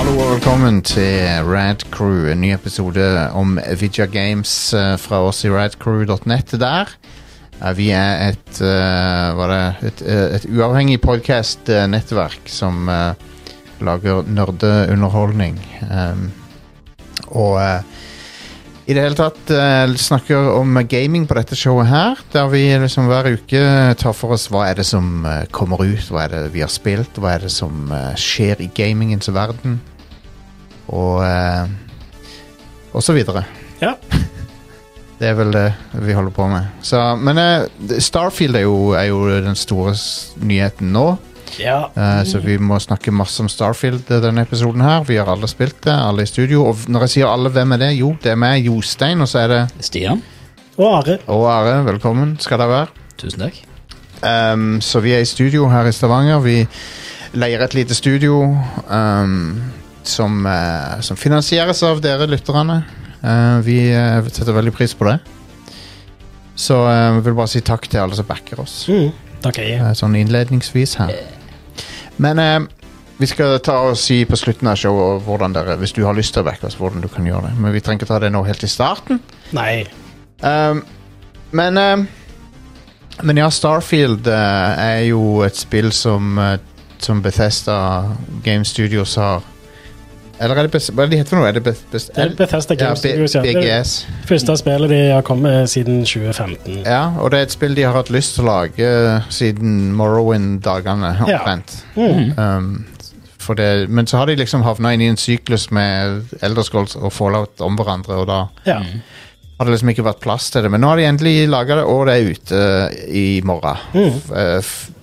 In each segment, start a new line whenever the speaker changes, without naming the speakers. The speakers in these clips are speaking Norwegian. og velkommen til Rad Crew. En ny episode om Vidja Games eh, fra oss i radcrew.net der. Eh, Vi er et eh, Hva er det Et, eh, et uavhengig podkast-nettverk som eh, lager nerdeunderholdning. Um, og eh, i det hele tatt eh, snakker om gaming på dette showet her, der vi liksom hver uke tar for oss hva er det som eh, kommer ut, hva er det vi har spilt, hva er det som eh, skjer i gamingens verden, og eh, og så videre.
Ja.
Det er vel det vi holder på med. Så, men eh, Starfield er jo, er jo den store s- nyheten nå.
Ja.
Eh, Så vi må snakke masse om Starfield eh, denne episoden her. Vi har alle spilt det, alle i studio. Og når jeg sier alle, hvem er det? Jo, det er meg, Jostein, og så er det
Mm. Stian,
Og Are.
Og Are. Velkommen skal dere være.
tusen takk.
Ehm, så vi er i studio her i Stavanger. Vi leier et lite studio ehm, som, eh, som finansieres av dere lytterne. Eh, vi eh, setter veldig pris på det. Så eh, jeg vil bare si takk til alle som backer oss.
Mm. Takk, jeg.
Eh, Sånn innledningsvis her. Men eh, vi skal ta og si på slutten av showet hvordan dere, hvis du har lyst til å backe oss, hvordan du kan gjøre det. Men vi trenger ikke ta det nå helt i starten.
Nei.
Um, men um, Men ja, Starfield eh, er jo et spill som, eh, som Bethesda Game Studios har Eller er det Bes- Hva er det de heter for noe? Er det Beth... Beth
Det er Bethesda
ja,
Game
B-
Studios. Ja. Det er
BGS.
det Første spillet de har kommet med siden 2015.
Ja, og det er et spill de har hatt lyst til å lage eh, siden Morrowind-dagene,
Ja.
omtrent.
Mm.
Um, for det, men så har de liksom havna inn i en syklus med Elder Scrolls og Fallout om hverandre, og da
Ja.
Mm.
har det liksom ikke vært plass til det. Men nå har de endelig laga det, og det er ute eh, i morgen.
Mm.
F- eh, f-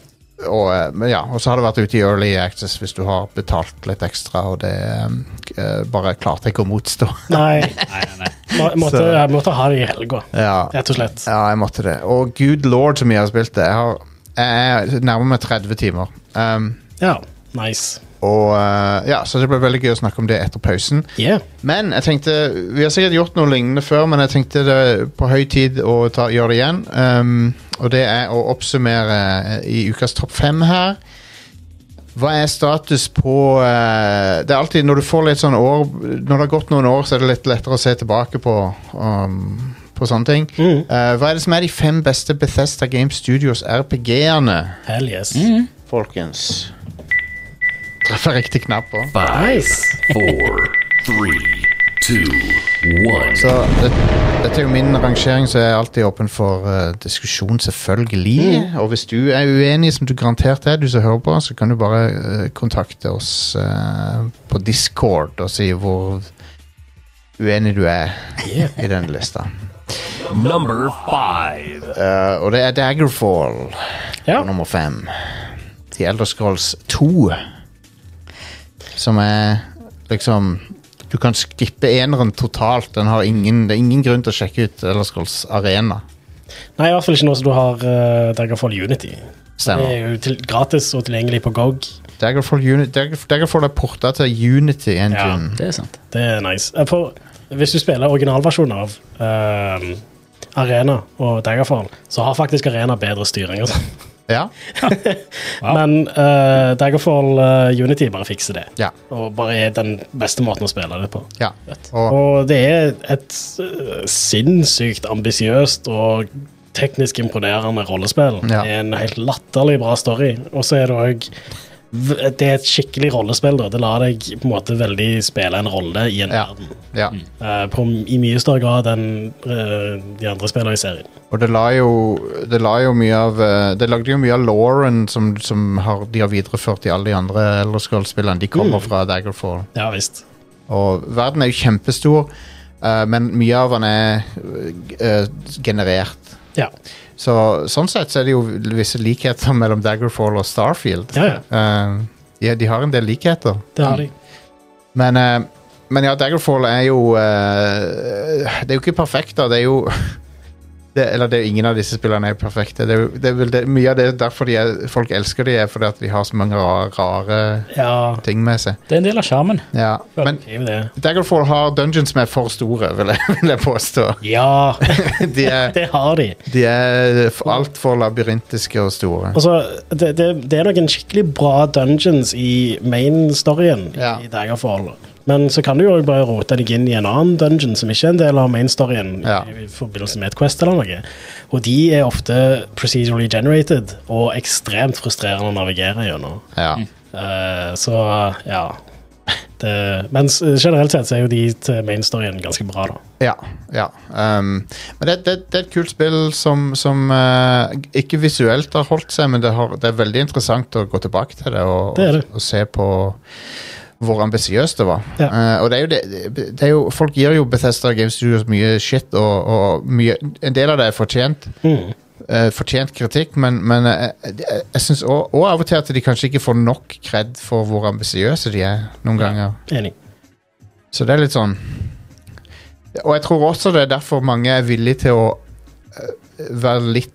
og, eh, men ja, og så har det vært ute i Early Access hvis du har betalt litt ekstra, og det um, k- eh, bare klarte jeg ikke å motstå.
Nei.
Nei, nei, nei.
Må, måtte,
Så-
jeg måtte ha det i helga,
ja.
rett og slett.
Ja, jeg måtte det. Og good lord, som jeg har spilt det. Jeg, har, jeg er nærmer meg 30 timer. Um,
Ja. Nice.
og eh, ja, Så det ble veldig gøy å snakke om det etter pausen.
Yeah.
Men jeg tenkte, vi har sikkert gjort noe lignende før, men jeg tenkte det er på høy tid å ta, gjøre det igjen. Um, og det er å oppsummere eh, i ukas topp fem her. Hva er status på eh, Det er alltid når du får litt sånn år Når det har gått noen år, så er det litt lettere å se tilbake på, um, på sånne ting.
Mm.
Eh, hva er det som er de fem beste Bethesda Game Studios RPG-ene,
Hell yes.
Mm.
folkens? Treffer riktig knapp på.
Nice.
four, three, two, one.
Så det, dette er jo min rangering, så jeg er alltid åpen for eh, diskusjon, selvfølgelig. Og hvis du er uenig, som du garantert er, du som hører på, så kan du bare eh, kontakte oss eh, på Discord og si hvor uenig du er i den lista.
Number five.
Eh, og det er Daggerfall
Ja.
på nummer fem. The Elder Scrolls 2. Som er liksom Du kan skippe eneren totalt. Den har ingen, det er ingen grunn til å sjekke ut Elder Scrolls Arena.
Nei, i hvert fall ikke nå som du har uh, Daggerfall Unity. Det
Stemmer.
er jo til, gratis og tilgjengelig på GOG.
Daggerfall, Uni Daggerf- Daggerfall er porta til Unity Engine.
Det er sant.
Det er nice. Eh, For hvis du spiller originalversjonen av ehm, Arena og Daggerfall, så har faktisk Arena bedre styring. Altså.
Ja.
Men eh, Daggerfall eh, Unity bare fikser det.
Ja.
Og bare er den beste måten å spille det på.
ja. Og,
Og det er et eh, sinnssykt ambisiøst og teknisk imponerende rollespill.
Ja.
Det er en helt latterlig bra story. Og så er det òg Det er et skikkelig rollespill. da. Det lar deg på en måte veldig spille en rolle i en
Ja.
verden.
ja.
Eh, på, I mye større grad enn eh, de andre spillene i serien.
og det la jo Det la jo mye av eh, Det lagde jo mye av Lauren som, som har, de har videreført i alle de andre Elder Scrolls-spillene. De
Mm.
kommer fra Daggerfall.
Ja visst.
Og verden er jo kjempestor, eh, men mye av den er eh, generert.
Ja.
Så sånn sett så er det jo visse likheter mellom Daggerfall og Starfield.
ja, Mm. ja.
Eh, ja, de har en del likheter.
Det har de.
Men, eh, men ja, Daggerfall er jo eh, Det er jo ikke perfekt, da. Det er jo det, Eller det er ingen av disse spillerne er perfekte. Det er, jo- det er vel det, mye av det er derfor de er, folk elsker de er fordi at de har så mange rare, rare
Ja,
ting med seg.
Det er en del av sjarmen.
Ja. Men
det er jo det.
Daggerfall har dungeons som er for store, vil jeg, vil jeg påstå.
Ja,
De er,
det har de.
de er altfor labyrintiske og store.
Altså, det, det, det er noen skikkelig bra dungeons i main-storyen
Ja.
i Daggerfall. Men så kan du jo også bare rote deg inn i en annen dungeon som ikke er en del av mainstoryen,
Ja.
i, i forbindelse med et quest eller noe. Og de er ofte procedurally generated og ekstremt frustrerende å navigere gjennom.
Ja.
Eh, så ja det, Men s- generelt sett så er jo de til mainstoryen ganske bra, da.
Ja. ja. Um, men det, det, det er et kult spill som, som eh, ikke visuelt har holdt seg, men det, har, det er veldig interessant å gå tilbake til det og,
Det er det.
og, og se på hvor ambisiøst det var.
Ja.
Eh, og det er jo det, det er jo, Folk gir jo Bethesda Game Studios mye shit, og, og mye, en del av det er fortjent. Eh, fortjent kritikk, men, men eh, jeg, jeg syns òg av og til at de kanskje ikke får nok kred for hvor ambisiøse de er noen ganger.
Enig.
Så det er litt sånn Og jeg tror også det er derfor mange er villige til å eh, være litt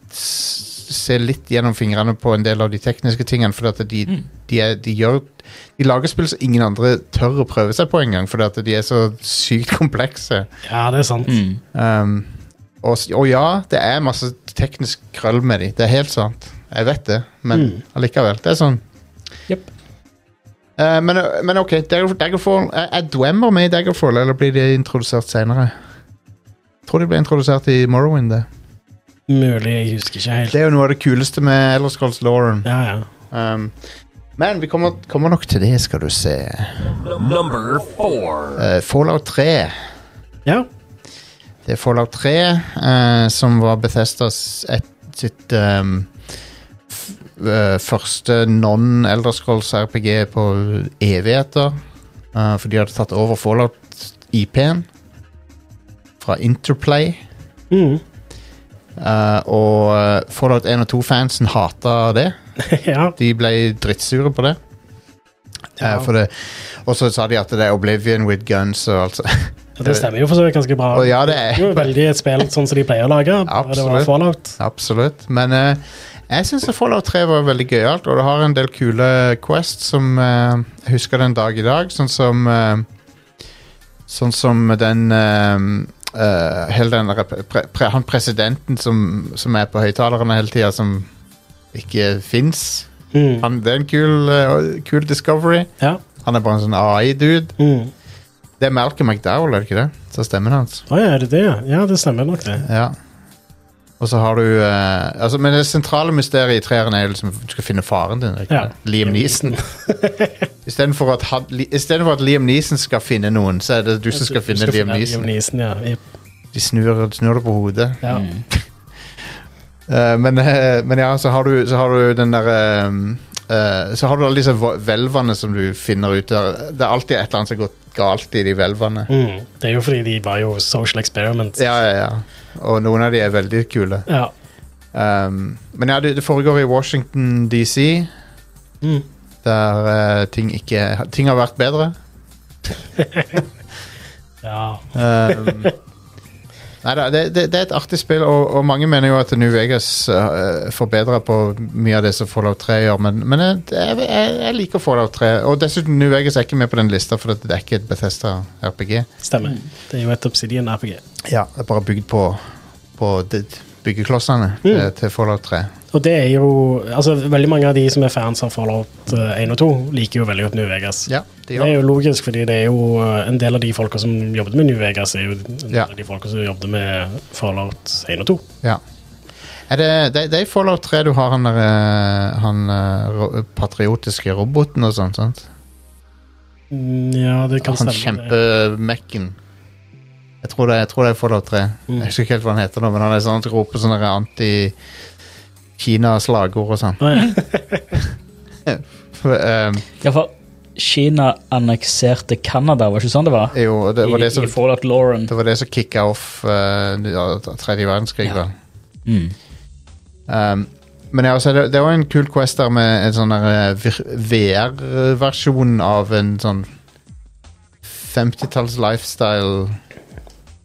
Se litt gjennom fingrene på en del av de tekniske tingene, fordi at de, de, er, de gjør De lager spill som ingen andre tør å prøve seg på engang, fordi at de er så sykt komplekse.
Ja, det er sant.
Um, og, s- og ja, det er masse teknisk krøll med de. Det er helt sant. Jeg vet det, men allikevel. Det er sånn.
Jepp.
Eh, men, men ok, Dagger- Daggerfall Er er Dwemer med i Daggerfall, eller blir de introdusert senere? Tror de ble introdusert i Morrowind. Det
Mulig, jeg husker ikke helt.
Det er jo noe av det kuleste med Elderscrolls Lauren.
Ja, ja.
Um, men vi kommer, kommer nok til det, skal du se.
Number four.
Eh, Fallout 3.
ja.
Det er Fallout 3, eh, som var Bethesdas et, sitt ehm, f, eh, første non-Elderscrolls-RPG på evigheter. Eh, for de hadde tatt over Fallout-IP-en fra Interplay.
Mm.
eh, og eh, Fallout 1 og 2-fansen hata det.
ja.
De ble drittsure på det. Eh, for det. Og så sa de at det er Oblivion with guns og alt sånt.
Ja, Det stemmer jo for så vidt ganske bra.
Og ja, det er-
Det er jo veldig et spill sånn som de pleier å lage. bare Det
Absolutt.
var Fallout.
Absolutt. Men eh, jeg syns Fallout 3 var veldig gøyalt, og det har en del kule quests som eh, jeg husker den dag i dag. Sånn som eh, Sånn som den eh, eh, Hele den rep- pre, pre, Han presidenten som, som er på høyttalerne hele tida, som ikke fins.
Mm.
Det er en kul, eh, kul discovery.
Ja.
Han er bare en sånn AI-dude.
Mm.
Det er Malcolm McDowell, er det ikke det? Så stemmen hans.
Å ja, er det det? Ja, det stemmer nok, det.
Ja. Og så har du eh, altså, Men det sentrale mysteriet i treeren er jo liksom du skal finne faren din. Ikke?
Ja.
sant? Liam Neeson. Istedenfor at, han- Li- i stedet for at Liam Neeson skal finne noen, så er det du som skal
Du
finne Liam Neeson.
Neeson, ja. I-
De snur, snur det på hodet.
ja.
Mm. Eh, men, eh, men ja, så har du, så har du den derre Så har du alle disse vo- hvelvene som du finner ut der. Det er alltid et eller annet som går galt i de hvelvene.
Mm. Det er jo fordi de var jo social experiments.
Ja, ja, ja. Og noen av de er veldig kule.
Ja.
Um, men ja, det, det foregår i Washington DC,
Mm.
der eh, ting ikke Ting har vært bedre.
ja.
Um, nei da, det, det, det er et artig spill, og, og mange mener jo at New Vegas uh, forbedrer på mye av det som Fallout 3 gjør, men, men jeg, jeg, jeg, jeg liker Fallout 3. Og dessuten, New Vegas er ikke med på den lista, for det er ikke et Bethesda RPG.
Stemmer.
Mm.
Det er jo et Obsidian-RPG.
Ja, Det er bare bygd på, på det- byggeklossene
Mm.
til, til Fallout 3.
Og det er jo Altså, veldig mange av de som er fans av Fallout eh, 1 og 2, liker jo veldig godt New Vegas.
Ja, det
Det
gjør
er jo logisk, fordi det er jo eh, en del av de folka som jobbet med New Vegas, er jo en del
Ja.
av de folka som jobbet med Fallout 1 og 2.
Ja. Er det, det, det er i Fallout 3 du har han der eh, Han eh, ro- patriotiske roboten og sånn, sant?
Mm, Ja, det kan
Han
stemme. det.
kjempemekken. Jeg tror det, jeg tror det er Fallout 3.
Mm.
Jeg husker ikke helt hva han heter nå, men han er sånn at han roper sånne anti-Kina-slagord og sånn.
Å, ja.
For, eh,
Ja, for Kina annekserte Canada, var det ikke sånn det var?
jo, det var det
I,
som
i Fallout Lauren.
Det var det som kicka off eh, ja, tredje verdenskrig,
Ja.
vel.
Mm.
Um, men ja, altså, det, det var en kul quest der med en sånn der, eh, vir- VR-versjon av en sånn 50-talls lifestyle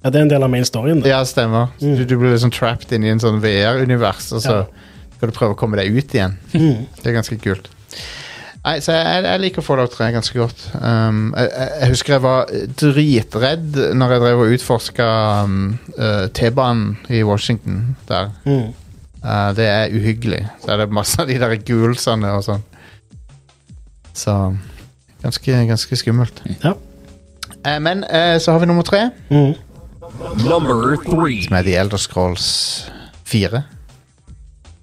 ja, det er en del av main storyen. det.
Ja, stemmer. Så Du, du blir liksom trapped inn i en sånn VR-univers, og så
Mm. Ja. Mm.
skal du prøve å komme deg ut igjen. Det er ganske kult. Nei, så jeg, jeg liker Fallout 3 ganske godt. Um, jeg, jeg jeg husker jeg var dritredd når jeg drev og utforska um, eh, T-banen i Washington der.
Mm.
Eh, det er uhyggelig. Så er det masse av de der gulsene
Mm.
og sånn. Så ganske, ganske skummelt.
Ja.
Eh, men eh, så har vi nummer tre,
Number three.
som er The Elder Scrolls 4.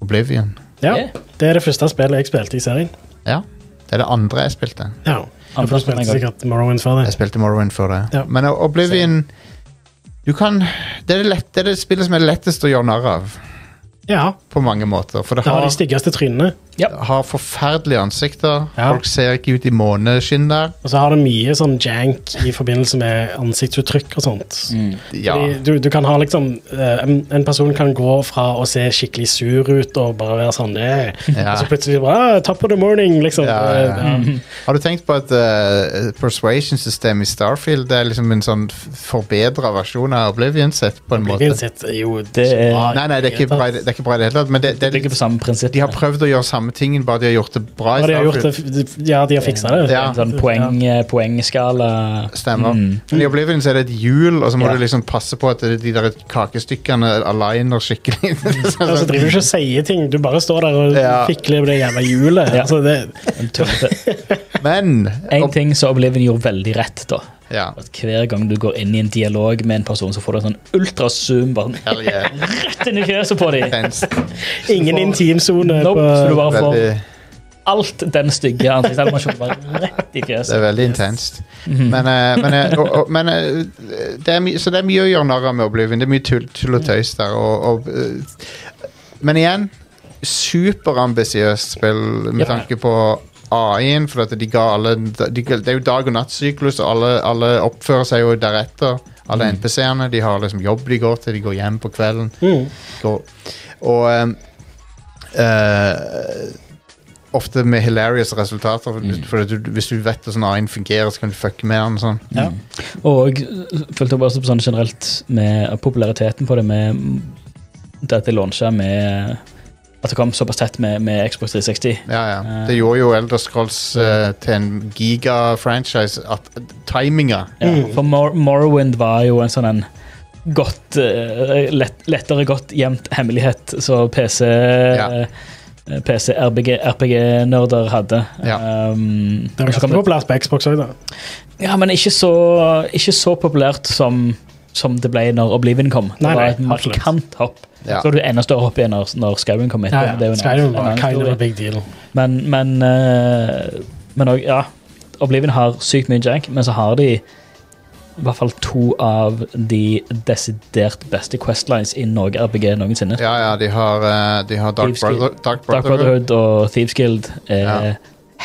Oblivion.
Ja,
Yeah.
Det er det første spillet jeg spilte i serien.
Ja. Det er det andre jeg spilte.
Ja. Jeg
Andre
spilte
spilte jeg
sikkert Morrowind før
Jeg
det.
spilte Morrowind før det.
Ja.
Men Oblivion du kan, det, er det, lett, det er det spillet som er lettest å gjøre narr av,
Ja,
på mange måter. For det
Det har
har,
de styggeste trynene.
har forferdelige ansikter.
Ja.
Folk ser ikke ut i måneskinn der.
Og så har det mye sånn jank i forbindelse med ansiktsuttrykk og sånt.
Ja.
Fordi Du, du kan ha liksom eh, en, en person kan gå fra å se skikkelig sur ut og bare være sånn eh,
Ja.
Og så plutselig bare ah, 'Top of the morning', liksom.
Ja, ja, ja.
Eh,
Har du tenkt på at eh, persuasion-systemet i Starfield det er liksom en sånn forbedra versjon av Oblivion sett, på en måte?
Blinken sitt er jo
Det er-
bra.
Mm. Nei, nei, det er ikke bra i det det er ikke bra i det hele tatt, men det, det er
Bygger
litt,
på samme prinsipp.
de har prøvd å gjøre samme tingen, bare de har gjort det bra. i
Ja, de har gjort
Starfield.
det, ja, de har fiksa det.
Ja.
En sånn poeng, poengskala.
Stemmer.
Mm.
Men i Oblivion så er det et hjul, og så må
Ja.
du liksom passe på at det- de der kakestykkene aligner skikkelig.
Ja, så driver du ikke og sier ting, du bare står der og
Ja.
fikler med det jævla hjulet.
Ja.
Altså, det,
En tullete.
Men
En
og-
ting som Oblivion gjorde veldig rett, da.
ja.
At hver gang du går inn i en dialog med en person, så får du en sånn ultrazoom bare
Hell yeah.
rett inn i fjeset på dem.
Intenst.
ingen intimsone.
Nope, så du
på-
bare får
Veldig,
alt den stygge ansiktsanimasjonen bare rett i
det er
fjeset.
veldig intenst.
Mhm.
Men, eh, men, eh, og, og, men eh, det er mye- Så det er mye å gjøre narr av med Oblivion. Det er mye tull, tull og
Mm.
tøys der. Og, og, eh, men igjen, superambisiøst spill med
Ja.
tanke på AI-en, for at de ga alle de, Det er jo dag- og nattsyklus, og alle, alle oppfører seg jo deretter. Alle NPC-ene. De har liksom jobb de går til, de går hjem på kvelden.
Mm.
Går, og ehm, eh, Ofte med hilarious resultater. For, for at du, hvis du vet hvordan AI-en fungerer, så kan du fucke med den. og Sånn.
Ja.
Mm. Og fulgte opp også på sånn generelt med populariteten på det med det at det launcha med At det kom såpass tett med, med Xbox 360.
Ja, ja. Det gjorde jo Elder Scrolls eh, til en giga-franchise. At timinga
Ja,
Mm.
for Mor Morrowind var jo en sånn en godt, eh, lett, lettere godt gjemt hemmelighet som PC,
Ja.
eh, PC RPG-nerder hadde.
Ja.
Um,
Det
og
var
så
ganske
kom
populært på Xbox òg, da.
Ja, men ikke så, ikke så populært som, som det ble når Oblivion kom. Det
Nei,
var
nei,
et markant hopp.
Ja.
Så var det jo enda større hopp igjen når, når Skyrim kom etter.
Ja, ja.
Det er jo en
Skyrim
annen- en
var
annen
kind of a
historie.
big deal.
Men, men, eh, men også, ja, Oblivion har sykt mye jank, men så har de i hvert fall to av de desidert beste questlines i noe RPG noensinne.
Ja, ja, de har, eh, de har Dark,
Thieves
Brother, Dark
Dark
Brotherhood.
Brotherhood og Thieves Guild er
Ja.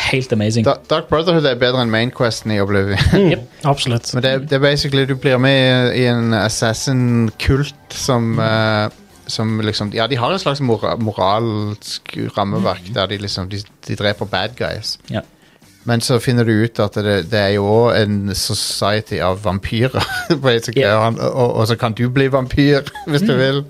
helt amazing.
Da, Dark Brotherhood er bedre enn Mainquesten i Oblivion.
Mm, absolutt.
Men det, det er basically du blir med i en assassin-kult som
Mm.
eh, som liksom, ja, De har en slags mora moralsk rammeverk
Mm.
der de liksom de, de dreper bad guys.
Ja.
Men så finner du ut at det, det er jo òg en society av vampyrer. basically,
Ja. Mm.
og, han, og, og så kan du bli vampyr hvis du vil.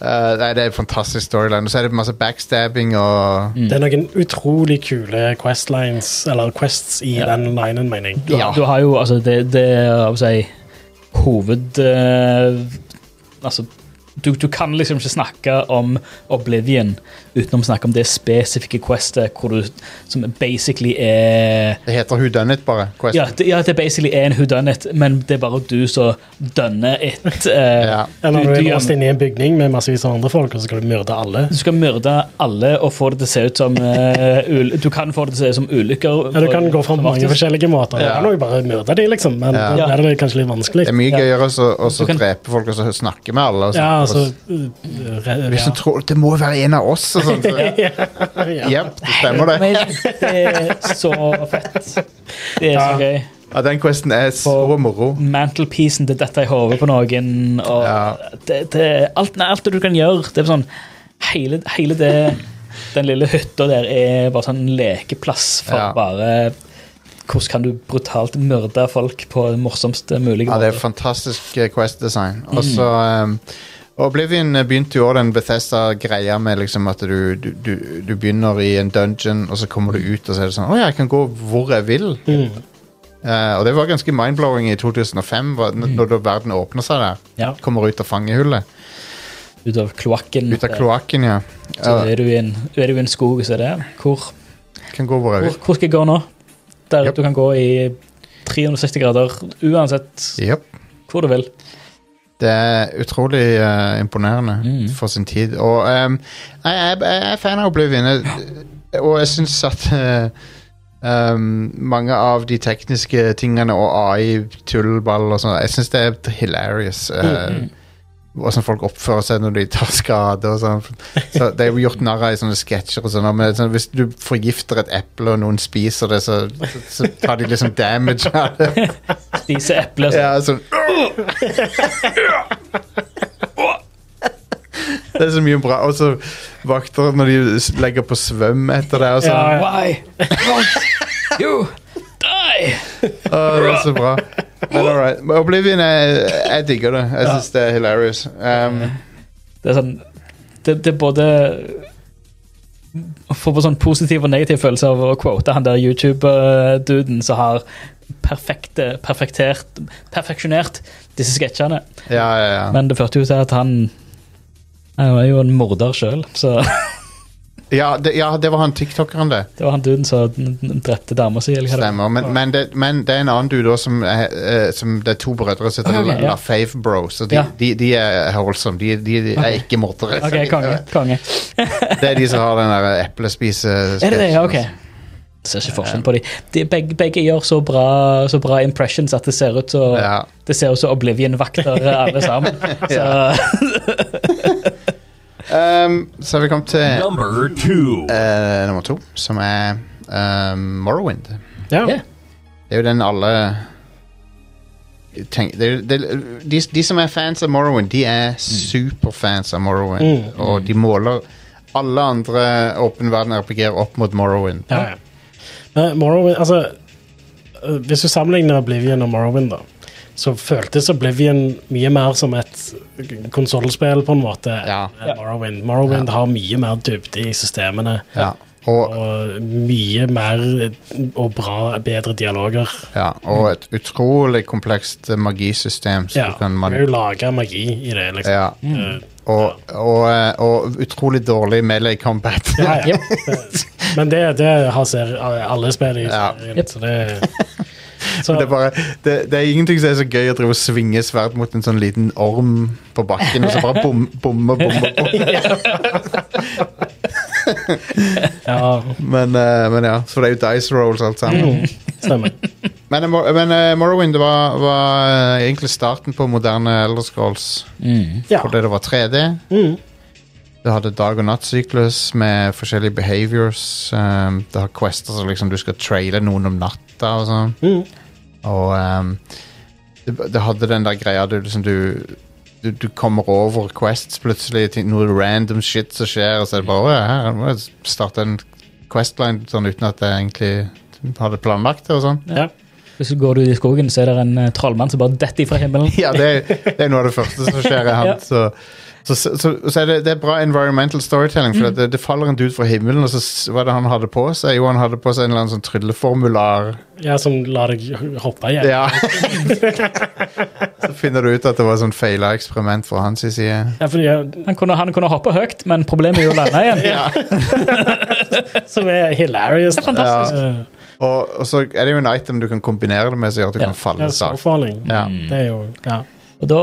Eh, nei, det er en fantastisk storyline. Og så er det masse backstabbing og
Mm.
Det er noen utrolig kule questlines, eller quests i den linen, mener jeg.
Du,
Ja.
du har jo altså det, det er hva skal jeg si, hoved eh, Altså, du, du kan liksom ikke snakke om Oblivion uten å snakke om det spesifikke questet hvor du, som basically er
Det heter Who Done It, bare. Quest.
ja det, ja, det basically er en whodunit, men det er bare du som dønner et eh,
Ja.
Eller
du,
når du
du, Mm.
er låst
gjør-
inne i en bygning med massevis av andre folk, og så skal du myrde alle.
du skal myrde alle og få det til å se ut som eh, ul, Du kan få det til å se ut som ulykker.
Ja, du kan gå fram
Som
på mange
oftest.
forskjellige måter.
Ja.
Du kan jo bare myrde de, liksom, men
Ja.
da er det kanskje litt vanskelig.
Det er mye
Ja.
gøyere å så- å
Du
så
kan-
drepe folk og så snakke med alle. Og så,
Ja, altså
og,
øh, re-
hvis
ja.
du tror, Det må være en av oss! Og sånt, så,
Ja.
Jep, det stemmer det.
Det er så fett. Det er så
Ja.
gøy.
Ja, den questen er så moro.
mantelpiecen til dette i hodet på noen. Og
Ja.
det, det, alt, nei, alt det du kan gjøre. Det er sånn, hele, hele det, den lille hytta der er bare sånn lekeplass for
Ja.
bare hvordan kan du brutalt myrde folk på den morsomste mulige
Ja, det er
måten?
fantastisk eh, quest-design. Og så um, Oblivion eh, begynte jo også den Bethesda-greia med liksom at du, du, du, du begynner i en dungeon, og så kommer du ut, og så er det sånn Å ja, jeg kan gå hvor jeg vil.
Mm.
Eh, og det var ganske mindblowing i 2005, hva- n- når da verden åpner seg der.
Ja.
Kommer ut av fangehullet.
Ut av kloakken.
Ut av kloakken, ja.
Så
Ja,
er du i en, er du i en skog, så er det hvor,
kan gå hvor jeg
hvor,
vil.
hvor skal jeg gå nå? Der
Yep.
du kan gå i 360 grader uansett
Yep.
hvor du vil.
Det er utrolig eh, imponerende
Mm.
for sin tid. Og ehm, nei, jeg, jeg er fan av Oblivion, jeg- og jeg syns at eh, ehm, mange av de tekniske tingene og AI-tullball og sånn, jeg syns det er hilarious. eh, Hvordan folk oppfører seg når de tar skade og sånn. Så Det er jo gjort narr av i sånne sketsjer og sånn, men sånn, hvis du forgifter et eple og noen spiser det, så, så, så tar de liksom damage av det.
Spise eple. altså. så-
Ja, sånn Det er så mye bra. Og så vakter når de s- legger på svøm etter det. Og sånn.
Ja, ja.
Why? Don't you die?
Å, det er så bra. Men all right. Men Oblivion, jeg, jeg digger det. Jeg syns det er hilarious. Um,
Det er sånn Det, det er både å få på sånn positiv og negativ følelse av å quote han der YouTube-duden som har perfekte, perfektert, perfeksjonert disse sketsjene.
ja, ja, ja.
Men det førte jo til at han Han er jo en morder sjøl, så
Ja det, ja, det var han tiktokeren, det.
det var han duden som drepte dama si. Eller hva det var.
Stemmer. Men, men, det, men det er en annen dude òg som, er- eh, som Det er to brødre som heter
Ok,
La-
Ah, ja.
Lafave Bros. Og de,
Ja.
de, de er wholesome. De, de, de er ikke mordere.
OK, konge. konge.
Det er de som har den der eplespise
Er det det? Ja, OK. Ser ikke forskjell på de. de begge, begge gjør så bra, så bra impressions at det ser ut som
Ja.
Det ser ut som Oblivion vakter alle sammen. Så
Um, så har vi kommet til
Number two.
eh, nummer to, som er um, Morrowind.
Ja.
Ja.
Det er jo den alle tenk, det, er jo- det, de, de som er fans av Morrowind, de er
Mm.
superfans av Morrowind. Og de måler alle andre åpen verden-RPG-er opp mot Morrowind.
Ja, ja. Men Morrowind, altså eh, Hvis du sammenligner Oblivion og Morrowind, da, så føltes Oblivion mye mer som et konsollspill, på en måte.
Ja.
enn Morrowind, Morrowind har mye mer dybde i systemene.
Ja. Og,
Og mye mer og bra, bedre dialoger.
ja, og et utrolig komplekst eh, magisystem. Så
Ja,
du kan
man...
man
Du lager magi i det, liksom.
ja.
Eh,
og, og, eh, og utrolig dårlig melee combat.
Ja, ja. Men det, det har ser alle spill i
Ja.
serien,
Yep.
så det så,
Det er, bare, det, det er ingenting som er så gøy å drive og svinge sverd mot en sånn liten orm på bakken, og så bare bom, bomme, bomme, bomme.
Ja,
Men, eh, men ja, så det er jo dice rolls alt sammen.
stemmer.
Men, eh, Mor- men eh, Morrowind det var, var eh, egentlig starten på moderne Elder Scrolls,
Mm.
Ja. Mm,
fordi det var 3D. Det hadde dag- og nattsyklus med forskjellige behaviors. eh, det har quester som liksom du skal traile noen om natta og sånn.
Mm.
Og ehm, det, det hadde den der greia du liksom du du, du kommer over quests plutselig, ting, noe random shit som skjer, og så er det bare «Å, ja, her må jeg starte en questline sånn uten at jeg egentlig hadde planlagt det og sånn.
Ja.
Hvis du går ut i skogen, så er det en eh, trollmann som bare detter fra himmelen.
Ja, det, er- det er noe av det første som skjer. er Han,
Ja.
så, så, så, så, så er det, det er bra environmental storytelling, for det, det faller en dude fra himmelen, og så s- hva er det han hadde på seg? Jo, han hadde på seg en eller annen sånn trylleformular.
ja, som lar deg hoppe igjen.
Ja. så finner du ut at det var sånn feila eksperiment fra hans side.
Ja, fordi, jeg-
Han kunne, han kunne hoppe høyt, men problemet er jo å lande igjen.
som er hilarious.
Det er fantastisk.
Eh,
Og, og så er det jo en item du kan kombinere det med, som gjør at du
Ja.
kan falle
Ja,
sakte.
Snowfalling.
Ja.
Det er jo ja.
Og da,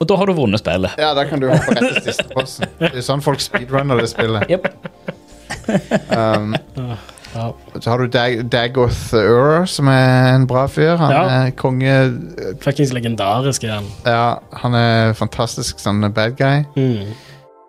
og da har du vunnet spillet.
ja, da kan du hoppe rett til siste bossen. Det er sånn folk speedrunner det spillet.
Jep.
Um,
Ja.
så har du Dag Dagoth Ur, som er en bra fyr. Han
Ja.
er konge
Fuckings legendarisk igjen.
Ja, han er fantastisk sånn bad guy.
Mm.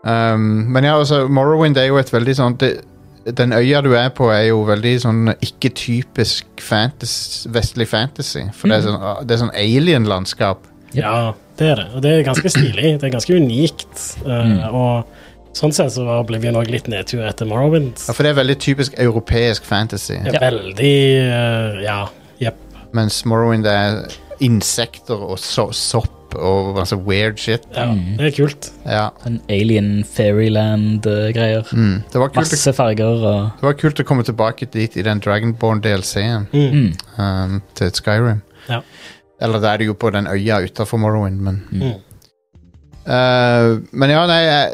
Um, men ja, altså, Morrowind er jo et veldig sånn det, Den øya du er på, er jo veldig sånn ikke-typisk fantas- vestlig fantasy. For det er sånn, det er sånn alien-landskap.
Ja, det er det. Og det er ganske stilig. Det er ganske unikt. eh,
Mm.
Og sånn sett så var Oblivion òg litt nedtur etter Morrowind.
Ja, for det er veldig typisk europeisk fantasy.
Det er Veldig eh, Ja. Jepp.
Mens Morrowind er insekter og so sopp og masse weird shit.
Ja, det er kult.
Ja.
En alien fairyland-greier.
Mm. Det, var kult, å-
Masse farger og
det var kult å komme tilbake dit i den Dragonborn-DLC-en
Mm.
mm.
um, til Skyrim.
Ja.
Eller det er det jo på den øya utafor Morrowind, men
Mm.
Eh, men ja, nei eh,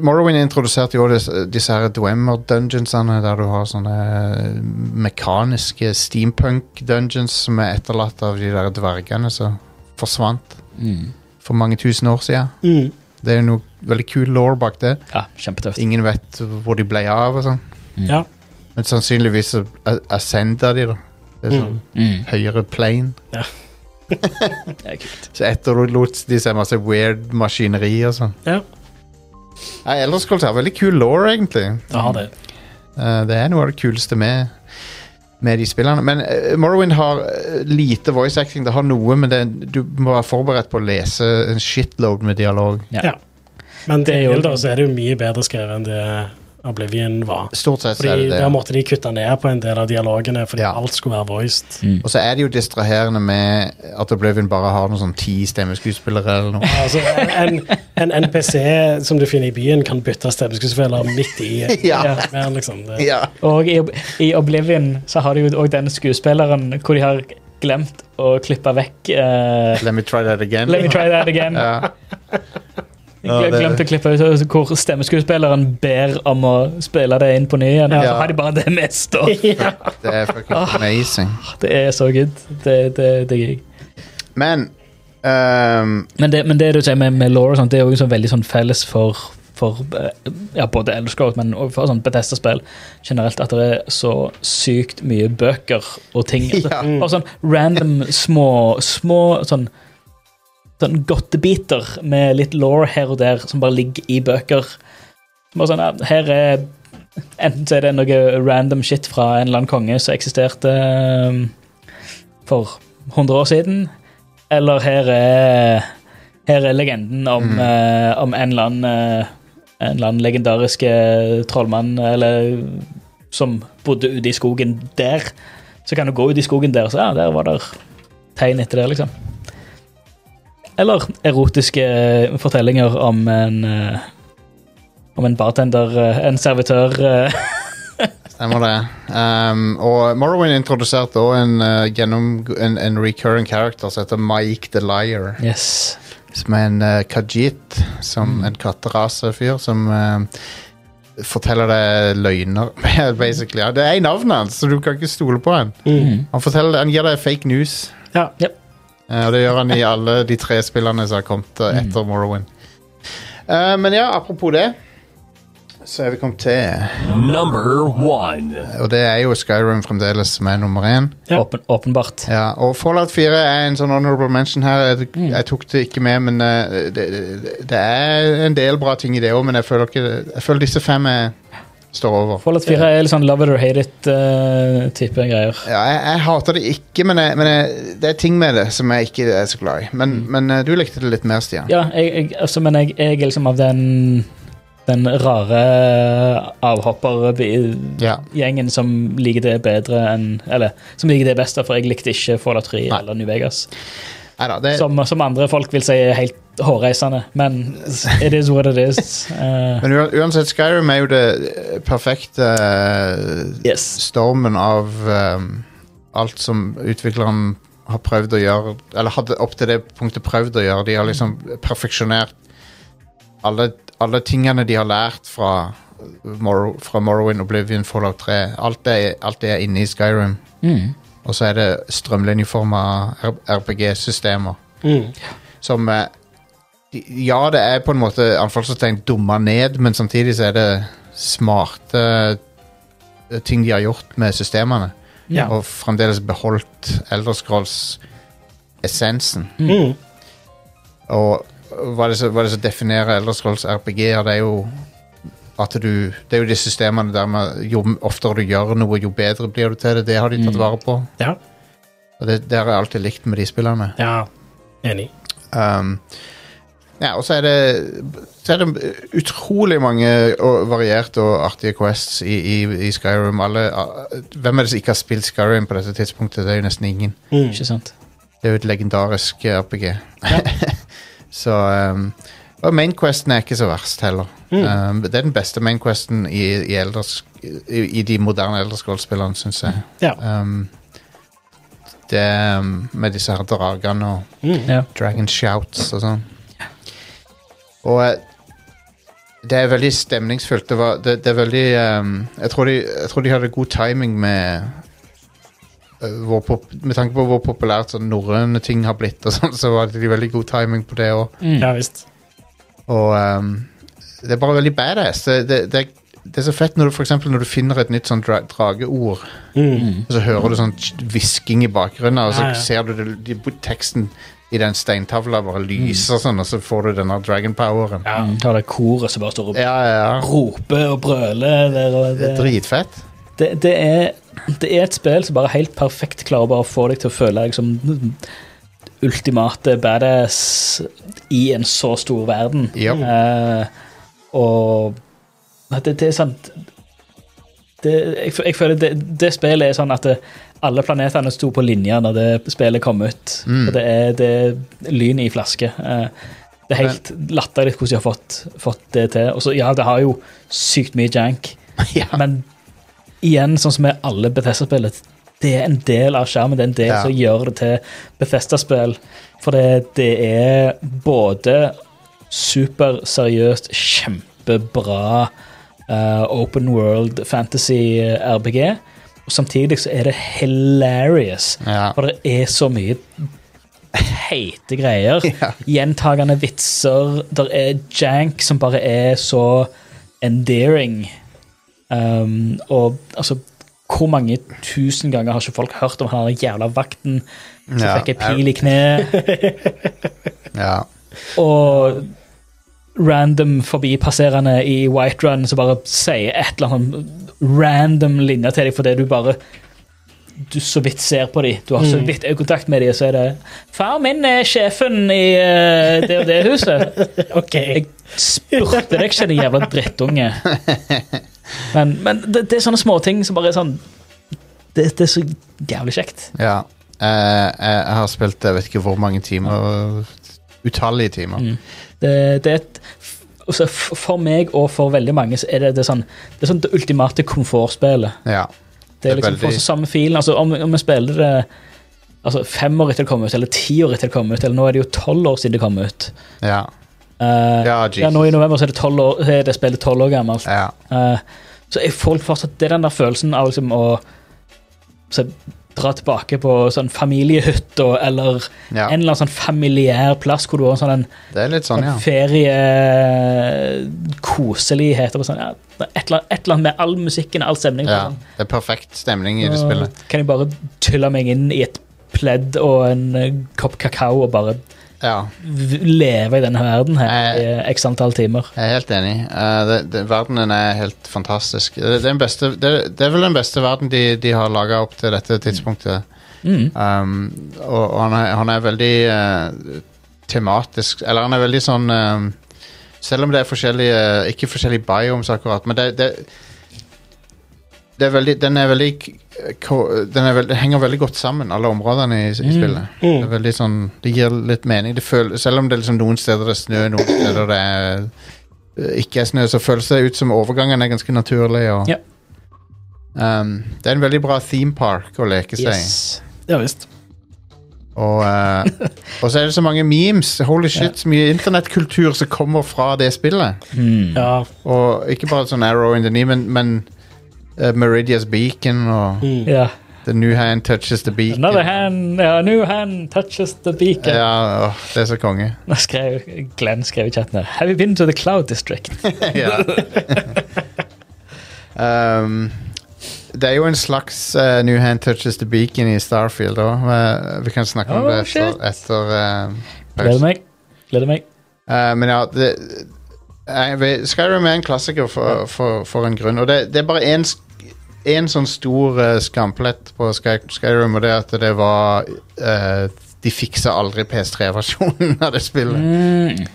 Morrowind introduserte jo disse, disse her Dwemer-dungeonsene, der du har sånne eh, mekaniske steampunk-dungeons som er etterlatt av de der dvergene som forsvant
Mm.
for mange tusen år siden.
Mm.
Det er jo noe veldig kul law bak det.
Ja, kjempetøft.
Ingen vet hvor de ble av og sånn.
Ja.
Men sannsynligvis så a- ascender de, da. Det er sånn
Mm.
Mm.
høyere plane.
Det er kult.
Så etterlot de seg masse weird maskineri og sånn.
ja.
Nei, Ellers Scrolls har veldig kul law, egentlig.
Jeg har det.
Eh, det er noe av det kuleste med, med de spillene. Men eh, Morrowind har eh, lite voice acting. Det har noe, men det, du må være forberedt på å lese en shitload med dialog.
Ja.
Ja. Men
Det er
til
jo-
Gilda så er det jo mye bedre skrevet enn det Oblivion var.
Stort sett så er
Fordi
det det.
Der måtte de kutte ned på en del av dialogene, fordi
Ja.
alt skulle være voiced.
Og så er det jo distraherende med at Oblivion bare har noen sånn ti stemmeskuespillere eller noe.
Altså, en, en NPC som du finner i byen, kan bytte stemmeskuespiller midt i.
Ja.
mer, liksom. det.
ja.
Og i, i Oblivion så har de jo òg den skuespilleren hvor de har glemt å klippe vekk eh,
Let me try that again.
Let me try that again.
Ja.
Jeg glemte å klippe ut eh, hvor stemmeskuespilleren ber om å spille det inn på ny igjen. Så
Ja.
har de bare det mest. Og
Ja.
Det er fucking amazing.
det er så good. Det, det, det er gøy.
Men ehm,
Men det, men det du sier med, med law og sånt, det er jo sånn veldig sånn felles for, for eh, ja, både Elder Scrolls, men også for sånn Bethesda-spill generelt, at det er så sykt mye bøker og ting. Altså,
Ja.
Bare sånn random små, små sånn sånn godtebiter med litt law her og der som bare ligger i bøker. Som Bare sånn, ja, her er Enten så er det noe random shit fra en eller annen konge som eksisterte eh, for 100 år siden, eller her er her er legenden om,
Mm.
eh, om en eller annen eh, en eller annen legendarisk eh, trollmann eller, som bodde ute i skogen der. Så kan du gå ut i skogen der, så ja, der var det tegn etter det, liksom. Eller erotiske eh, fortellinger om en eh, om en bartender, eh, en servitør eh,
Stemmer det. Ehm, og Morrowind introduserte òg en, eh, gjennom, en, en recurring character som heter Mike the Liar.
Yes.
Som er en eh, Khajiit, som en katterasefyr som eh, forteller deg løgner, basically. Ja, det er i navnet hans, altså, så du kan ikke stole på han.
Mm.
Han, forteller, han gir deg fake news,
ja.
eh, og det gjør han i alle de tre spillene som har kommet eh, etter Morrowind. Eh, men ja, apropos det, så er vi kommet til
Number one.
Og det er jo Skyrim fremdeles som er nummer én.
Ja.
Åpen, åpenbart.
Ja, og Fallout 4 er en sånn honorable mention her. Jeg, jeg tok det ikke med, men eh, det, det, det er en del bra ting i det òg, men jeg føler, ikke, jeg føler disse fem er, står over.
Fallout 4 er litt sånn love it or hate it-type greier.
Ja, jeg, jeg hater det ikke, men, jeg, men jeg, det er ting med det som jeg ikke er så glad i. Men, men eh, du likte det litt mer, Stian.
Ja, jeg, jeg, altså, men jeg, jeg er liksom av den den rare avhoppergjengen
Ja.
som liker det bedre enn Eller som liker det best, for jeg likte ikke Fallout 3
Nei. Eh.
eller New Vegas.
Neida, det,
Som, som andre folk vil si er helt hårreisende, men it is what it is. Eh,
men ua- uansett, Skyrim er jo det eh, perfekte eh,
yes.
stormen av ehm, alt som utvikleren har prøvd å gjøre, eller hadde opp til det punktet prøvd å gjøre. De har liksom perfeksjonert alle, alle tingene de har lært fra, Morrow, fra Morrowind, Oblivion, Fallout 3. Alt det, er- alt det er inne i Skyrim.
Mm.
Og så er det strømlinjeforma RPG-systemer
Mm.
som eh, Ja, det er på en måte anfallstegn dumma ned, men samtidig så er det smarte eh, ting de har gjort med systemene.
Ja.
Og fremdeles beholdt Elderscrolls-essensen.
Mm.
Og hva er det som hva er det som definerer Elderscrolls RPG-er? Det er jo at du Det er jo de systemene der med jo oftere du gjør noe, jo bedre blir du til det. Det har de tatt
Mm.
vare på.
Ja.
Og det, det har jeg alltid likt med de spillerne.
ja. Enig.
Um, ja, og så er det Så er det utrolig mange og varierte og artige quests i, i, i Skyrim. Alle, hvem er det som ikke har spilt Skyrim på dette tidspunktet? Det er jo nesten ingen.
Mm.
Ikke sant?
Det er jo et legendarisk eh, RPG. så um, Og mainquesten er ikke så verst heller. Um, det er den beste mainquesten i, i, elders, i, i de moderne Elderskål-spillene, syns jeg.
Ja.
Um, det, ehm, um, med disse her dragene og
Mm.
Ja.
Dragon Shouts og sånn. Og eh, det er veldig stemningsfullt. Det, var, det, det er veldig ehm, jeg, tror de, jeg tror de hadde god timing med eh, hvor pop, Med tanke på hvor populært sånn norrøne ting har blitt, og sånn, så hadde de veldig god timing på det òg.
Mm.
Ja visst.
Og ehm, det er bare veldig badass. Det, det, det, det er så fett når du, for eksempel, når du finner et nytt sånn dra drageord,
Mm.
og så hører du sånn hvisking i bakgrunnen, og så
Ja, ja.
ser du det, de, teksten i den steintavla bare lyser sånn, og så får du denne dragon poweren.
Ja. Mm. Ta det koret som bare står og
Ja, ja, ja.
roper og brøler. Der, og
Det er
det,
dritfett.
det, det, er, det er et spill som bare helt perfekt klarer bare å få deg til å føle deg som den ultimate badass i en så stor verden.
Yep.
Eh, og Nei, det, det er sant det, jeg, fø- jeg føler det, det spillet er sånn at det, alle planetene sto på linje når det spillet kom ut.
Mm.
Og det er, det er lyn i flaske. Eh, det er helt latterlig hvordan de har fått, fått det til. Og så, ja, det har jo sykt mye jank,
ja.
men igjen, sånn som med alle Bethesda-spill, det er en del av skjermen. Det er en del
Ja.
som gjør det til Bethesda-spill. For det, det er både superseriøst, kjempebra eh, open world fantasy eh, RPG, og samtidig så er det hilarious.
Ja.
For det er så mye teite greier.
Ja.
Gjentagende vitser. Der er jank som bare er så endearing. Um, og altså Hvor mange tusen ganger har ikke folk hørt om han der jævla vakten som
Ja,
fikk ei pil i kneet,
ja.
og random forbipasserende i White Run som bare sier et eller annet random linje til deg fordi du bare du så vidt ser på dem. Du har så vidt øyekontakt med dem, og så er det 'Far min er sjefen i eh, det og det huset'.
OK.
Jeg spurte deg ikke, din jævla drittunge. Men, men det, det er sånne småting som bare er sånn det, det er så jævlig kjekt.
ja. Eh, jeg, jeg har spilt jeg vet ikke hvor mange timer. Utallige timer.
Mm. Det, det er et altså, f- For meg og for veldig mange så er det det, er sånn, det, er sånn det ultimate komfortspillet.
Ja.
Det er
Det er
liksom
veldig-
fortsatt samme filen. Altså, om, om vi spiller det altså, fem år etter det kom ut, eller ti år etter det kom ut, eller nå er det jo tolv år siden det kom ut
Ja.
Eh,
Ja,
ja, Nå i
Jesus.
november så er det, 12 år, er det spillet tolv år gammelt.
Ja.
Eh, så jeg får fortsatt Det er den der følelsen av liksom å så, dra tilbake på sånn familiehytta eller
ja.
en eller annen sånn familiær plass hvor du har en sånn en,
Det er litt sånn, ja.
en feriekoselighet. og Sånn, ja, et, eller annet, et eller annet med all musikken og all stemningen.
ja. Det er perfekt stemning i det spillet.
Kan jeg bare tylle meg inn i et pledd og en eh, kopp kakao og bare
Ja.
v- leve i denne verden her i
Eh.
eh, x antall timer?
Jeg er helt enig. Eh, det, det, verdenen er helt fantastisk. Det, det, er, den beste, det, det er vel den beste verden de, de har laga opp til dette tidspunktet.
Mm.
Um, og og han, er, han er veldig eh, tematisk Eller han er veldig sånn um, Selv om det er forskjellige Ikke forskjellige biomes akkurat, men det, det, det er veldig, den er veldig k- ko- den, er veld, den henger veldig godt sammen, alle områdene i, i
Mm.
spillet. Det, er veldig sånn, det gir litt mening. Det føl, selv om det er liksom noen steder det er snø, noen steder det er, eh, ikke er snø, så føles det ut som overgangen er ganske naturlig. Og,
Ja.
um, det er en veldig bra theme park å leke seg i.
Yes.
Ja visst.
Og, eh, og så er det så mange memes. Holy shit, så mye internettkultur som kommer fra det spillet.
Ja.
Og ikke bare sånn Arrow in the Knee, men, men eh, Meridias Beacon og
Ja.
The New Hand Touches the Beacon.
Another hand, yeah, new hand touches the beacon.
Ja, åh, det er så konge.
Nå skrev Glenn skrev i chatten her. Have you been to the cloud district?
ja. um, det er jo en slags eh, New Hand Touches the Beacon i Starfield òg. vi kan snakke om
Oh,
det etter,
shit.
etter eh,
Gleder meg. Gleder meg.
Eh, men ja det, jeg vet- Skyrim er en klassiker for, for, for en grunn. Og det, det er bare én sånn stor eh, skamplett på Sky, Skyrim, og det er at det var eh, De fiksa aldri PS3-versjonen av det
Mm.
spillet.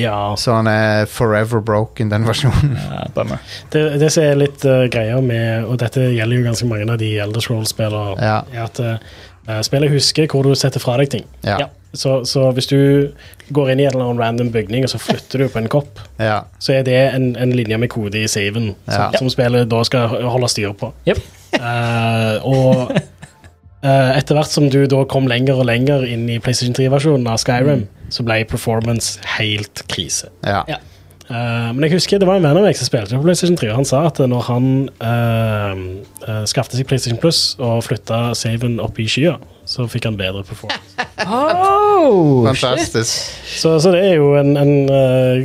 ja.
Så han er forever broken, den versjonen.
Ja, bummer.
Det, det som er litt eh, greia med, og dette gjelder jo ganske mange av de eldre Scrolls-spillene,
Ja.
er at eh, spillet husker hvor du setter fra deg ting.
Ja.
Ja.
Så, så hvis du går inn i en eller annen random bygning og så flytter du på en kopp,
ja.
så er det en, en linje med kode i saven
Ja.
som, som spillet da skal holde styr på.
Jep.
Eh, og eh, etter hvert som du da kom lenger og lenger inn i PlayStation 3-versjonen av Skyrim, så ble performance helt krise.
Ja.
Ja.
Eh, men jeg husker det var en venn av meg som spilte på PlayStation 3, og han sa at når han uh, skaffte seg PlayStation Plus og flytta saven opp i skya, så fikk han bedre performance.
Oh,
Fantastisk.
så, så det er jo en, en eh,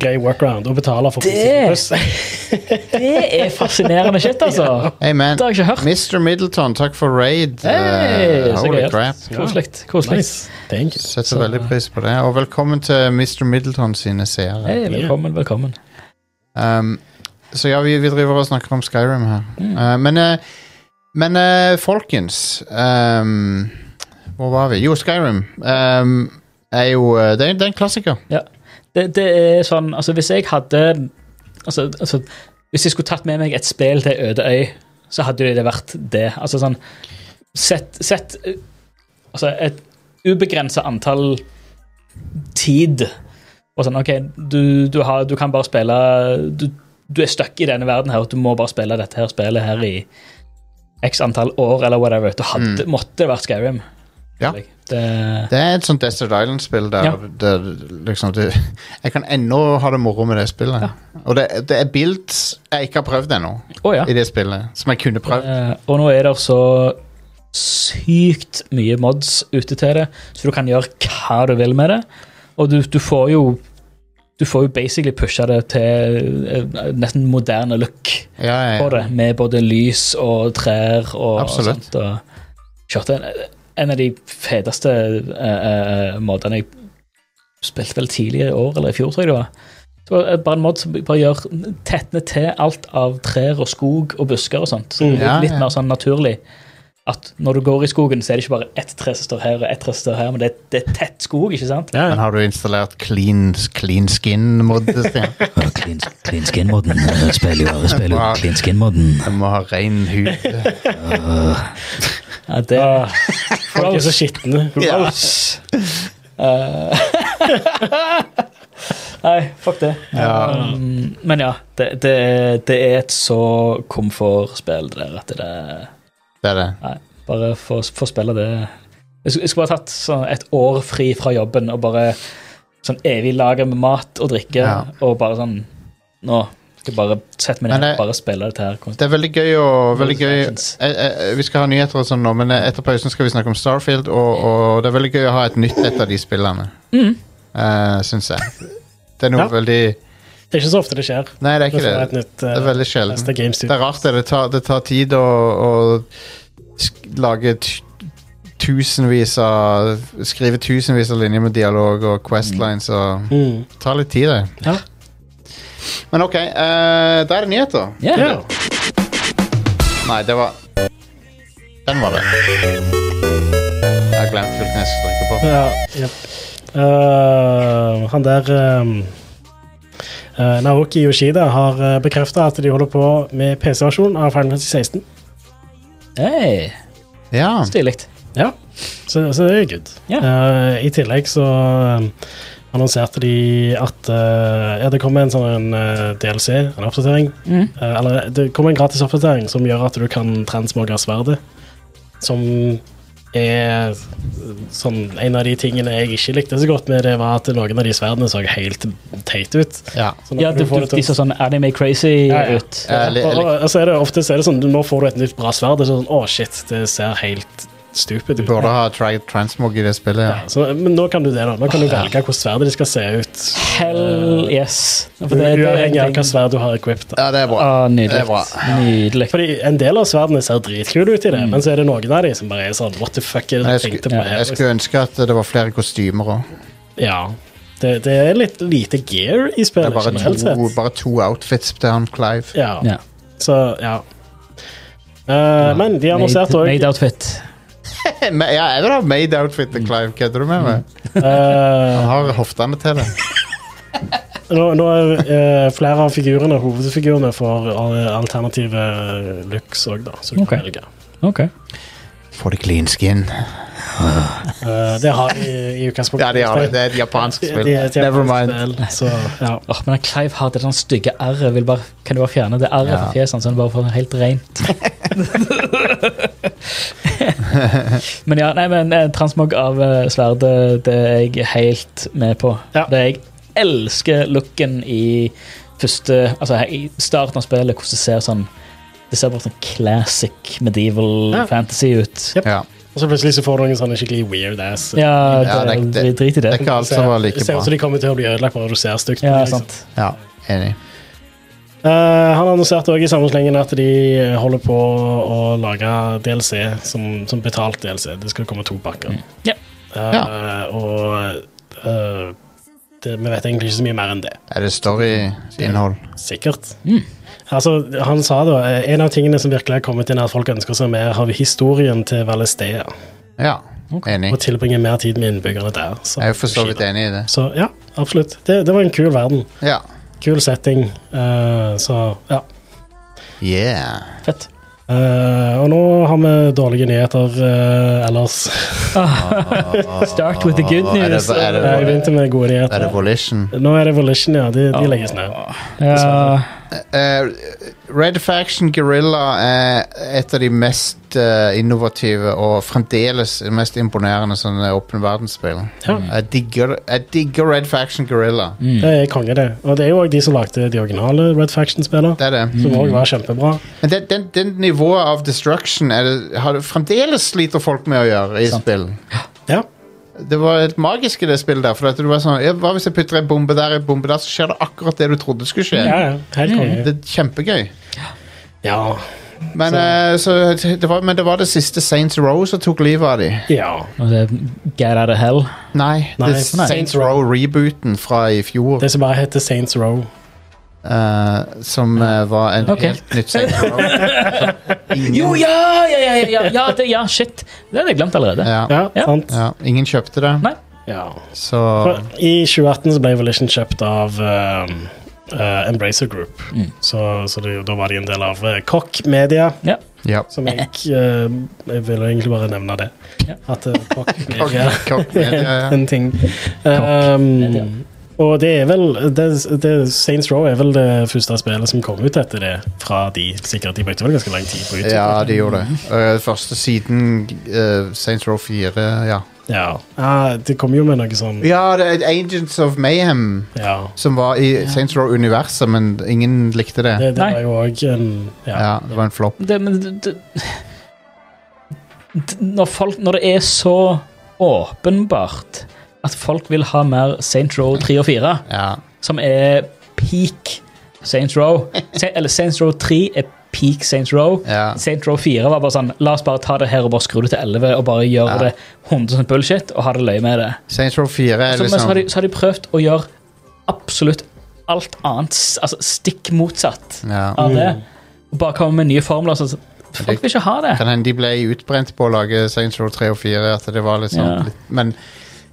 grei workaround å betale for
Det-
PlayStation Plus.
Det er fascinerende shit, altså.
Hey, man.
Det har jeg ikke hørt.
Mr. Middleton, takk for raid.
Hey,
Eh,
så
holy
gøy.
crap.
Koselig. koselig.
Nice. Thank you.
Setter veldig pris på det. Og velkommen til Mr. Middleton sine seere.
Hei, velkommen, velkommen.
Um, så ja, vi, vi driver og snakker om Skyrim her.
Mm.
Uh, men eh, men eh, folkens um, Hvor var vi? Jo, Skyrim um, er jo eh, det, er, det er en klassiker.
Det, det er sånn, altså Hvis jeg hadde altså, altså, Hvis jeg skulle tatt med meg et spill til ei øde øy, så hadde det vært det. Altså sånn Sett, sett eh, altså, et ubegrensa antall tid og sånn OK, du, du, har, du kan bare spille Du, du er stuck i denne verden her, og du må bare spille dette her spillet her i x antall år, eller whatever. Du hadde, måtte det vært Skyrim.
Ja.
Det,
Det er et sånt Desert Island-spill der,
Ja.
der liksom det, Jeg kan ennå ha det moro med det spillet. Og det, det er builds jeg ikke har prøvd ennå
å ja.
i det spillet, som jeg kunne prøvd.
Eh, og nå er det så sykt mye mods ute til det, så du kan gjøre hva du vil med det. Og du, du får jo Du får jo basically pusha det til eh, nesten moderne look
Ja, ja,
på
ja.
det, med både lys og trær og
Absolutt.
og sånt. Og kjørte en, en av de feteste eh, eh, modene jeg spilte vel tidligere i år, eller i fjor, tror jeg det var. Det var eh, bare en mod som bare gjør tetne til alt av trær og skog og busker og sånt. Så det
Mm.
blir
Ja,
litt
ja.
mer sånn naturlig at når du går i skogen, så er det ikke bare ett tre som står her, og ett tre som står her, men det, det er tett skog, ikke sant?
Ja,
Men har du installert clean, clean skin-mod? Stian?
Clean, clean skin-modden. eh, Spiller jo, spiller jo clean skin-modden.
Jeg må ha ren hud.
Ja, det,
Ah, folk er så skitne.
Ja.
Eh, Nei, fuck det.
Ja.
Um, men ja, det, det, det er et så komfortspill det der at det er
Det er det.
Bare få få spille det Jeg skulle jeg skulle bare tatt sånn et år fri fra jobben og bare sånn evig lager med mat og drikke
Ja.
og bare sånn Nå skal jeg bare sette meg
Men
ned
eh,
det-
og bare spille dette her. konstant.
Det er veldig gøy og veldig gøy
Notifications.
Eh, eh, Vi skal ha nyheter og sånn nå, men eh, etter pausen skal vi snakke om Starfield, og, og det er veldig gøy å ha et nytt et av de spillene. Uh, Syns jeg. Det er noe
Ja.
veldig
Det er ikke så ofte det skjer.
Nei, det er
Vi
ikke
får
det.
et nytt, eh,
Det er veldig sjelden.
neste Game
Det
Studio.
er rart det. Det tar, det tar tid å, å sk- lage t tusenvis av Skrive tusenvis av linjer med dialog og questlines og
Mm.
Det tar litt tid, det.
Ja.
Men OK, eh, da er det nyheter.
Ja.
Ja.
Nei, det var Den var det. Jeg glemte hvilken jeg skulle trykke på.
Ja, jep. Eh, han der ehm, eh, Naoki Yoshida har uh, bekrefta at de holder på med PC-versjon av Final Fantasy 16.
Hey,
Ja.
Stilig.
Ja, så, så det er good.
Ja.
Eh, I tillegg så ehm, annonserte de at eh, ja, det kommer en sånn eh, DLC, en oppdatering.
Mm.
Eh, eller det kommer en gratis oppdatering som gjør at du kan transmogge sverdet. Som er sånn En av de tingene jeg ikke likte så godt med det, var at noen av de sverdene så helt teite ut.
ja.
Så når
Ja,
du
du,
får
du,
det til-
de så sånn anime crazy
Ja, ja.
ut.
Ja, jeg,
og,
lik-
og, og så er det ofte så er det sånn Nå får du et nytt bra sverd. Det er sånn, Å, shit, det ser helt stupid
du
ut.
burde ha tra transmog i det spillet. Ja.
Så, men nå kan du det, da. Nå kan du velge hvordan sverdet de skal se ut. Eh,
Hell yes. For det- det er en
Uavhengig av
ting-
hvilket sverd du har equipped. Da.
ja, det er bra.
Ah,
Det
nydelig.
er bra.
Nydelig.
Fordi En del av sverdene ser dritkule ut i
Mm.
det, men så er det noen av de som bare er sånn What the fuck er
Men
det
jeg,
liksom. du tenkte
skulle,
på
jeg
her?
skulle ønske at det var flere kostymer òg.
Ja. Det, det er litt lite gear i
Det er
spillet,
bare
generelt
to,
sett.
bare to outfits til han Clive.
Ja.
Ja.
Så, ja. Eh, men de annonserte
Made-
òg
Made outfit.
Men- Ja, jeg vil ha made outfit til Clive. Kødder du med
Mm.
meg? Han har hoftene til det.
Eh, Nå, nå er eh, flere av figurene, hovedfigurene får eh, alternative looks òg, da. Så du
Ok.
kan velge.
Ok.
For the clean skin.
Eh, det har de i utgangspunktet.
Ja, de har det. Det er et japansk
De-
spill.
de er et
Never
japansk
mind.
spill, Så, ja.
Åh, men han Clive har det sånn stygge r-et. vil bare- Kan du bare fjerne det r-et
Ja.
fra fjeset, hans, så han bare får det helt rent? Men ja, nei, men eh, transmog av eh, sverdet, det er jeg helt med på.
Ja.
Det Jeg elsker looken i første Altså i starten av spillet, hvordan det ser sånn Det ser bare sånn classic medieval
Ja.
fantasy ut.
Yep.
Ja.
Og så plutselig så får du noen sånne skikkelig weird ass.
Ja,
Ja,
det,
det-
vi driter i
Det
det.
er ikke alt
Ser-
som var like
det ser ut
bra.
som de kommer til å bli ødelagt bare du ser stygt. på
Ja,
de, liksom.
sant.
Ja, enig.
Eh, han annonserte også i samme slengen at de eh, holder på å lage DLC som, som betalt DLC. Det skal komme to pakker.
Mm. Ja.
Eh, Og eh, det, vi vet egentlig ikke så mye mer enn det.
Er det storyinnhold?
Sikkert.
Mm.
Altså, han sa da eh, en av tingene som virkelig har kommet inn, er at folk ønsker seg mer av historien til Valestea.
Ja, enig.
Og tilbringe mer tid med innbyggerne der. Så,
Jeg er jo for så vidt enig i det.
så ja, absolutt. Det, det var en kul verden.
Ja.
Kul setting. eh, så ja.
Yeah.
Fett.
Eh, og nå har vi dårlige nyheter eh, ellers.
Start with the good
Åh, er det-
news.
er det-
Jeg begynte med gode
Er det Ah.
nyheter.
Volition?
Nå er det Volition, ja. De, de legges ned.
ja.
Eh, Red Faction Guerrilla er et av de mest eh, innovative og fremdeles mest imponerende sånne åpne verdensspill.
Ja.
Jeg digger, jeg digger Red Faction Guerrilla.
Mm.
Det er konge, det. Og det er jo òg de som lagde de originale Red Faction-spillene,
Det Mm. er det.
Mm.
som òg var kjempebra.
Men
Men
den, den, den nivået av destruction er det, har det fremdeles sliter folk med å gjøre i
Sant.
spill.
Ja.
Det var helt magisk i det spillet der. For at det var sånn, «Ja, Hva hvis jeg putter en bombe der, en bombe der, så skjer det akkurat det du trodde skulle skje.
Ja, ja. Helt konge.
Det er kjempegøy.
Ja.
Men, eh, så, det var, men det var det siste Saints Row som tok livet av dem.
ja.
Og det er Get out of hell.
Nei,
Nei,
det er
nei.
Saints Row-rebooten fra i fjor,
Det som bare heter Saints Row.
eh, som eh, var en
Ok.
helt nytt Saints Row. Ingen,
Jo, ja! Ja, ja, ja, ja, ja, det, ja shit. Det hadde jeg glemt allerede.
ja,
Ja,
Ja.
sant?
ja, ingen kjøpte det,
Nei.
Ja.
så
For I 2018 så ble Volition kjøpt av um, eh, Embracer Group. Så, så det, da var de en del av uh, Kokk Media,
Ja.
ja.
som jeg eh, Jeg vil egentlig bare nevne det.
Ja.
At eh, Kokk
Kokk-
Media
kokk-
er
ja,
en ting. Um, og det er vel det, det, Saints Row er vel det første spillet som kom ut etter det fra de. Sikkert de brukte vel ganske lang tid på å
ja.
utvikle
ja, de gjorde det. Eh, første siden eh, Saints Row 4, ja.
Ja. Ah, det kom jo med noe sånn
Ja, det er Agents of Mayhem,
Ja.
som var i Saints Row-universet, men ingen likte det.
Det, det
Nei.
var jo òg en ja.
Ja, det var en flopp.
Det, men det, det, det- når, folk, når det er så åpenbart at folk vil ha mer Saint Row 3 og 4,
Ja.
som er peak Saint Row Se- Eller Saint Row 3 er peak Saint Row.
Ja.
Saint Row 4 var bare sånn La oss bare ta det her og bare skru det til 11 og bare gjøre
Ja.
det 100 bullshit og ha det løye med det.
Saints Row 4 er
Så, Altså, men så, har de,
liksom
så har de prøvd å gjøre absolutt alt annet, s- altså stikk motsatt
ja.
av det.
Mm.
Og bare komme med nye formler. Så, så folk vil ikke ha det.
Kan hende de ble utbrent på å lage Saints Row 3 og 4. At det var litt sånn
Ja.
litt, Men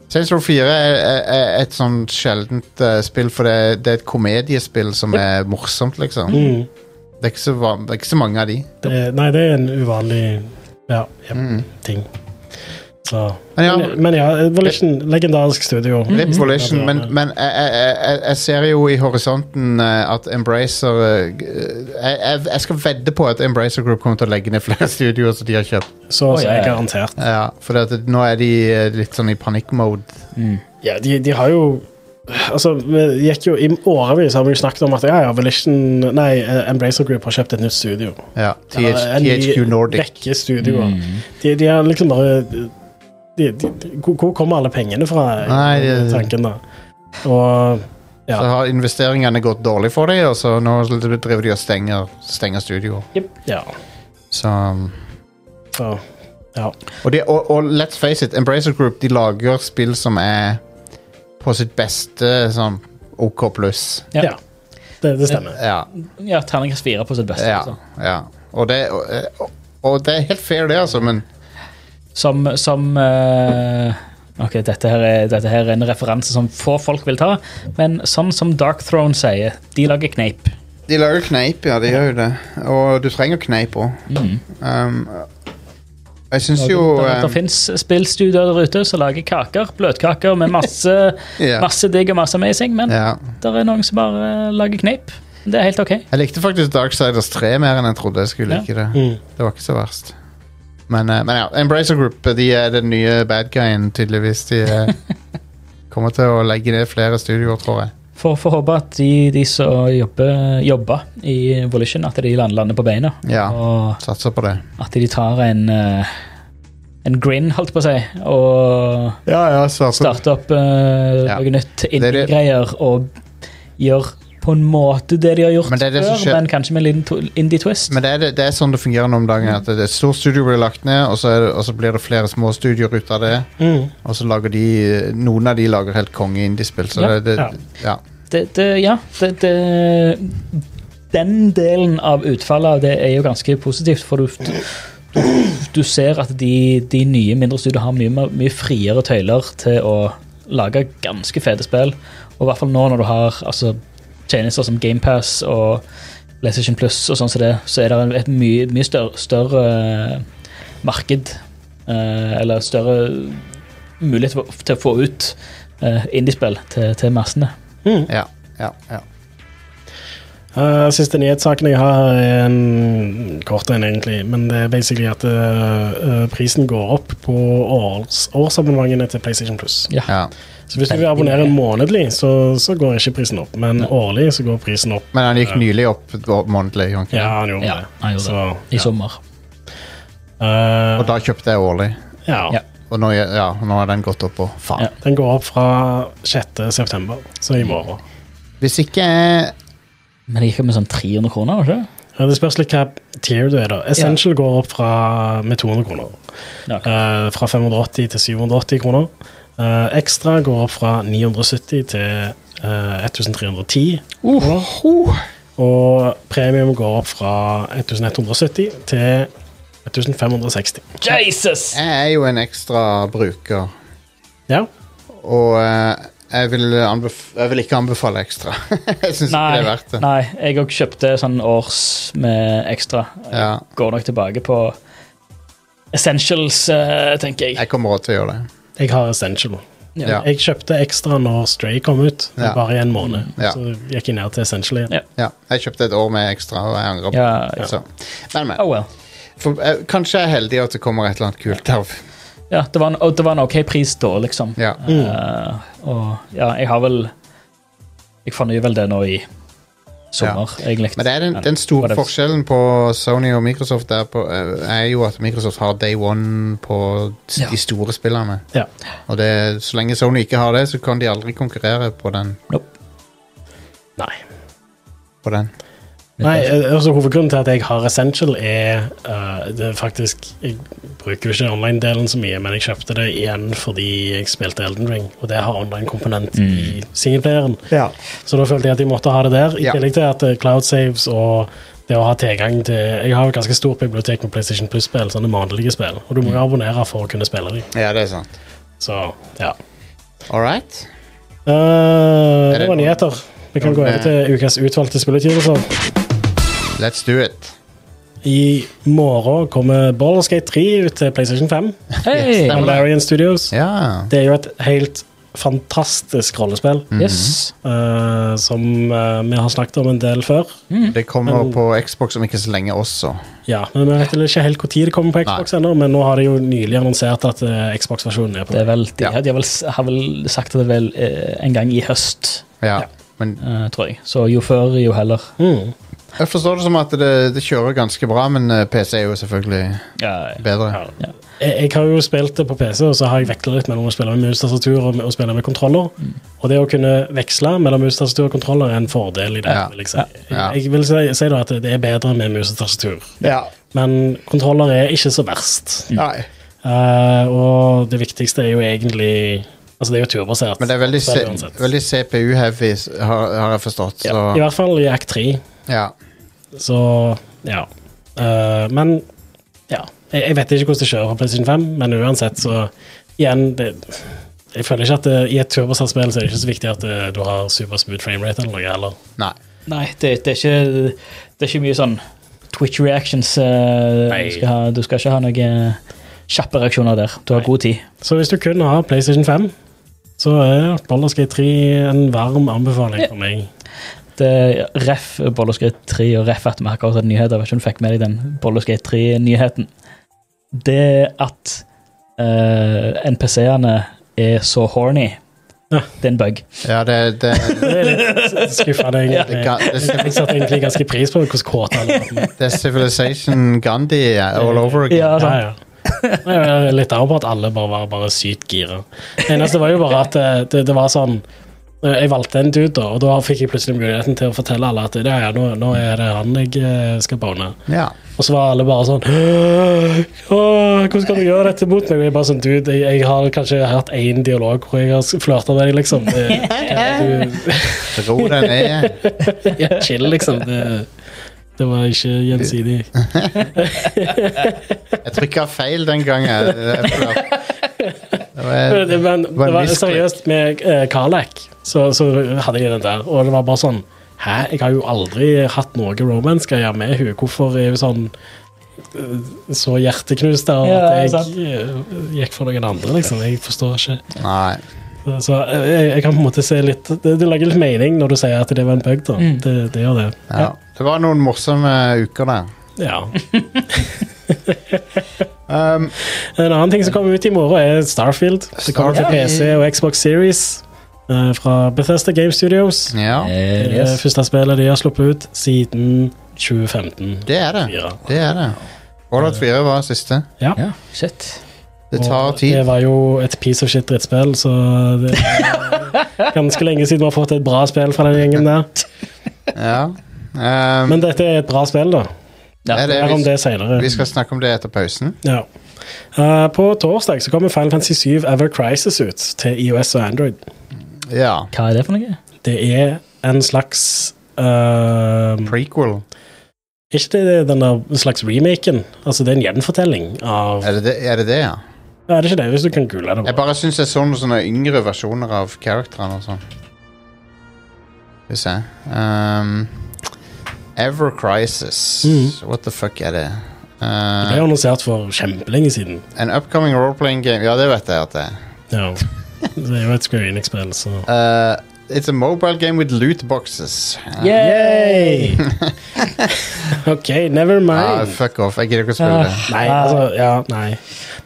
Saints Row 4 er, er, er et sånn sjeldent eh, spill, for det, det er et komediespill som er morsomt, liksom.
Mm.
Det, er ikke så, van- det er ikke så mange av de.
Mm. Det, nei, det er en uvanlig ja, ja, ting. Så.
Men Mm. ja,
Mm.
Mm.
Men, men ja, Volition, legendarisk studio.
Rip Volition,
Ja, det
men,
var det.
men eh, jeg, jeg, jeg- jeg, jeg ser jo i horisonten eh, at Embracer eh, g- jeg, jeg, jeg skal vedde på at Embracer Group kommer til å legge ned flere studioer som de har kjøpt.
Så,
Å,
så
ja,
er
ja.
garantert.
Ja, for at, nå er de eh, litt sånn i panikkmode.
Ja, de, de har jo Altså, vi gikk jo I årevis har vi jo snakket om at ja, ja, Volition Nei, eh, Embracer Group har kjøpt et nytt studio.
Ja,
Eller
TH,
en ny
THQ Nordic.
rekke studioer.
Mm.
De, de har liksom bare de, de, de, hvor- Hvor kommer alle pengene fra?
Nei, det-
tanken da. Og Ja.
Så har investeringene gått dårlig for dem, og så nå driver de og stenger, stenger studioer.
ja.
Så, um,
Så, ja.
og, de, og, og let's face it, Embracer Group de lager spill som er på sitt beste sånn OK pluss.
ja.
Ja.
Det, det stemmer.
Ja,
Ja, Terningkast 4 på sitt beste.
ja,
altså.
ja. Og, det, og, og- og det er helt fair, det, altså, men
Som, som eh, Ok, dette her, er, dette her er en referanse som få folk vil ta, men sånn som Dark Throne sier, de lager kneip.
De lager kneip, ja, de gjør jo det. Og du trenger kneip òg.
Mm.
Um, jeg syns jo
Det,
um,
det fins spillstudioer der ute som lager kaker, bløtkaker med masse,
Ja.
masse digg og masse amazing, men
ja.
Det er noen som bare eh, lager kneip. Det er helt ok.
Jeg likte faktisk Darksiders 3 mer enn jeg trodde jeg skulle
Ja.
like det. Det var ikke så verst. Men, eh, men ja, Embracer Group de er den nye bad guyen, tydeligvis. De eh, kommer til å legge ned flere studioer, tror jeg.
For, for å håpe at de, de som jobber, jobber i Volition, at de land- lander på beina.
Ja,
Og
Satser på det.
at de tar en eh, en grin, holdt på å si, og
Ja, ja, satser.
starter opp eh,
Ja.
noe nytt
er det-
indie-greier og gjør på en måte det de har gjort
Men det er det som
før,
skjer-
men kanskje med en liten to- indie-twist.
Men det er, det, det er sånn det fungerer nå om dagen. At det- det er et stort studio blir lagt ned, og så, er det, og så blir det flere små studioer ut av det.
Mm.
Og så lager de Noen av de lager helt konge indiespill. Så
Ja,
det, det,
ja.
ja.
det, det, ja, det, det, den delen av utfallet av det er jo ganske positivt, for du, du, du ser at de, de nye mindre studioene har mye, mer- mye friere tøyler til å lage ganske fete spill. Og i hvert fall nå når du har altså, tjenester som GamePass og PlayStation Plus, og sånn som det, så er det et mye, mye større, større marked, eh, eller større mulighet for- til å få ut eh, indiespill til, til massene.
Ja, ja, ja.
Eh, siste nyhetssaken jeg har, er en kort en, egentlig. Men det er basically at eh, eh, prisen går opp på års, årsabonnementene til PlayStation Plus.
ja.
Så hvis du vil abonnere månedlig, så, så går ikke prisen opp. Men årlig så går prisen opp.
Men han gikk nylig opp månedlig. gjorde han ikke det?
Ja, han gjorde
Ja,
det.
han gjorde
så,
i sommer.
Eh,
Og da kjøpte jeg årlig.
ja.
Ja.
Og nå, ja, nå har den gått opp på faen.
Ja.
Den går opp fra 6. september, så i morgen.
Mm.
Hvis ikke eh, jeg
Men det gikk jo med sånn 300 kroner, var det ikke?
Ja, det spørs litt hva tier du er, da. Essential går opp fra, med 200 kroner.
Ja.
Eh, fra 580 til 780 kroner. Eh, ekstra går opp fra 970 til eh, 1310.
Uh.
Og premium går opp fra 1170 til 1560.
Jesus!
Jeg er jo en ekstra bruker,
Ja.
og eh, jeg, vil anbef jeg vil ikke anbefale ekstra. jeg syns ikke det er
Nei,
verdt det.
nei, jeg òg kjøpte sånn års med ekstra. Jeg
Ja,
Går nok tilbake på essentials, eh, tenker jeg.
jeg kommer også til å gjøre det.
Jeg har Essential.
Ja.
Jeg kjøpte ekstra når Stray kom ut,
Ja.
bare i en måned.
Ja.
Så gikk jeg ned til Essential igjen.
Ja.
Ja, jeg kjøpte et år med ekstra, og jeg angrer. på
Ja,
det,
ja.
Så. Men, men.
Oh well.
For, eh, kanskje jeg er heldig at det kommer et eller annet kult av.
Ja, det var en, og det var en OK pris da, liksom.
Ja.
Eh, og ja, jeg har vel Jeg fornyer vel det nå i sommer, egentlig.
Men det er den, den store
Whatever.
forskjellen på Sony og Microsoft der på, eh, er jo at Microsoft har day one på s-
Ja.
de store spillerne.
Ja.
Og det, så lenge Sony ikke har det, så kan de aldri konkurrere på den.
Nope.
Nei.
På den.
Nei, eh, altså Hovedgrunnen til at jeg har Essential, er eh, det er faktisk Jeg bruker jo ikke online-delen så mye, men jeg kjøpte det igjen fordi jeg spilte Elden Ring, og det har online-komponent i singleplayeren. Så da følte jeg at jeg måtte ha det der, i
Ja.
tillegg til at eh, cloud saves og det å ha tilgang til Jeg har jo et ganske stort bibliotek med PlayStation Plus-spill, sånne vanlige spill, og du må jo abonnere for å kunne spille dem.
Ja, det er sant.
Så ja.
All right.
Eh,
Er det
det var
noe-
nyheter. Vi kan gå over til ukas utvalgte spillutgivelser.
Let's do it.
I morgen kommer Baldur's Gate 3 ut til PlayStation 5.
Hei!
stemmer.
Valerian Studios.
Ja.
Det er jo et helt fantastisk rollespill
Mm. Mhm.
Yes.
eh, som eh, vi har snakket om en del før.
Det kommer på Xbox om ikke så lenge også.
Ja, men Vi vet vel ikke helt når det kommer på Xbox ennå, men nå har de jo nylig annonsert at eh, Xbox-versjonen er på
Det er vel, de,
Ja.
de har, vel, har vel sagt det vel eh, en gang i høst,
Ja.
Ja.
Men
eh, tror jeg. Så jo før, jo heller.
Mm.
jeg forstår det som at det, det kjører ganske bra, men eh, PC er jo selvfølgelig bedre.
Jeg, jeg har jo spilt det på PC, og så har jeg veksla litt mellom å spille med mus-tastatur og, og spille med kontroller.
Mm.
Og det å kunne veksle mellom mus-tastatur og kontroller er en fordel i det.
Ja.
Vil jeg, si.
Ja.
jeg, jeg vil si, si da at det er bedre med mus-tastatur,
Ja.
men kontroller er ikke så verst.
Nei.
Eh, og det viktigste er jo egentlig Altså, det er jo turbasert.
Men det er veldig,
så
C-
uansett.
veldig CPU-heavy, s- har, har jeg forstått. Så,
I hvert fall i Act 3,
ja.
så ja. Eh, men ja. Jeg, jeg vet ikke hvordan det kjører på PlayStation 5, men uansett, så igjen det, Jeg føler ikke at det, i et turbasert spill så er det ikke så viktig at eh, du har supersmooth framerate eller noe heller.
Nei.
Nei, det, det, er ikke, det er ikke mye sånn Twitch reactions. eh,
Nei.
du, skal ha, du skal ikke ha noen kjappe reaksjoner der. Du har god tid.
Så hvis du kun har PlayStation 5, så er Baldur's Gate 3 en varm anbefaling for meg.
Det er Ref Bolleskate 3 og Ref at vi har akkurat hatt nyheter. Jeg vet ikke om du fikk med deg den Bolleskate 3-nyheten. det at eh, NPC-ene er så horny,
Ja.
det er en bug.
Ja, det, det, det,
Det er litt skuffende, egentlig.
ga- det, er
Jeg satte egentlig ganske pris på hvordan kåte alle var. men-
Civ- det er Civilization Gandhi all over again.
Ja, sant.
Ja, ja. Nei, Jeg er litt arg på at alle bare var bare sykt gira. Det eneste var jo bare at det, det, det var sånn eh, Jeg valgte en dude, da, og da fikk jeg plutselig muligheten til å fortelle alle at ja, ja, nå, nå er det han jeg eh, skal bone.
Ja.
Og så var alle bare sånn «Åh, åh, Hvordan kan du gjøre dette mot meg? Og jeg bare sånn, dude, jeg, jeg har kanskje hatt én dialog hvor jeg har flørta med deg, liksom. Det,
Ro deg ned.
du, ja, chill, liksom. Det, det var ikke gjensidig.
Jeg trykka feil den gangen. Det
Men,
var,
men
var
det var
miskledd.
seriøst med eh, Karlak, så, så hadde jeg den der, og det var bare sånn Hæ, jeg har jo aldri hatt noe romance-greier med henne. Hvorfor er hun sånn eh, så hjerteknust av
Ja,
at
sant.
jeg eh, gikk for noen andre, liksom? Jeg forstår ikke.
nei.
Så eh, jeg, jeg kan på en måte se litt Det, det lager litt mening når du sier at det var en bug, da.
Mm.
Det, det gjør det.
Ja. Det var noen morsomme uker der.
Ja.
Um,
En annen ting som kommer ut i morgen, er Starfield. Det kommer til
Starfield.
PC og Xbox Series eh, fra Bethesda Game Studios.
ja,
Eh,
Det er det første spillet de har sluppet ut siden 2015.
det er det.
Ja.
Det er det. Fallout 4 var siste.
Ja, shit.
Det tar
Og
tid.
Det var jo et piece of shit drittspill, så det er ganske lenge siden vi har fått et bra spill fra den gjengen der.
Ja. Um,
Men dette er et bra spill, da.
Ja,
er det,
Mer om
vi,
det senere.
vi skal snakke om det etter pausen.
Ja. Eh, på torsdag så kommer Final Fantasy 7 Ever Crisis ut til IOS og Android.
Ja.
Hva er det for noe?
Det er en slags eh,
Prequel.
Er ikke det den der slags remaken? Altså, det er en gjenfortelling av
Er det det, er det, det ja?
Er det ikke det, hvis du kan google det?
Jeg
bare.
bare syns jeg så sånn noen sånne yngre versjoner av characterene og sånn. Skal vi se um, Ever Crisis. What the fuck er det?
Mm. Det ble
Uh,
annonsert for kjempelenge siden.
an upcoming role-playing game Ja, det vet jeg at det er.
Ja. Det er jo et Square Enix-spill, så
Uh, it's a mobile game with loot boxes. Uh,
Yay! OK, never
ah,
mind.
fuck off. Jeg gidder ikke å spille det.
Nei, altså, ja, nei.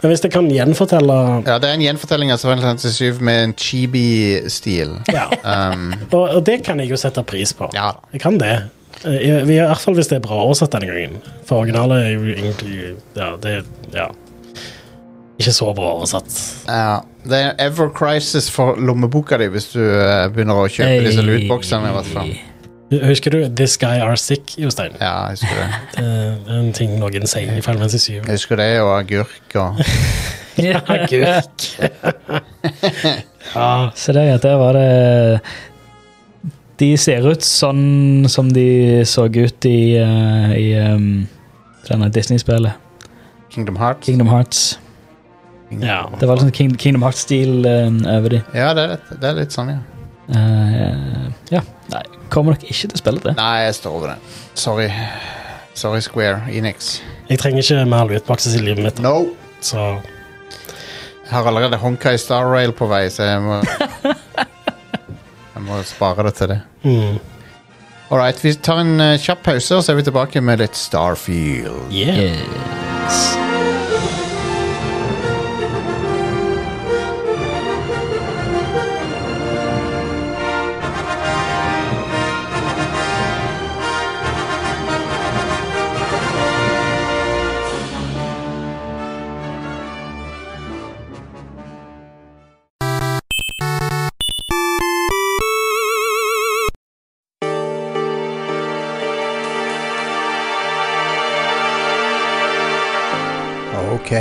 Men hvis det kan gjenfortelle
Ja, Det er en gjenfortelling av Final Fantasy 7 med en chibi-stil.
ja.
Um,
og, og det kan jeg jo sette pris på.
ja.
Jeg kan det. Eh, I, I hvert fall hvis det er bra oversatt denne gangen. For originalet er jo egentlig Ja, det Ja. Ikke så bra oversatt.
Ja, Eh, det er ever crisis for lommeboka di hvis du eh, begynner å kjøpe disse lootboxene. i hvert fall.
Husker du This Guy Are Sick, Jostein?
Ja, jeg husker det.
Det er en ting noen sier i Final Fantasy 7.
Jeg husker det, og agurk og
Agurk. ja.
Se der, ja. Der var det De ser ut sånn som de så ut i, eh, i ehm, denne Disney-spillet.
Kingdom Hearts.
Kingdom Hearts.
ja.
Det var litt sånn King, Kingdom Hearts-stil eh, over de.
Ja, det er, litt, det er litt sånn, ja.
Eh, ja. Nei, kommer nok ikke til å spille det.
Nei, jeg står over det. Sorry. Sorry, Square Enix.
Jeg trenger ikke mer lootboxes i livet mitt.
No!
Så
Jeg har allerede Honkai Star Rail på vei, så jeg må Jeg må spare det til det.
mm.
All right, vi tar en eh, kjapp pause, og så er vi tilbake med litt Starfield.
yeah.
Yes.
Ok,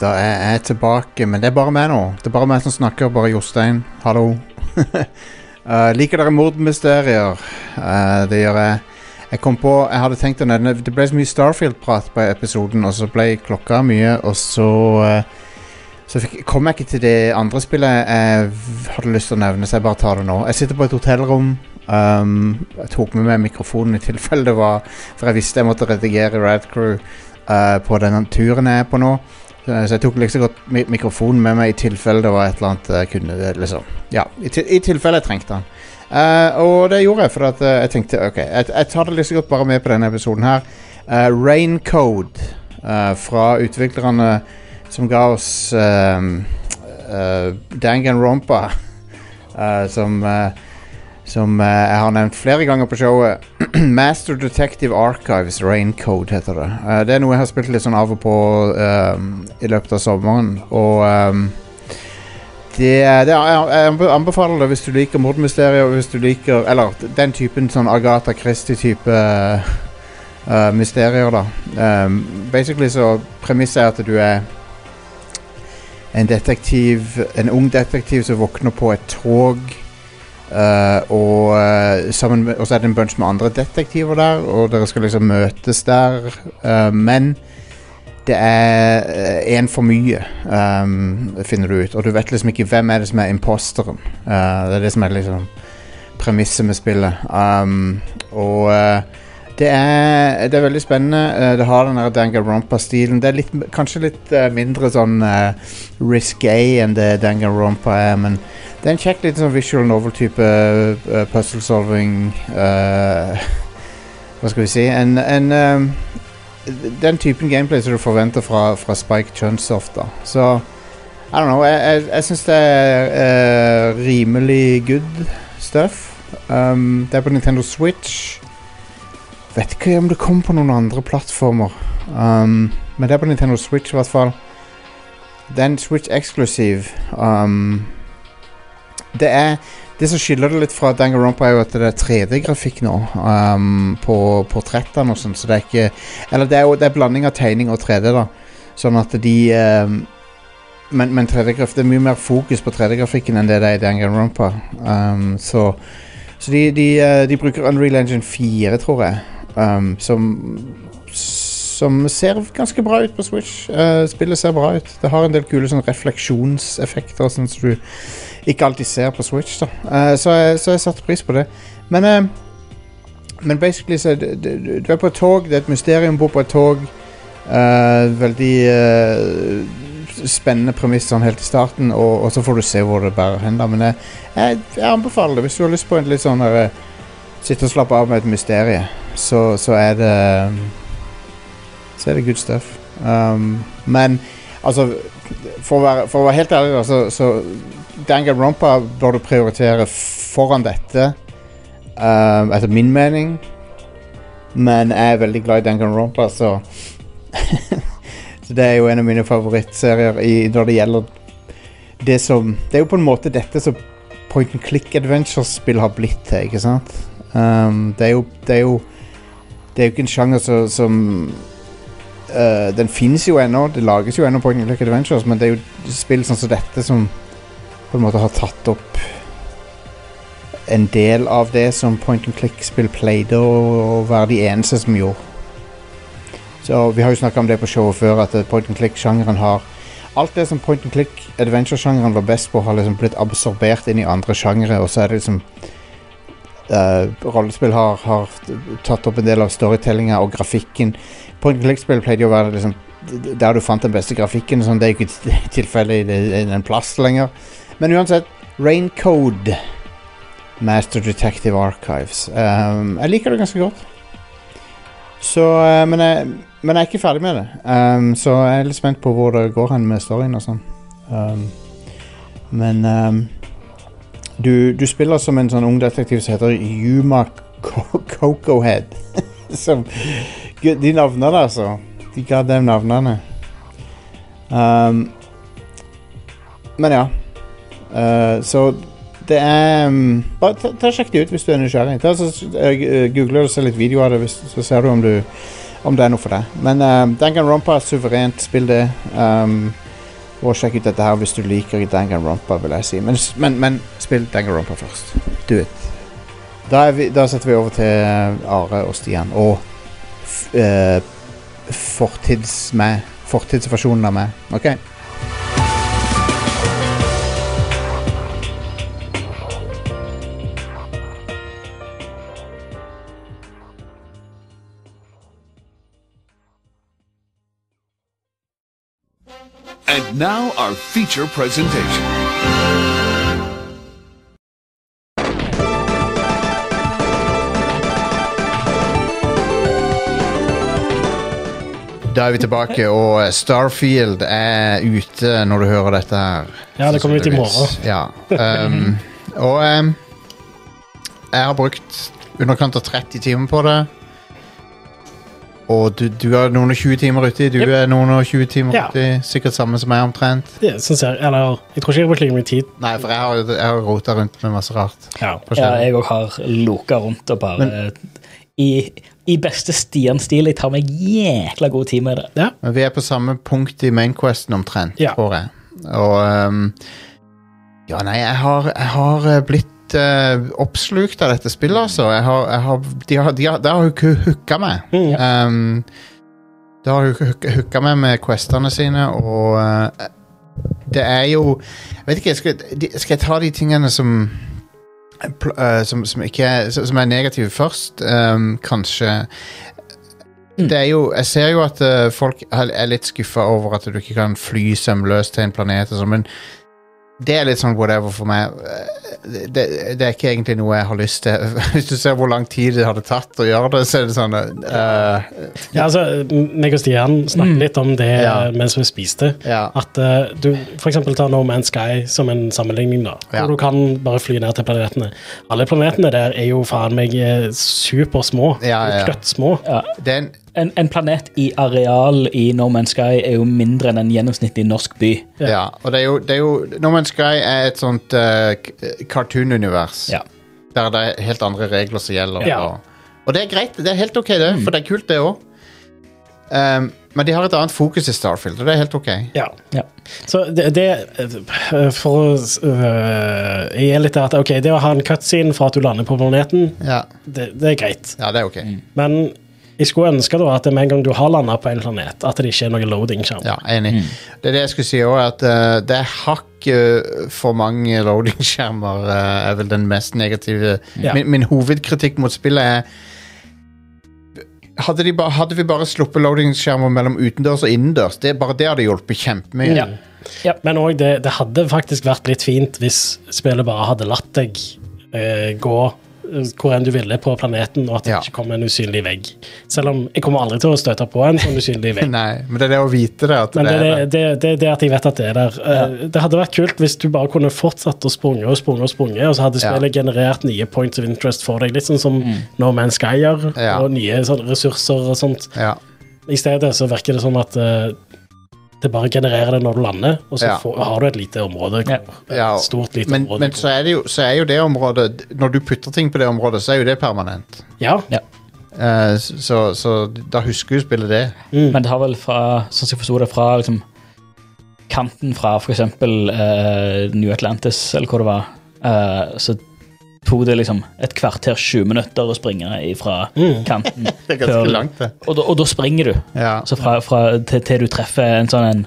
da er jeg tilbake, men det er bare meg nå. Det er bare meg som snakker, bare Jostein. Hallo. Eh, liker dere mordmysterier? Eh, det gjør jeg. Jeg kom på, jeg hadde tenkt å nevne Det ble så mye Starfield-prat på episoden, og så ble klokka mye, og så eh, Så fikk, kom jeg ikke til det andre spillet jeg v- hadde lyst til å nevne, så jeg bare tar det nå. Jeg sitter på et hotellrom. Um, jeg tok med meg mikrofonen i tilfelle det var For jeg visste jeg måtte redigere Rad Crew eh, på den turen jeg er på nå. Eh, Så jeg tok liksom godt mi mikrofonen med meg i tilfelle det var et eller annet jeg kunne eh, liksom. Ja, i, til i tilfelle jeg trengte den. Eh, og det gjorde jeg, for at, eh, jeg tenkte ok, jeg, jeg tar det liksom godt bare med på denne episoden her. Eh, Rain Code eh, fra utviklerne som ga oss um, Danganronpa, eh, som eh, som eh, jeg har nevnt flere ganger på showet. Master Detective Archives, Raincode heter det. Eh, det er noe jeg har spilt litt sånn av og på eh, i løpet av sommeren, og eh, det, det, jeg- jeg anbe- anbefaler det hvis du liker mordmysterier, og hvis du liker Eller den typen sånn Agatha Christie-type eh, mysterier, da. Um, basically så premisset er at du er en detektiv En ung detektiv som våkner på et tog. Eh, og, eh, sammen med, og så er det en bunch med andre detektiver der, og dere skal liksom møtes der. Eh, men det er én for mye, eh, finner du ut. Og du vet liksom ikke hvem er det som er imposteren. Eh, det er det som er liksom premisset med spillet. Um, og eh, det, er, det er veldig spennende. Eh, det har den der Danganronpa-stilen. Det er litt, kanskje litt eh, mindre sånn eh, risky enn det Danganronpa er, men det er en kjekk liten sånn visual novel-type eh, puzzle solving eh, Hva skal vi si En, en ehm, Den typen gameplay som du forventer fra, fra Spike Chunsoft, da. Så I don't know. Jeg, jeg, jeg syns det er eh, rimelig good stuff. Um, det er på Nintendo Switch. Vet ikke om det kommer på noen andre plattformer. Um, men det er på Nintendo Switch, i hvert fall. Det er en Switch-eksklusiv. Um, det er Det som skiller det litt fra Danganronpa er jo at det er 3D-grafikk nå um, på portrettene og sånn, så det er ikke Eller det er jo det er blanding av tegning og 3D, da, sånn at de um, Men, men 3D-graf, det er mye mer fokus på 3D-grafikken enn det det er i Danganronpa. Um, så så de, de, eh, de bruker Unreal Engine 4, tror jeg, um, som som ser ganske bra ut på Switch. Eh, spillet ser bra ut. Det har en del kule sånn refleksjonseffekter og sånn som du ikke alltid ser på Switch. da Eh, Så jeg, så jeg satte pris på det. Men, eh, men basically så er det- det- Du er på et tog, det er et mysterium, bor på et tog. Eh, veldig eh, spennende premiss sånn helt i starten, og, og så får du se hvor det bærer hen. da Men jeg, jeg, jeg anbefaler det hvis du har lyst på en litt sånn der, eh, Sitte og slappe av med et mysterium. Så, så er det Så er det good stuff. Um, men altså for å, være, for å være helt ærlig, da, så, så Danganronpa bør du prioritere foran dette, ehm, etter min mening. Men jeg er veldig glad i Danganronpa, så Så det er jo en av mine favorittserier i, når det gjelder det som Det er jo på en måte dette som point and click adventure-spill har blitt til, ikke sant? Ehm, det er jo Det er jo, det er jo ikke en sjanger som, som eh, den fins jo ennå, det lages jo ennå Point and Click Adventures, men det er jo spill sånn som dette som på en måte har tatt opp en del av det som point and click-spill pleide å være de eneste som gjorde. Så Vi har jo snakka om det på showet før, at eh, point and click-sjangeren har Alt det som point and click adventure-sjangeren var best på, har liksom blitt absorbert inn i andre sjangere, og så er det liksom eh, Rollespill har, har tatt opp en del av storytellinga og grafikken. Point and click-spill pleide jo å være liksom der du fant den beste grafikken. Sånn, det er jo ikke tilfellet i, det- i den plass lenger. Men uansett, Raincode Master Detective Archives. Um, jeg liker det ganske godt. Så, eh, men, jeg, men jeg er ikke ferdig med det. Um, så jeg er litt spent på hvor det går hen med storyen og sånn. Um, men um, du, du spiller som en sånn ung detektiv som heter Yuma Co- Cocohead. som, Gud, de navnene, altså. De ga dem navnene. Um, men ja. Eh, så det er um, Bare ta, ta og Sjekk det ut hvis du er nysgjerrig. Ta, så, uh, Google og se litt video av det, hvis, så ser du om, du om det er noe for deg. Men um, Danganronpa er suverent. Spill det. Um, og sjekk ut dette her hvis du liker Danganronpa, vil jeg si. Men, s- men, men spill Danganronpa først. Do it. Da, er vi, da setter vi over til eh, Are og Stian og f- eh, fortids-meg. Fortidsversjonen av meg. OK.
And now our feature presentation.
Da er vi tilbake, og eh, Starfield er ute når du hører dette her.
Ja, det kommer ut i morgen.
Ja. ehm, og ehm, jeg har brukt underkant av 30 timer på det. Og du, du har noen og 20 timer uti. Du
Yep.
er noen og 20 timer
Ja.
uti. Sikkert samme som meg omtrent.
Det syns jeg, eller, jeg tror ikke jeg har brukt like mye tid.
Nei, for jeg har, jeg har rota rundt med masse rart.
Ja.
Ja,
forskjellig.
jeg òg har loka rundt og bare i, I beste Stian-stil. Jeg tar meg jækla god tid med det.
Ja.
Men vi er på samme punkt i mainquesten omtrent,
Ja.
tror jeg. Og ehm, Ja, nei, jeg har, jeg har eh, blitt eh, oppslukt av dette spillet, altså. Jeg har, jeg har, de har, de har, det har jo hooka meg.
Mm.
Um, da har hun hook- hooka meg med questene sine, og eh, det er jo Jeg vet ikke, skal, de, skal jeg ta de tingene som pl- eh, som, som, ikke er, som- som er negative først, um, kanskje? Det er jo, jeg ser jo at eh, folk er er litt skuffa over at du ikke kan fly sømløst til en planet, og sånn, men det er litt sånn whatever for meg. Det, det, det er ikke egentlig noe jeg har lyst til. Hvis du ser hvor lang tid det hadde tatt å gjøre det, så er det sånn eh,
ja, altså, m- meg og Stian snakket litt om det
Ja.
mens vi spiste.
Ja.
At eh, du for eksempel tar No Man's Sky som en sammenligning, da.
Ja.
Hvor du kan bare fly ned til planetene. Alle planetene der er jo faen meg eh, supersmå.
Ja, ja, ja.
Kløttsmå.
Det er en
En, en planet i areal i No Man's Sky er jo mindre enn en gjennomsnittlig norsk by.
Ja. og det er jo, det er jo No Man's Sky er et sånt eh, k- cartoon-univers.
Ja.
Der det er helt andre regler som gjelder.
Ja.
Og, og det er greit. Det er helt ok, det, for det er kult, det òg. Um, men de har et annet fokus i Starfield, og det er helt ok.
Ja.
Ja.
Så det, det eh, For å eh, Jeg er litt der at ok, det å ha en cutscene for at du lander på planeten,
Ja,
det, det er greit.
ja det er ok.
Men jeg skulle ønske da at med en gang du har landa på en planet, at det ikke er noe loading skjerm.
Ja, Enig.
Mm.
Det er det jeg skulle si òg, at eh, det er hakk eh, for mange loading-skjermer. eh, er vel den mest negative
Ja.
min, min hovedkritikk mot spillet er hadde, de ba, hadde vi bare sluppet loading-skjermer mellom utendørs og innendørs, det, bare det hadde hjulpet kjempemye.
Ja.
Mm. Men òg det, det hadde faktisk vært litt fint hvis spillet bare hadde latt deg eh, gå eh, hvor enn du ville på planeten, og at det
Ja.
ikke kom en usynlig vegg. Selv om jeg kommer aldri til å støte på en sånn usynlig vegg.
Nei, men det er det å vite det. At
Men det,
det,
det,
er det.
det, det, det at jeg vet at det er der eh, Det hadde vært kult hvis du bare kunne fortsatt å sprunge og sprunge, og sprunge, og så hadde
Ja. Mm.
spillet generert nye points of interest for deg, litt sånn som No Man's Sky gjør,
Ja.
og nye sånne ressurser og sånt.
Ja,
I stedet så virker det som at eh, det bare genererer det når du lander, og
Ja.
så får, har du et lite område.
Ja.
hvor-
ja.
Et stort, lite
men,
område.
men så er, det jo, så er jo det området Når du putter ting på det området, så er jo det permanent.
ja.
Ja.
Eh, s- så, så da husker du spillet det.
Men det har vel fra, sånn som jeg forsto det, fra liksom, kanten fra f.eks. Uh, New Atlantis, eller hvor det var, eh, så tok det liksom et kvarter, 20 minutter å springe fra
Mm.
kanten.
Det er ganske langt, det.
Og da, og da springer du.
Ja.
Så fra, fra, til, til du treffer en sånn en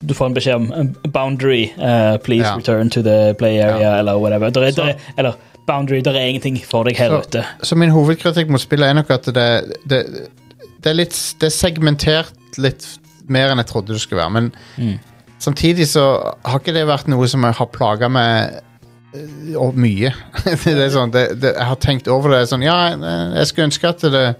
Du får en beskjed om eh, boundary, eh, please
Ja.
return to the play area, eller whatever. Der er,
Så-
der er, eller boundary, der er ingenting for deg her
Så-
ute.
så min hovedkritikk mot spillet er nok at det, det, det er litt Det er segmentert litt mer enn jeg trodde det skulle være. Men samtidig så har ikke det vært noe som jeg har plaga meg eh, og mye. det er sånn, det, det, jeg har tenkt over det sånn Ja, eh, jeg skulle ønske at det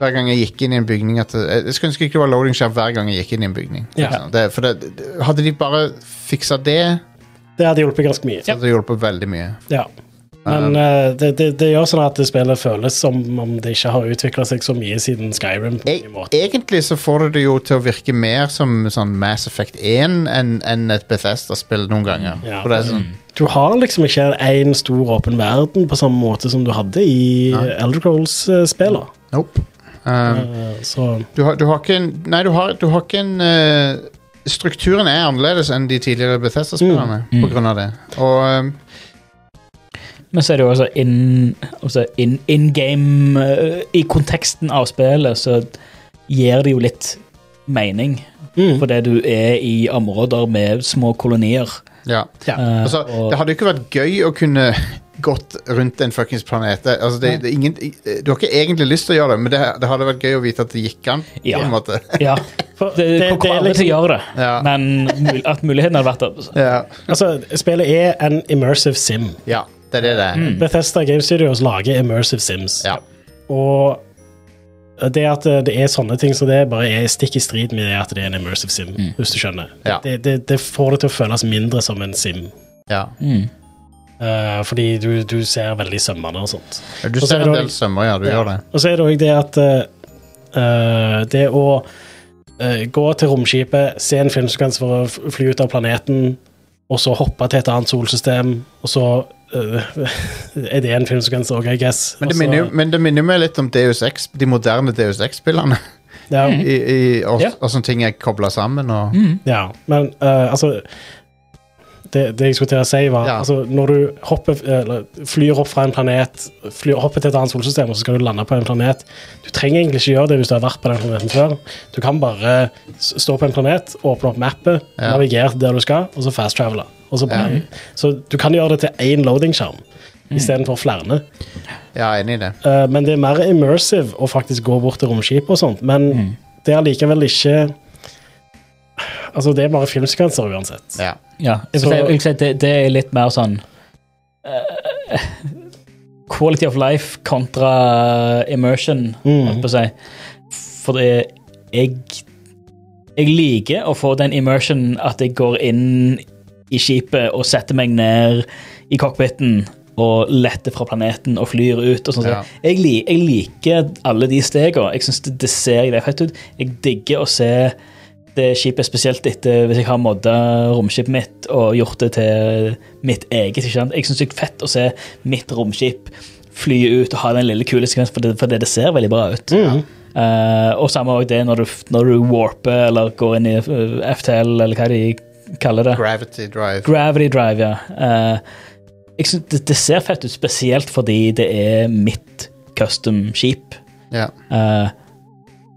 hver gang jeg gikk inn i en bygning at det, Jeg skulle ønske ikke det var loading skjerm hver gang jeg gikk inn i en bygning.
Ja.
Liksom. Det, for det, det- hadde de bare fiksa det,
Det hadde hjulpet ganske mye.
så hadde det hjulpet veldig mye.
Ja.
Um.
Men eh, det, det, det gjør sånn at spillet føles som om det ikke har utvikla seg så mye siden Skyrim. på
E
en måte.
egentlig så får du det jo til å virke mer som sånn Mass Effect 1 enn enn et Bethesda-spill noen ganger.
Ja.
For det er sånn,
Du har liksom ikke én stor åpen verden på samme måte som du hadde i Elder Goals-spillene.
nope. Um,
Eh, Så
du, har, du har ikke en Nei, du har, du har ikke en eh, Strukturen er annerledes enn de tidligere Bethesda-spillerne på grunn av det. Og um,
Men så er det jo også in, altså in, in game eh, I konteksten av spillet så gir det jo litt mening.
mm.
Fordi du er i områder med små kolonier.
ja.
eh,
Altså,
og-
det hadde jo ikke vært gøy å kunne gått rundt en fuckings planet. Det- Altså, det, det, er ingen, du har ikke egentlig lyst til å gjøre det, men det, det hadde vært gøy å vite at det gikk an. på
Ja.
en måte.
ja,
For
det,
det-
kommer
det er
alle til å gjøre det,
Ja.
men mul- at muligheten hadde vært der. så-
Ja.
Altså, spillet er en immersive sim.
ja,
Mm.
det er det det er.
Bethesda Game Studios lager immersive sims.
Ja.
Og det at eh, det er sånne ting som det er, bare er stikk i strid med det at det er en immersive sim, hvis du skjønner.
Ja.
Det, det, det får det til å føles mindre som en sim,
Ja.
Mm.
eh, fordi du, du ser veldig sømmende og sånt.
Du
Og så
ser
er det
en
også-
del sømmer, ja. Du
Ja.
gjør det.
Og så er det òg det at eh, eh, det å eh, gå til romskipet, se en filmsekvens for å f- fly ut av planeten, og så hoppe til et annet solsystem, og så eh, er det en filmsekvens òg, I guess.
Men det,
Og så-
minner, jo- men det minner meg litt om Deus Ex, de moderne Deus X-spillene.
ja, Mm.
I, i, og,
Ja.
og sånne ting er kobla sammen. Og,
ja, men eh, altså det, det jeg skulle til å si, var
Ja.
altså, når du hopper, eh, eller, flyr opp fra en planet, flyr, hopper til et annet solsystem, og så skal du lande på en planet Du trenger egentlig ikke gjøre det hvis du har vært på den planeten før. Du kan bare s- stå på en planet, åpne opp mappet,
Ja.
navigere til der du skal, og så fast-travele. Og så, bare- så du kan gjøre det til én loading-skjerm
Mm.
istedenfor flere.
ja, enig i det.
Eh, men det er mer immersive å faktisk gå bort til romskipet og sånt. Men
Mm.
det er allikevel ikke Altså, det er bare filmsekvenser uansett.
Ja.
Ja, jeg vil
Så-
si, jeg vil si det, det er litt mer sånn eh, Quality of life kontra immersion, holdt på å si. For det jeg Jeg liker å få den immersion at jeg går inn i skipet og setter meg ned i cockpiten og letter fra planeten og flyr ut. og sånt.
Ja.
Jeg, li, jeg liker alle de stegene. Jeg synes det, det ser jævlig fett ut. Jeg digger å se det skipet spesielt etter hvis jeg har modda romskipet mitt og gjort det til mitt eget. ikke sant? Jeg syns det er fett å se mitt romskip fly ut og ha den lille kule sekvensen, for det, for det, det ser veldig bra ut.
Mm.
Eh, og samme også det når du, når du warper eller går inn i eh, FTL, eller hva de kaller det.
Gravity Drive.
Gravity Drive, ja. Eh, jeg synes det, det ser fett ut, spesielt fordi det er mitt custom skip.
Ja.
Eh,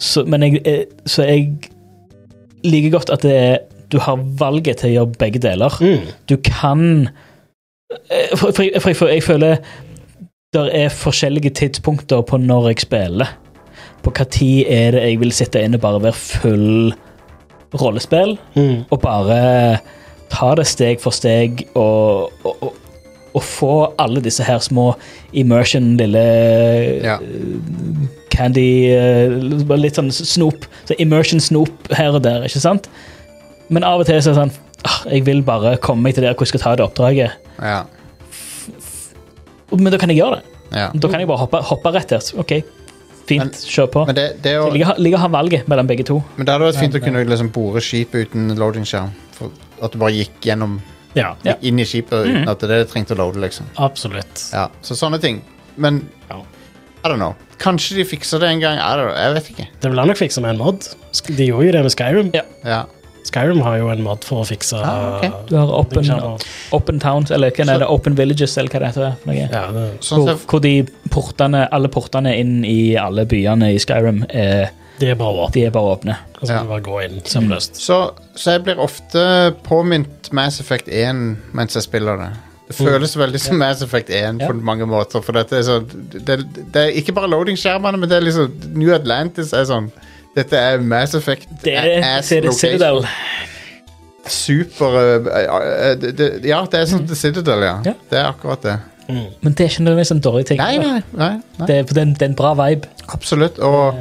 så, men jeg, eh, så jeg liker godt at det er, du har valget til å gjøre begge deler.
mm,
Du kan eh, For, for, for, for jeg føler det er forskjellige tidspunkter på når jeg spiller. På hva tid er det jeg vil sitte inne og bare være full rollespill,
Mm.
og bare ta det steg for steg og, og, og og få alle disse her små immersion, lille
Ja.
candy eh, bare Litt sånn snop. Så Immersion-snop her og der, ikke sant? Men av og til så er det sånn «Ah, Jeg vil bare komme meg til der hvor jeg skal ta det oppdraget.
Ja.
Men da kan jeg gjøre det.
ja.
Da kan jeg bare hoppe, hoppe rett der. OK, fint,
Men-
kjør på.
Men det, det er
Jeg
jo
liker, liker å ha valget mellom begge to.
Men det hadde vært fint å kunne liksom bore skipet uten loading skjerm. For At du bare gikk gjennom
Ja, Mm.
Ja.
inn i skipet uten at det trengte å loade, liksom.
absolutt.
Ja, Så sånne ting. Men
Ja.
I don't know. Kanskje de fikser det en gang. I don't know. Jeg vet ikke.
Det vil han nok fikse med en mod. Sk- De gjorde jo det med Skyrim.
Ja.
Ja.
Skyrim har jo en mod for å fikse
Ah, ok.
uh,
Du har open,
skjermer.
open towns, eller hva er det, open villages, eller hva det heter. for Noe.
ja, det,
Sånn
Hvor,
som
hvor de portene, alle portene inn i alle byene i Skyrim, er,
det er bra våpen.
de er bare åpne.
Og så
Ja.
kan du Altså, bare gå inn sømløst.
Så, så jeg blir ofte påminnet Mass Effect 1 mens jeg spiller det. Det
Mm.
føles veldig som Mass Effect 1 på mange måter. For dette er sånn det, det er ikke bare loading-skjermene, men det er liksom New Atlantis er sånn Dette er Mass Effect
Det er,
ass
det er
location.
Citadel.
Super eh, eh, det, det, Ja, det er sånn The Citadel, ja.
Mm. Ja.
Det er akkurat det.
Men det er ikke nødvendigvis en dårlig ting.
Nei, nei, nei, nei.
Det, Eh. er- for det, er en- det er en bra vibe.
absolutt. Og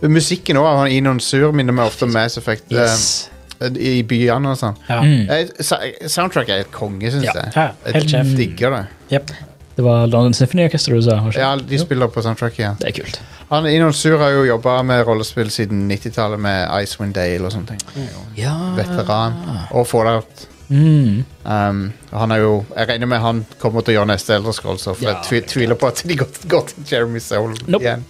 musikken òg. Han Inon Sur minner meg ofte om Mass Effect eh,
Yes.
i byene og sånn.
Ja.
Eh, sa- Soundtrack er et konge, syns
Mm. Ja.
jeg.
Ja, helt
jeg
sjef.
digger det.
Jep.
Det var London Symphony Orchestra du sa. var ikke det?
Ja, de spiller på soundtracket igjen.
Det er kult.
Han Inon Sur har jo jobba med rollespill siden 90-tallet med Icewind Dale og sånne
Mm.
ting.
Ja.
Veteran.
Ah.
Og Fallout.
Mm.
Um, og han er jo Jeg regner med han kommer til å gjøre neste Elder Scrolls, for jeg tvi, tviler på at de går, går til Jeremy Soul
Nope.
igjen.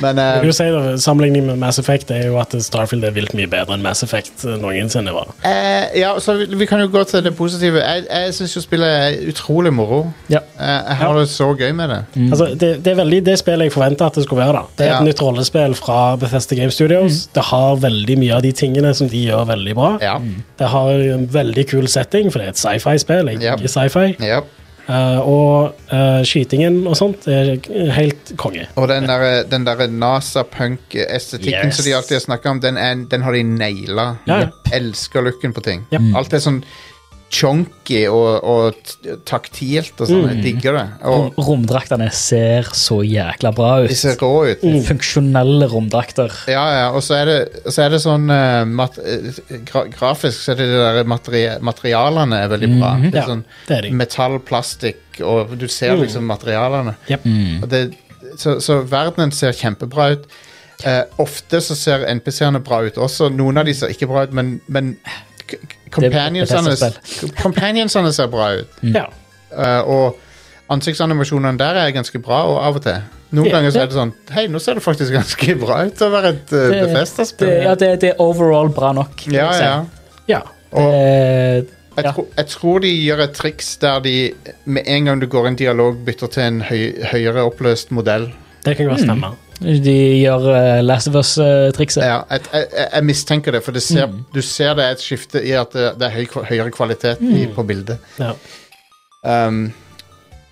Men
Jeg
eh,
vil jo si da, Sammenligning med Mass Effect er jo at Starfield er vilt mye bedre enn Mass Effect eh, noensinne var.
eh, Ja, så vi, vi kan jo gå til det positive. Jeg, jeg syns jo spillet er utrolig moro.
Ja.
Eh, jeg har det så gøy med det.
Altså, det, det er veldig det spillet jeg forventa at det skulle være. da. Det er et
Mm. Ja. Mm.
nytt rollespill fra Bethesda Game Studios. Det har veldig mye av de tingene som de gjør veldig bra.
Ja.
Det har en veldig kul setting, for det er et sci-fi-spill. Jeg
Ja.
liker sci-fi.
ja.
Eh, og eh, skytingen og sånt er helt konge.
Og den der, den der NASA-punk-estetikken
Yes.
som de alltid har snakka om, den, er, den har de naila.
Ja, ja.
Elsker looken på ting.
Ja.
Alt er sånn chonky og, og t- taktilt og sånn.
Mm.
Jeg digger det. Og
Romdraktene ser så jækla bra
de ser
ut.
rå ut.
Mm.
Funksjonelle romdrakter.
Ja, ja, og så er det, så er det sånn eh, mat, eh, gra, Grafisk så er det de der materi materialene er veldig bra. Det er
Mhm. Ja,
sånn
det er de. Mm.
metall, plastikk, og du ser liksom materialene.
Jep.
Mm.
Og det, så, så verdenen ser kjempebra ut. Eh, ofte så ser NPC-ene bra ut også. Noen av de ser ikke bra ut, men, men k- k- companionsene,
Bethesda-spill.
companionsene ser bra ut.
Ja.
Eh, og ansiktsanimasjonene der er ganske bra, og av og til. Noen
Ja,
ganger så
ja.
er det sånn Hei, nå ser det faktisk ganske bra ut til å være et uh,
Det-
Befesta-spill.
Det, ja, det, det er overall bra nok.
Ja,
liksom.
ja.
ja.
Og
Eh,
jeg,
ja.
tro, jeg tror de gjør et triks der de med en gang du går i en dialog, bytter til en høy, høyere oppløst modell.
Det kan
Mm.
godt stemme.
de gjør eh, Last of Us-trikset.
Ja, jeg, jeg, jeg- jeg mistenker det, for det ser,
Mm.
du ser det er et skifte i at det, det er høy, høyere kvalitet i,
Mm.
på bildet.
Ja.
Um,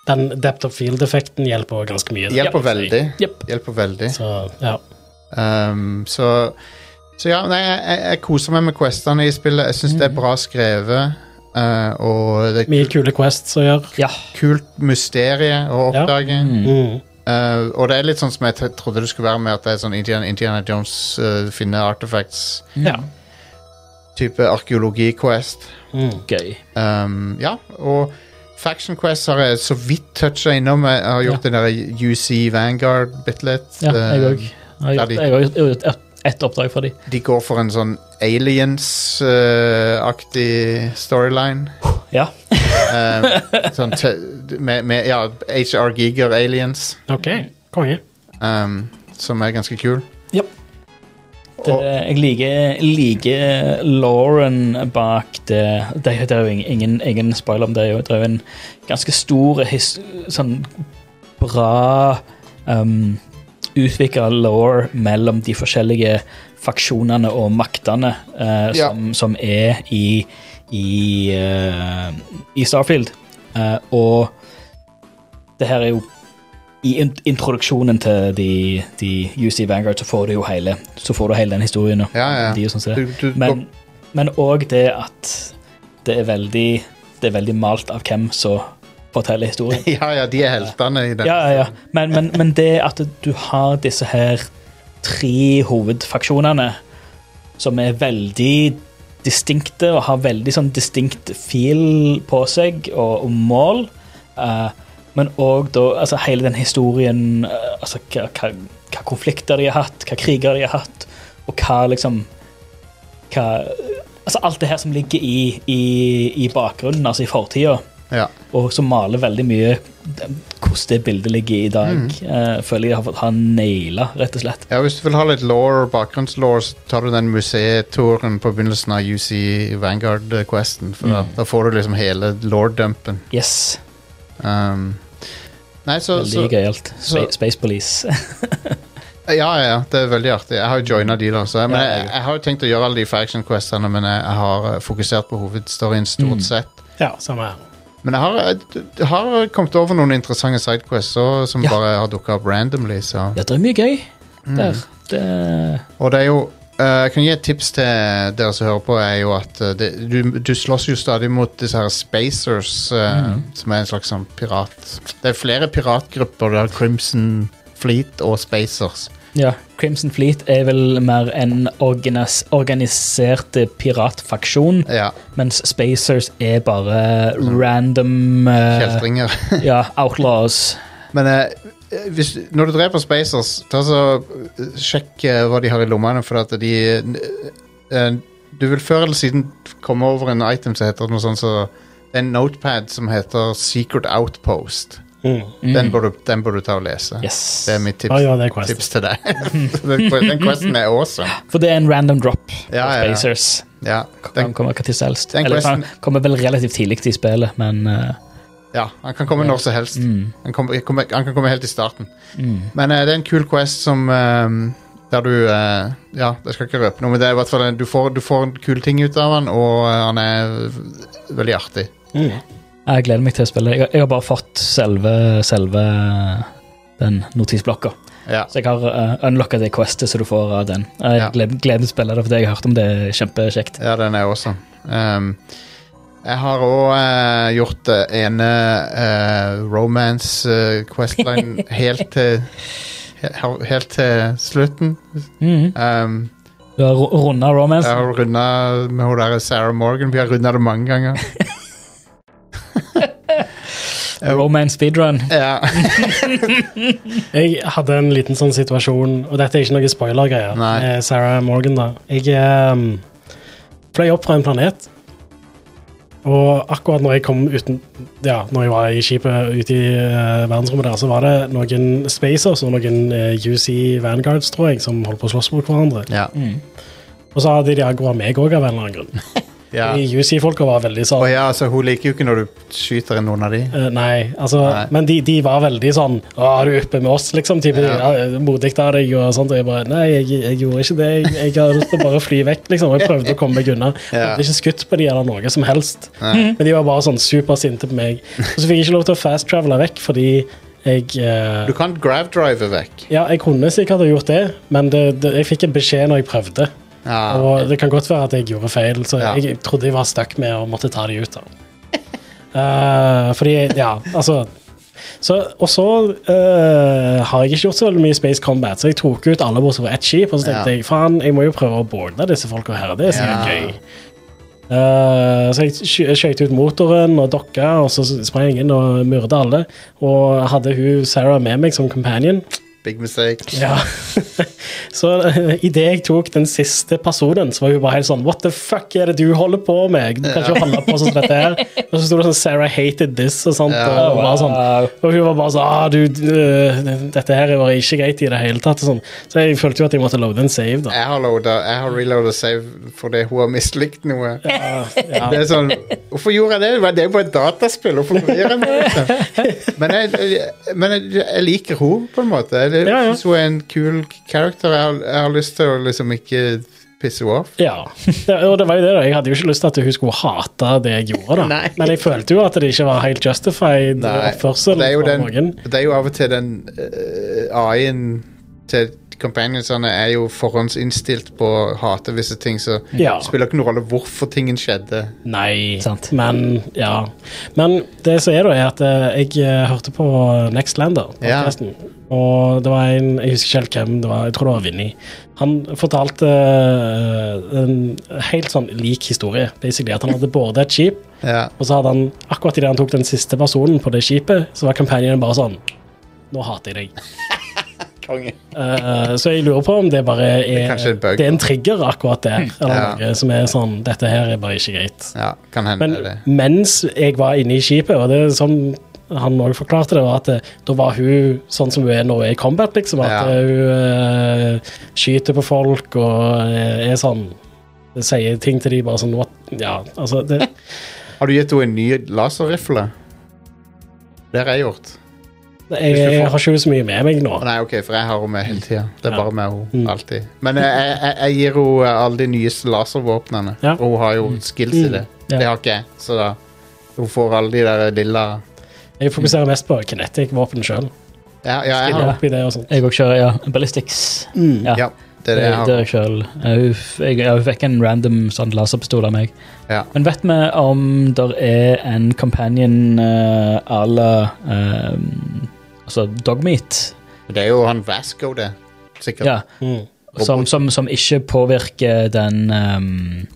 Den depth of field-effekten hjelper også ganske mye.
hjelper veldig.
Jep.
Hjelper veldig.
Så, ja.
Um, så, så ja, nei, jeg, jeg- jeg koser meg med questene i spillet. Jeg syns det
Mm.
er bra skrevet. eh, og det er
Mye
kult,
kule quests å gjøre.
Ja.
kult mysterie å
Ja.
oppdage.
Mm.
Eh, og det er litt sånn som jeg t- trodde det skulle være, med at det er sånn Indiana, Indiana Jones eh, finne artifacts-type
ja.
arkeologi-quest.
Mm.
Gøy.
Um, ja, og Faction Quest har jeg så vidt toucha innom. Jeg har gjort det der UC Vanguard bitte litt.
Ja, jeg
Um,
òg. Jeg
der
har
de-
gjort- jeg har gjort gjort et- ett oppdrag for dem.
de går for en sånn aliens-aktig storyline.
Ja.
Um, sånn te- med, med ja, HR Giger aliens,
Ok, konge.
um, som er ganske kul.
Jep. Det,
Og-
jeg liker, liker Lauren bak det Det, det er jo ingen- ingen, ingen spoiler om det. er jo- Det er jo en ganske stor, his, sånn bra um, utvikla law mellom de forskjellige faksjonene og maktene eh,
Ja.
som, som er i, i, eh, i Starfield. Eh, og det her er jo i in- introduksjonen til de, de UC Vanguard så får du jo hele, så får du hele den historien. og
Ja, ja.
De, og sånn som det.
Du, du,
Men- Men òg det at det er veldig Det er veldig malt av hvem som forteller historien.
ja, ja, de er heltene i den.
Ja, ja, ja. Men, men, men det at du har disse her tre hovedfaksjonene som er veldig distinkte og har veldig sånn distinkt feel på seg og, og mål. eh, men òg da altså, hele den historien eh, altså, hva, hva, hva konflikter de har hatt, hva kriger de har hatt, og hva liksom hva, altså, Alt det her som ligger i, i, i bakgrunnen, altså i fortida
Ja.
og som maler veldig mye hvordan det bildet ligger i dag.
Mm.
Eh, føler jeg har fått ha naila, rett og slett.
Ja, Hvis du vil ha litt law, bakgrunnslaw, så tar du den museetouren på begynnelsen av UC Vanguard-questen. For
Mm.
da, da får du liksom hele law-dumpen.
Yes,
Um, nei, så,
Veldig
så
gøyalt. Spa
så-
Space Police.
Ja, ja, det er veldig artig. Jeg har jo joina de, da. Så jeg, men
Ja,
jeg,
jeg
jeg har jo tenkt å gjøre alle de faction-questene, men jeg, jeg har eh, fokusert på hovedstoryen
Mm.
stort sett.
Ja, samme her.
Men jeg har, jeg, jeg har kommet over noen interessante sidequests også, som
Ja.
bare har dukka opp randomly. Så.
ja, det er mye gøy
Mm.
der. Det,
Og det er jo eh, Jeg kan gi et tips til dere som hører på, er jo at eh, det, du, du slåss jo stadig mot disse her Spacers, eh, som er en slags sånn pirat Det er flere piratgrupper. Du har Crimson Fleet og Spacers.
ja. Crimson Fleet er vel mer en organis organisert piratfaksjon,
Ja,
mens Spacers er bare random eh,
kjeltringer.
ja, outlaws.
Men eh, hvis, når du dreper Spacers, ta så eh, sjekk eh, hva de har i lommene, for at de eh, eh, Du vil før eller siden komme over en item som heter noe sånt så det er En notepad som heter Secret Outpost.
Mm.
Den, bør du, den bør du ta og lese.
Yes.
Det er mitt tips,
Ah, Ja, ja, det er quest.
tips til deg. den, den questen er awesome.
For det er en random drop
Ja,
av
ja, ja.
Spacers.
Ja,
Den
den,
kommer ikke til helst.
den
Eller
questen-
han kommer vel relativt tidlig i spillet, men eh,
ja han kan komme når som helst. Han, kommer- jeg kommer- han kan komme helt i starten.
Mm.
Men eh, det er en kul quest som eh, Der du eh, Ja, jeg skal ikke røpe noe, men det er i hvert fall en- du får, du får en kul ting ut av han, og eh, han er v- veldig artig.
Mm.
jeg gleder meg til å spille. Jeg, jeg har bare fått selve, selve den notisblokka.
Ja.
Så jeg har uh, unlocka det questet som du får av den. Jeg
Ja.
gleder, gleder meg til å spille det, for det jeg har hørt om det er kjempekjekt.
Ja, den er awesome. Um, Jeg har òg gjort det ene eh, romance eh, questline helt til he- Helt til slutten.
Mhm.
Um,
Du har ru- runda romance.
jeg har runda med hun der Sarah Morgan. Vi har runda det mange ganger.
Romance speedrun.
Ja.
Jeg hadde en liten sånn situasjon, og dette er ikke noe spoiler-greier.
Nei.
med Sarah Morgan, da. Jeg ehm, fløy opp fra en planet, og akkurat når jeg kom uten Ja, når jeg var i skipet ute i eh, verdensrommet der, så var det noen Spacers og noen eh, UC Vanguards, tror jeg, som holdt på å slåss mot hverandre.
ja.
Og så hadde de aggroa meg òg, av en eller annen grunn.
ja.
De UC-folka var veldig sånn
Og ja, altså, hun liker jo ikke når du skyter inn noen av de.
Eh, nei, altså,
Nei.
men de, de var veldig sånn Å, er du oppe med oss, liksom? Type, ja. modig av deg og sånt. Og jeg bare Nei, jeg, jeg gjorde ikke det. Jeg, jeg hadde lyst til å bare fly vekk, liksom. Og jeg prøvde å komme meg unna. Jeg
Ja.
hadde ikke skutt på de eller noe som helst. Men de var bare sånn supersinte på meg. Og så fikk jeg ikke lov til å fast-travele vekk fordi jeg eh,
Du kan grav-drive vekk.
Ja, jeg kunne sikkert ha gjort det, men det, det, jeg fikk en beskjed når jeg prøvde.
Ja.
Og det kan godt være at jeg gjorde feil, så
Ja.
jeg trodde jeg var stuck med å måtte ta de ut. da. Eh, fordi, ja, altså så, Og så eh, har jeg ikke gjort så veldig mye Space Combat, så jeg tok ut alle bortsett fra ett skip, og så tenkte
Ja.
jeg faen, jeg må jo prøve å boarde disse folka her. Det er sikkert
Ja.
gøy. Eh, så jeg skj- skjøt ut motoren og dokka, og så sprang jeg inn og myrda alle. Og hadde hun Sarah med meg som companion.
Big mistake.
Ja. så idet jeg tok den siste personen, så var hun bare helt sånn What the fuck er det du holder på med? Du kan ikke holde på sånn som dette her. Og så sto det sånn Sarah hated this og sånt.
Ja.
Og, bare sånn.
Wow.
og hun var bare sånn ah, du, du, øh, Dette her var ikke greit i det hele tatt. og Sånn. Så jeg følte jo at jeg måtte loade en save, da.
Jeg har, loada, jeg har reloada save fordi hun har mislikt noe. Det er sånn, Hvorfor gjorde jeg det? Det er jo bare et dataspill. Hvorfor gjør jeg det? liksom? Men jeg, men jeg, jeg liker hun på en måte. Jeg
Ja, ja.
syns hun er en kul character. Jeg har, jeg har lyst til å liksom ikke pisse henne off.
Ja, det, og det var jo det da. Jeg hadde jo ikke lyst til at hun skulle hate det jeg gjorde. da.
Nei.
Men jeg følte jo at det ikke var helt justified
Nei,
oppførsel.
det, er jo
fra
den,
noen.
det er jo av og til den eh, AI-en til companionsene er jo forhåndsinnstilt på å hate visse ting, så
Ja.
det spiller ikke noen rolle hvorfor tingen skjedde.
Nei,
Sant.
men ja. Men det som er, da, er at eh, jeg eh, hørte på Nextlander.
Ja.
podcasten, Og det var en Jeg husker ikke helt hvem det var. Jeg tror det var Vinni. Han fortalte eh, en helt sånn lik historie. Basically At han hadde både et skip,
Ja.
og så hadde han akkurat idet han tok den siste personen på det skipet, så var kampanjen bare sånn Nå hater jeg deg. Eh, så jeg lurer på om det bare er
er kanskje en bug,
det er en trigger akkurat der. Eller
Ja.
noe som er sånn Dette her er bare ikke greit.
Ja, kan hende
Men
det.
mens jeg var inne i skipet, og det er sånn han òg forklarte det, var at eh, da var hun sånn som hun er når hun er i combat, liksom. At
Ja.
eh, hun eh, skyter på folk og eh, er sånn Sier ting til de bare sånn what? Ja, altså det,
Har du gitt henne en ny laserrifle? Det har jeg gjort.
jeg, jeg har ikke så mye med meg nå.
Å, Nei, ok, for jeg har henne med hele tida. Det er
Ja.
bare med henne, alltid. Men jeg, jeg, jeg- jeg gir henne eh, alle de nyeste laservåpnene,
Ja.
og hun har jo skills i det.
Ja.
Det har ikke jeg, så da hun får alle de der lilla
Jeg fokuserer mest på kinetic-våpen sjøl.
Ja, ja jeg har
Ja. Det og sånt. Mm.
Jeg òg kjører, ja. Ballistics. Ja.
Ja, det er det jeg
Det er
har.
jeg selv. Ja, hun f- Jeg, ja, hun fikk en random sånn laserpistol av meg.
Ja.
Men vet vi om det er en companion eh, à la eh, Altså Dogmeat?
Det er jo han Vasco, det. Sikkert.
Ja.
Mm.
Som, som, som ikke påvirker den ehm,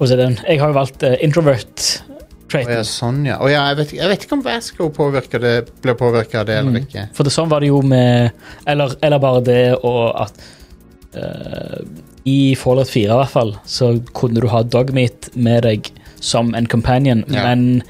Hva er den? Jeg har jo valgt eh, introvert
Å ja,
traiten.
sånn, ja. Å ja, jeg vet, ikke- jeg vet ikke om Vasco påvirker det, ble påvirka av det eller ikke.
For det, sånn var det jo med Eller, eller bare det og at eh, I Fallout 4 i hvert fall så kunne du ha dogmeat med deg som en companion,
Ja.
men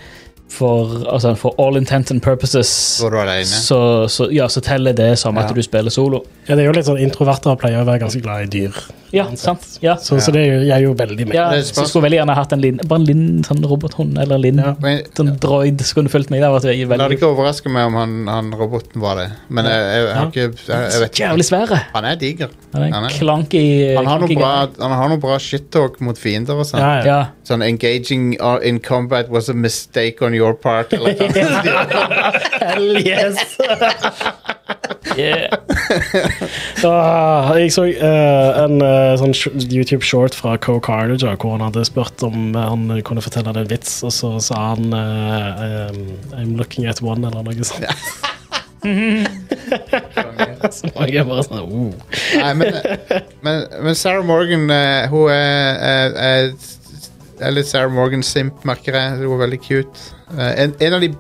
for, altså, for all intents and purposes
Så du alene.
så, så, ja, så teller det som at
Ja.
du spiller solo.
Ja, det er jo litt sånn Introverter pleier å være ganske glad i dyr,
Ja, sant? Ja.
så, så det er jo, jeg er jo veldig med.
Ja,
Det er
så jeg
spørs-
skulle veldig gjerne hatt en liten, bare en liten sånn robothund eller en liten
Men
sånn droid som kunne fulgt meg. Det hadde
La det
vært veldig
ikke overraske meg om han, han roboten var det. Men jeg, jeg, har ikke jeg, jeg vet ikke.
Jævlig svære.
Han er diger.
Han er
Han
en
er-
klanky
Han har noe
klanky
bra,
guy.
han har noe bra shit-talk mot fiender og sånn.
Ja, ja.
Ja.
Sånn 'engaging uh, in combat was a mistake on your part'. Eller noe sånt.
Hell yes!
Yeah.
Ah, jeg så eh, en eh, sånn sh- YouTube-short fra Co Carnage ja, hvor han hadde spurt om eh, han kunne fortelle det en vits, og så sa han eh, em, I'm looking at one, eller noe sånt. så var jeg bare sånn oh.
Nei, men, men, men Sarah Morgan eh, Hun er, er, er, er litt Sarah Morgan-simp, merker jeg. Hun er veldig cute. Eh, en, en av de,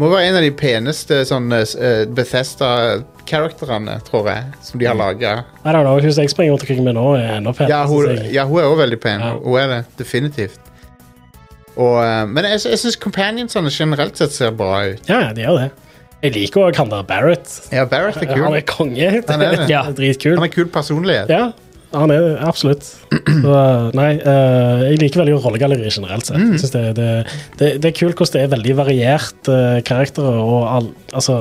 må være en av de peneste sånn, eh, Bethesda-karakterene, tror jeg, som de har laga.
I don't know, Hun som jeg springer rundt omkring med nå, er enda penere.
Ja, hun,
synes jeg.
ja, hun er også veldig pen.
Altså, Ja.
Hun er det, definitivt. Og, eh, men jeg, sy- jeg syns companionsene generelt sett ser bra ut.
ja, de gjør det. Jeg liker òg han der Barrett.
Ja, Barrett er
Han
kul.
er konge.
Han er det.
Ja.
Dritkul.
Han er kul personlighet.
Ja, han er det, absolutt. Så, nei, eh, jeg liker veldig rollegalleri generelt sett.
Mm.
Jeg synes det, det, det, det er kult hvordan det er veldig variert eh, karakterer, og all, altså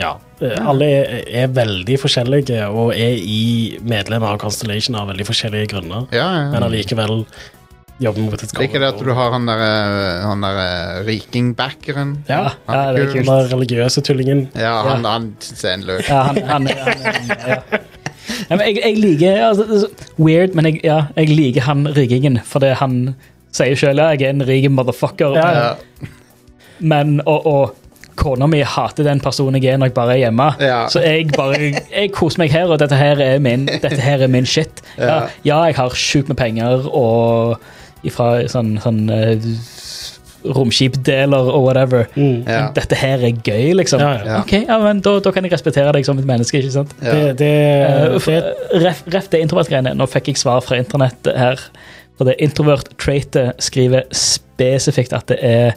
Ja. eh, Alle er, er veldig forskjellige og er i medlemmer av Constellation av veldig forskjellige grunner,
Ja,
men
ja.
allikevel jobber mot et
Liker det at du har han der, eh, han der eh, vikingbackeren.
Ja,
Ja, det er
kul.
den
kult.
der religiøse tullingen.
Ja, han, han synes jeg er en løk.
Ja, han, han, han, han ja. Nei, men jeg, jeg liker altså, det er så Weird, men jeg, ja, jeg liker han riggingen. Fordi han sier sjøl at jeg er en rik motherfucker.
Ja, ja.
Ja,
Men, og, og kona mi hater den personen jeg er når jeg bare er hjemme.
Ja.
Så jeg bare, jeg koser meg her, og dette her er min, dette her er min shit. Ja, ja, jeg har sjukt med penger og ifra sånn, sånn eh, romskipdeler og whatever.
Mm.
Ja.
Men dette her er gøy, liksom.
Ja, ja.
Ja.
Ok, ja, men da, da kan jeg respektere deg som et menneske, ikke sant?
ja.
Det, det,
Eh,
det,
for- Ref, ref det introvert-greiene. Nå fikk jeg svar fra internett her. For det introvert-traitet skriver spesifikt at det er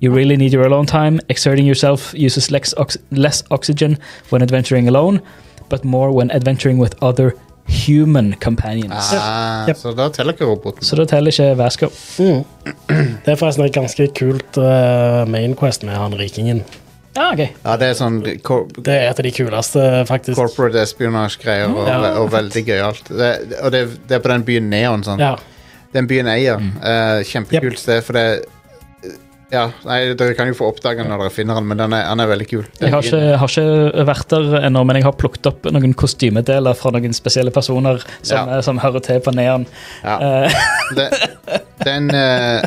You really need your alone time. Exerting yourself uses less, ox less oxygen when adventuring alone, but more when adventuring with other human companions.
Ah,
Jep.
Så da teller ikke roboten.
Så da teller ikke Vasco.
mm. det er forresten et ganske kult eh, main quest med han rikingen.
Ah, ok.
Ja, det er sånn cor
Det er et av de kuleste, faktisk.
corporate espionage-greier, og,
Ja.
og veldig gøyalt. Det, og det, det er på den byen Neon, sånn.
Ja.
Den byen eier.
Mm.
Eh, kjempekult sted, for det eh, Ja, nei, dere kan jo få oppdage den når dere finner den, men den er, han er veldig kul.
Jeg har ikke, har ikke vært der ennå, men jeg har plukket opp noen kostymedeler fra noen spesielle personer som, eh,
Ja.
som hører til på Neon.
Ja.
Eh,
Det, den eh,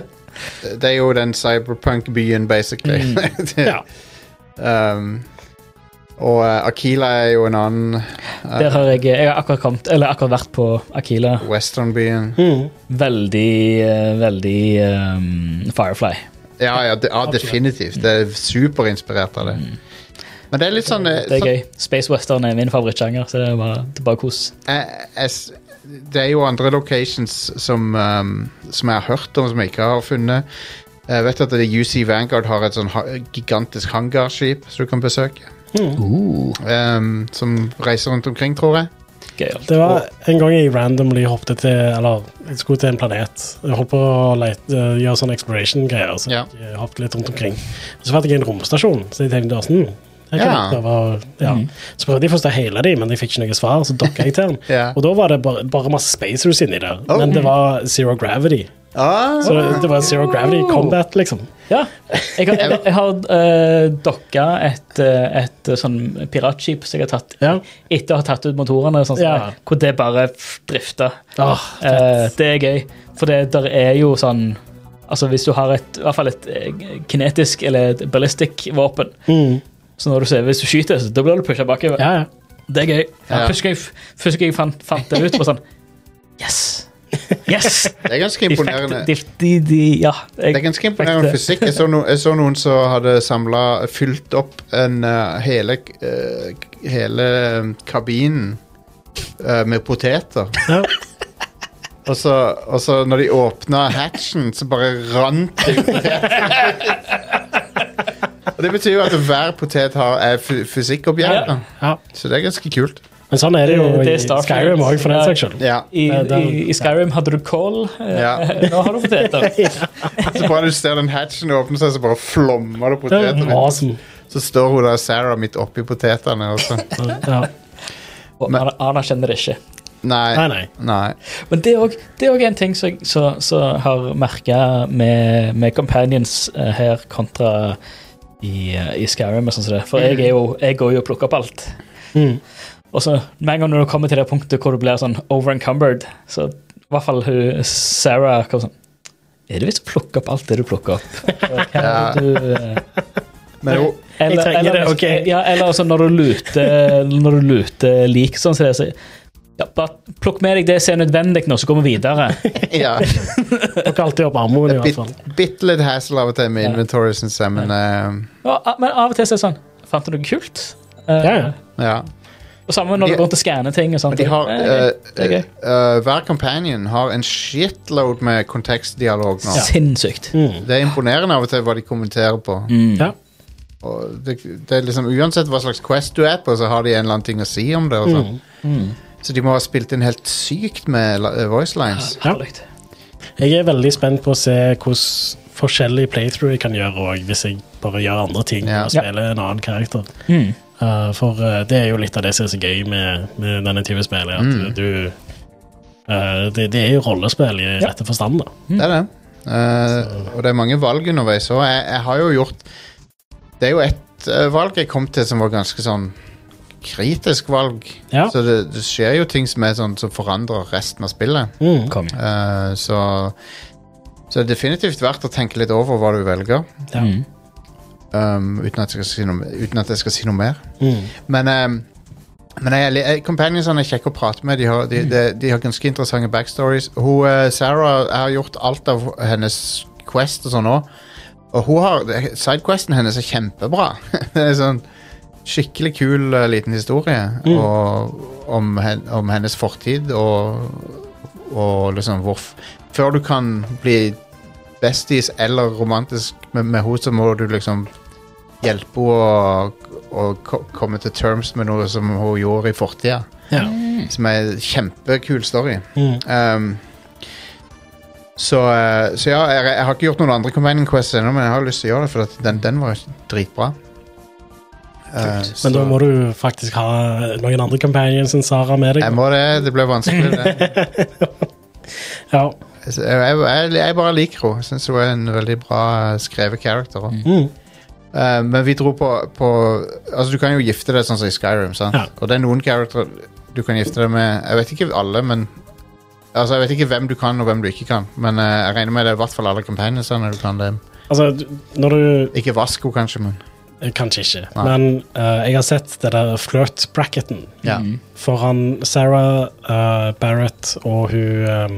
Det er jo den cyberpunk-byen, basically.
Mm.
Det-
Ja.
um, og eh, Akila er jo en annen eh,
Der har jeg, jeg har akkurat kommet, eller akkurat vært på Akila.
westernbyen.
Mm.
Veldig, eh, veldig ehm, Firefly.
Ja, ja, de, ja definitivt. Det er superinspirert av det. Men det er litt sånn, eh,
Mm. Det er
sånn
gøy. Space western er min favorittsjanger, så det er bare, det er bare kos.
jeg, jeg, Eh, s- Det er jo andre locations som, um, som jeg har hørt om, som jeg ikke har funnet. Jeg vet at det UC Vanguard har et sånn ha gigantisk hangarskip som du kan besøke.
Hmm.
Um, som reiser rundt omkring, tror jeg.
Gøy. alt.
Det var en gang jeg randomly hoppet til Eller jeg skulle til en planet. Jeg holdt på å lete, eh, gjøre sånne exploration-greier. Så
Ja.
jeg eh, hoppet litt rundt omkring. Og så fant jeg en romstasjon. Så jeg tenkte sånn, hm, her kan
Ja.
jeg prøve å- ja.
Mm.
Så prøvde jeg først å hele dem, men jeg fikk ikke noe svar. Så dokka jeg til den.
Ja.
Og da var det bare, bare masse spacehouse inni der.
Oh.
Men det var zero gravity.
Ah,
Så det, det var zero
Oh.
gravity combat, liksom.
Ja. Jeg har, jeg, jeg har eh, dokka et, eh, et sånn piratskip som jeg har tatt
Ja.
etter å ha tatt ut motorene, sånn, som
Ja.
det, hvor det bare f- drifter.
Åh,
Eh, det er gøy, for det der er jo sånn Altså Hvis du har et, i hvert fall et eh, kinetisk eller et ballistic våpen,
Mm.
så når du ser, hvis du skyter, så da blir du pusha bakover.
Ja, ja.
Det er gøy.
Ja.
Først jeg, først jeg fant, fant det ut, var sånn Yes! Yes!
det er ganske
De fikk
imponerende.
de, de, de, Ja.
Det er ganske imponerende fysikk. Jeg så, no, jeg så noen som hadde samla Fylt opp en, eh, hele, eh, k- hele kabinen eh, med poteter.
Ja.
Og så, og så når de åpna hatchen, så bare rant det ut poteter. Og det betyr jo at hver potet har, er fy- fysikkobjekt. da.
ja.
Så det er ganske kult.
Men sånn er det jo
Det- det
i
er Starfield.
Skyrim òg, for den
Ja.
saks skyld.
Ja.
I,
Eh,
i,
den-
I Skyrim hadde du kål. eh,
Ja.
Nå har du poteter.
Så bare du ser den hatchen åpne seg, så bare flommer det poteter ut.
Awesome.
Så står hun der, Sarah, midt oppi potetene. Og så.
Ja.
Og Arna, Arna kjenner det ikke.
Nei,
Nei.
nei.
Nei.
Men det er òg- det er òg en ting som jeg så, så har merka med, med companions eh, her kontra i, eh, i Skyrim. og sånn som det. For jeg, er jo, jeg går jo og plukker opp alt. Og så med en gang når du kommer til det punktet hvor du blir sånn overencumbered, så i hvert fall hun, Sarah kom sånn Er det visst å plukke opp alt det du plukker opp? Hva er det du, eh,
Men jo,
eller,
trenger
eller,
det, ok.
Ja, eller altså når du luter, når du luter lik sånn som det, så ja, bare plukk med deg det som er nødvendig nå, så går vi videre.
ja.
Dere alltid opp armhoen, i hvert fall.
Bitt- Bitte litt hassle av og til med inventory, syns jeg, men eh,
Ja, a- men av og til så er det sånn Fant du noe kult? Eh,
Ja, ja.
ja.
Og samme når
De-
du går rundt og skanner ting. og sånt.
Men de har
Eh,
eh,
det er gøy.
eh, Hver companion har en shitload med kontekstdialog nå.
Sinnssykt.
Det er imponerende av og til hva de kommenterer på.
ja.
Og det, det er liksom Uansett hva slags quest du er på, så har de en eller annen ting å si om det. Og sånn. Så de må ha spilt inn helt sykt med la- eh, voice lines.
Herlig.
Jeg er veldig spent på å se hvordan forskjellige playthrough jeg kan gjøre også, hvis jeg bare gjør andre ting
Ja.
og spiller en annen karakter. Uh, for uh, det er jo litt av det som er så gøy med, med denne type spill, er at du uh, det, det er jo rollespill i
Ja.
rette forstand, da.
Det er det. Eh, og det er mange valg underveis. Og jeg, jeg har jo gjort Det er jo ett eh, valg jeg kom til som var ganske sånn kritisk valg.
Ja.
Så det, det skjer jo ting som, er sånn, som forandrer resten av spillet.
Mm.
Konge.
Eh, så så det er definitivt verdt å tenke litt over hva du velger.
Ja.
Mm.
um, uten, at jeg skal si noe, uten at jeg skal si noe mer.
Mm.
Men, um, men jeg, er li- eh, companionsene er kjekke å prate med. De har, de, de, de har ganske interessante backstories. Hun, eh, Sarah jeg har gjort alt av hennes quest og sånn òg. Og hun har, sidequesten hennes er kjempebra. det er sånn Skikkelig kul eh, liten historie og, om, hen, om hennes fortid og, og liksom hvorf- Før du kan bli besties eller romantisk med, med henne, så må du liksom hjelpe henne å, å ko- komme til terms med noe som hun gjorde i fortida.
Ja.
Som er en kjempekul story.
Mm.
Um, så, eh, så ja, jeg, jeg har ikke gjort noen andre Companion Quest ennå, men jeg har lyst til å gjøre det, for at den, den var dritbra. Eh, så-
Men da må du faktisk ha noen andre companions enn Sara med
Jeg
deg.
må det. Det ble vanskelig. Det.
Ja.
Jeg, jeg, jeg, jeg bare liker henne. Jeg Syns hun er en veldig bra eh, skrevet character. også.
Mm.
Eh, men vi dro på, på Altså, du kan jo gifte deg sånn som i Skyrim, sant?
Ja.
Og det er noen character du kan gifte deg med Jeg vet ikke alle, men Altså, jeg vet ikke hvem du kan, og hvem du ikke kan, men eh, jeg regner med det er i hvert fall alle companionsene du kan det.
Altså, du- når du
Ikke Vasco, kanskje, men
Kanskje ikke.
Nei.
Men eh, jeg har sett det der flirt-bracketen
ja.
foran Sarah eh, Barrett og hun ehm,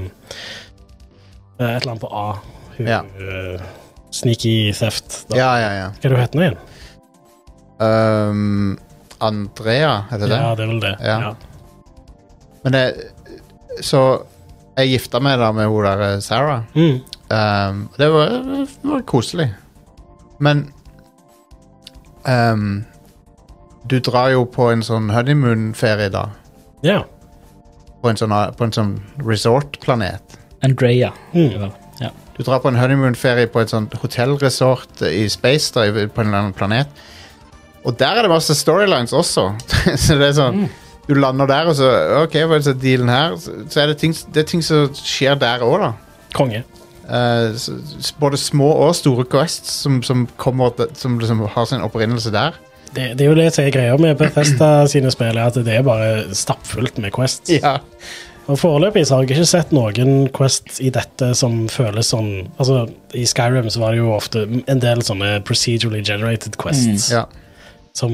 eh, Et eller annet på A. Hun
Ja.
eh, Sneaky Theft. Da.
ja, ja, ja.
Hva er det hun heter nå igjen?
Um, Andrea, heter det?
Ja, det er vel det.
Ja. Men det Så jeg gifta meg da med hun der eh, Sarah.
Mm.
Um, det var, det var koselig. Men um, Du drar jo på en sånn honeymoon-ferie, da.
ja.
På en sånn, på en sånn resort-planet.
Andrea.
Mm.
Ja.
Du drar på en honeymoon-ferie på et sånt hotellresort i space, da, i- på en eller annen planet. Og der er det masse storylines også. så det er sånn Du lander der, og så OK, hva er det som er dealen her? Så, så er det ting, det er ting som skjer der òg, da.
Konge.
Eh, s- s- både små og store quests som, som, kommer, til- som liksom har sin opprinnelse der.
Det, det er jo det som er greia med Bethesda sine spill, er at det er bare stappfullt med Quests.
Ja.
Og Foreløpig så har jeg ikke sett noen Quest i dette som føles sånn Altså, I Skyrim så var det jo ofte en del sånne procedurally generated quests
Mm,
som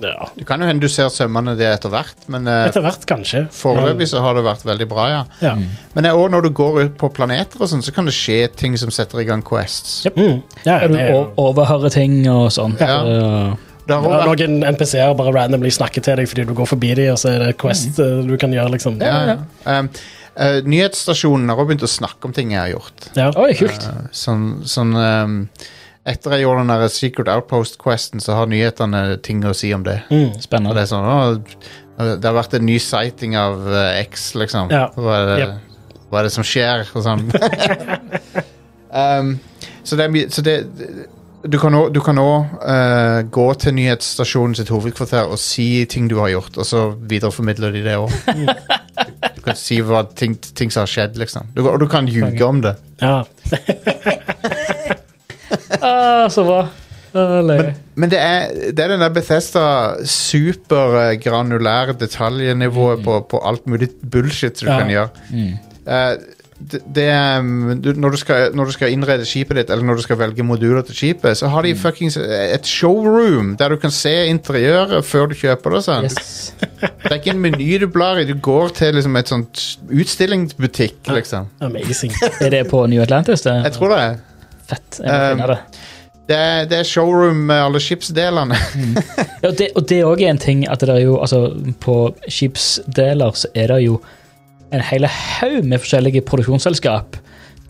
Ja,
Det kan jo hende du ser sømmene det etter hvert, men eh,
etter hvert, kanskje.
foreløpig så har det vært veldig bra, ja.
Ja.
Mm.
Men eh, også når du går ut på planeter og sånn, så kan det skje ting som setter i gang quests.
Mm. ja
Du
det er jo
o- overhører ting og sånt.
Ja.
Eh,
Det har
det
også
er
vært,
noen NPC-er bare randomly snakker til deg fordi du går forbi dem, og så er det Quest eh, du kan gjøre, liksom.
Mm. ja, ja. Um, eh, nyhetsstasjonen har også begynt å snakke om ting jeg har gjort.
Ja.
Oi, kult.
Eh, sånn sånn um, Etter jeg gjorde den der Secret Outpost-questen, så har nyhetene ting å si om det. Og det
Spennende.
er sånn, «Å, det har vært en ny sighting av eh, X, liksom.
Ja.
Hva, er det, hva er det som skjer? Og sånn. um, så det er mye Så det Du kan òg gå til nyhetsstasjonen sitt hovedkvarter og si ting du har gjort, og så videreformidler de det òg. Du kan si hva ting, ting som har skjedd, liksom. Du, og du kan ljuge om det.
Ja.
Ah, så bra. Eller,
Men det er, det er den der Bethesda supergranulære detaljnivået på, på alt mulig bullshit du
Ja.
kan gjøre. Eh, det, det er, mm, du, når, du skal, når du skal innrede skipet ditt, eller når du skal velge moduler til skipet, så har de fuckings et showroom der du kan se interiøret før du kjøper det. Sånn.
yes.
Det er ikke en meny du blar i, du går til liksom, et sånt utstillingsbutikk, liksom.
Amazing.
Er det på New Atlantis? Det?
Jeg tror det. er-
Fett. Jeg må
Um,
finne det.
Det er, det er showroom med alle skipsdelene.
Ja, og det, og det er også en ting at det er jo, altså, på skipsdeler så er det jo en hel haug med forskjellige produksjonsselskap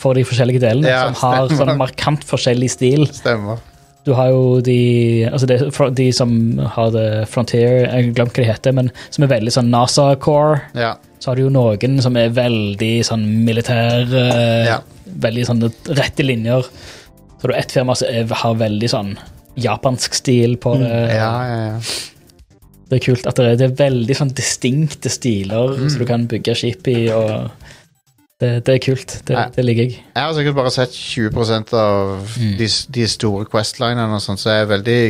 for de forskjellige delene,
Ja,
som har
stemmer.
sånn markant forskjellig stil.
Stemmer.
Du har jo de, altså det, er fra- de som har det Frontier, jeg har glemt hva de heter, men som er veldig sånn NASA-core.
Ja.
Så har du jo noen som er veldig sånn militær, eh,
Ja.
veldig sånn rette linjer. Så har du ett firma som er, har veldig sånn japansk stil på det.
Mm. Ja, ja, ja.
Det er kult at det er, det er veldig sånn distinkte stiler
Mm.
som du kan bygge skip i. og Det, det er kult. Det,
Ja.
det liker jeg.
Jeg har sikkert bare sett 20 av de, de store questlinene, og sånt, så jeg er veldig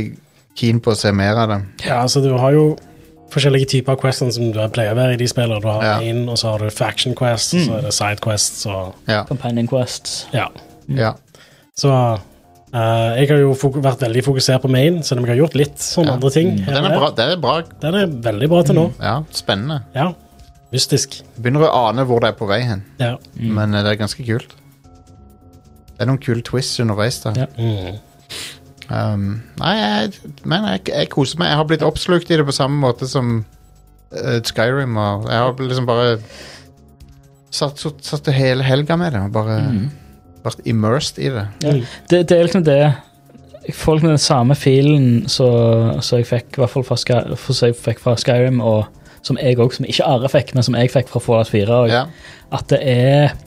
keen på å se mer av dem.
Ja, altså du har jo forskjellige typer av quests som du pleier å være i de spillene. Du
Ja.
har én, og så har du faction quests, og
Mm.
så er det side quests, og
Ja.
Companion Quests.
ja.
ja.
Så eh, jeg har jo fok vært veldig fokusert på main, selv om jeg har gjort litt sånne
Ja. Mm.
andre ting. her
Den er
og der.
bra. Mm. Det er bra.
Den er veldig bra til nå.
Ja, spennende.
Ja. Mystisk.
Begynner å ane hvor det er på vei hen,
Ja.
Mm.
men eh, det er ganske kult. Det er noen kule twists underveis. da.
Ja.
Mm.
Um, nei, jeg, men jeg, jeg koser meg. Jeg har blitt oppslukt i det på samme måte som eh, Skyrim. Og jeg har liksom bare satt, satt, satt hele helga med det og bare vært immersed i det.
Ja. Mm. Det, det er liksom det Jeg får liksom den samme filen som jeg fikk i hvert fall fra, Sky, for så jeg fikk fra Skyrim, og som jeg også, som ikke Are fikk, men som jeg fikk fra Fallout 4. Og,
Ja.
At det er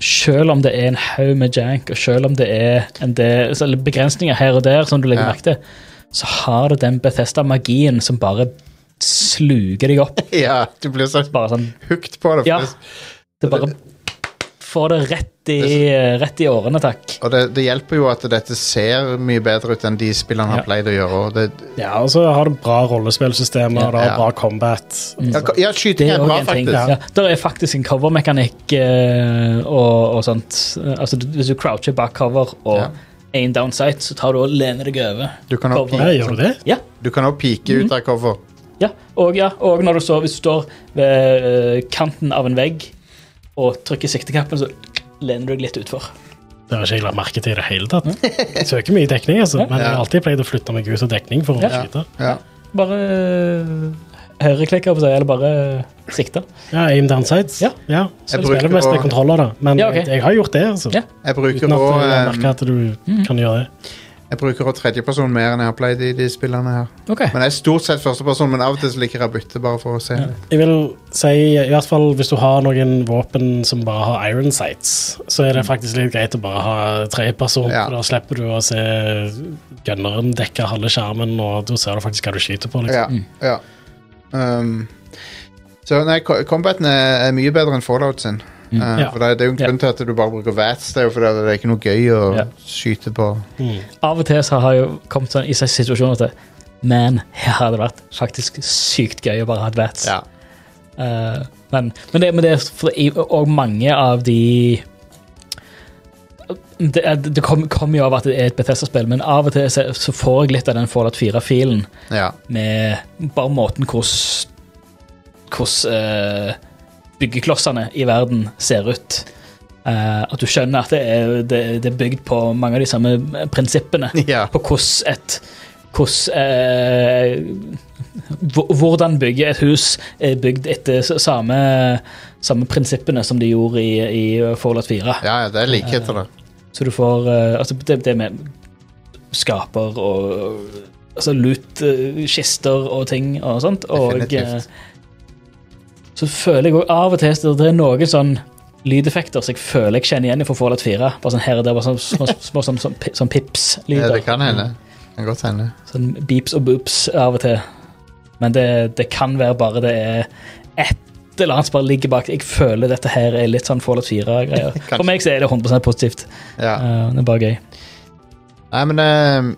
Selv om det er en haug med jank, og selv om det er en del så- eller begrensninger her og der, som du legger
Ja.
merke til, så har det den Bethesda-magien som bare sluker deg opp.
ja, du blir så
Bare sånn
hooked på det.
Ja.
faktisk.
Det bare får det rett i, rett i årene, takk.
Og det, det hjelper jo at dette ser mye bedre ut enn de spillene har
Ja.
pleid å gjøre. Og det,
ja, og så har du bra rollespillsystemer, og du
Ja.
har
Mm.
bra combat.
ja, ka- ja,
Det
skyting er
er også
bra,
en ting.
faktisk.
Ja, der er faktisk en covermekanikk eh, og, og sånt. Altså, du- hvis du croucher bak cover og
Ja.
aim down sight, så tar du og lener deg over.
Du kan også
Cover.
Ja, gjør du det?
Ja,
Du kan også pike ut av cover.
Ja, og, ja, og når du så, hvis du står ved eh, kanten av en vegg og trykker siktekappen, så lener du deg litt utfor.
Det har ikke jeg lagt merke til i det hele tatt. Jeg søker mye dekning, altså, men jeg har alltid pleid å flytte meg ut av dekning for å
Ja.
skyte.
Ja.
Bare eh, høyreklikke, holdt jeg på å si, eller bare eh, sikte.
Ja, aim down sights.
Ja.
Ja. Så
Jeg
jeg spiller
bruker
mest med
å-
kontroller, da. Men
Ja, ok.
jeg- jeg har gjort det, altså.
Ja.
Jeg bruker
Uten at
også,
jeg
eh,
merker at du kan gjøre det.
jeg bruker også tredjeperson mer enn jeg har pleid i de spillene her.
Ok.
Men jeg er stort sett førsteperson, men av og til så liker jeg å bytte, bare for å se.
Jeg vil si, i hvert fall hvis du har noen våpen som bare har iron sights, så er det faktisk litt greit å bare ha tre personer.
Mm. Ja.
for Da slipper du å se gunneren dekke halve skjermen, og da ser du faktisk hva du skyter på.
Ja,
Liksom.
ja. Um, så nei, co- combaten er, er mye bedre enn Fallout sin. Uh,
Ja.
For det, det er jo en grunn til at du bare bruker VATS. Det er jo fordi det er ikke noe gøy å
Ja.
skyte på.
Mm.
Av og til så har jeg jo kommet sånn i seg situasjoner til Men her hadde det vært faktisk sykt gøy å bare ha et vets.
Ja.
Eh, men, men, det, men det er for, i- og mange av de Det, er- det kommer kom jo av at det er et Bethesda-spill, men av og til så, så får jeg litt av den Fallout 4-filen
ja.
med bare måten hvordan hvordan eh, byggeklossene i verden ser ut. Eh, at du skjønner at det er, det, det er bygd på mange av de samme eh, prinsippene
ja.
på hvordan et hvordan, eh, hvor- Hvordan bygge et hus er bygd etter s- samme, samme prinsippene som de gjorde i, i Fallout
Ja,
4.
ja, det er likheter der.
Så du får eh, altså, det, det med skaper og altså, lut, eh, kister og ting og sånt. Og
Definitivt.
eh, så føler jeg også av og til at det er noen sånn lydeffekter som jeg føler jeg kjenner igjen fra Fallout 4. Bare sånn her og der, bare sånn små, små sånn, sånn, pi- sånn
Ja,
pips-lyder.
det kan hende. Det kan godt hende.
Sånn beeps og boops av og til. Men det, det kan være bare det er et eller annet som bare ligger bak. Jeg føler dette her er litt sånn Fallout 4-greier. For meg så er det 100 positivt.
Ja.
Eh, det er bare gøy.
Nei, men eh,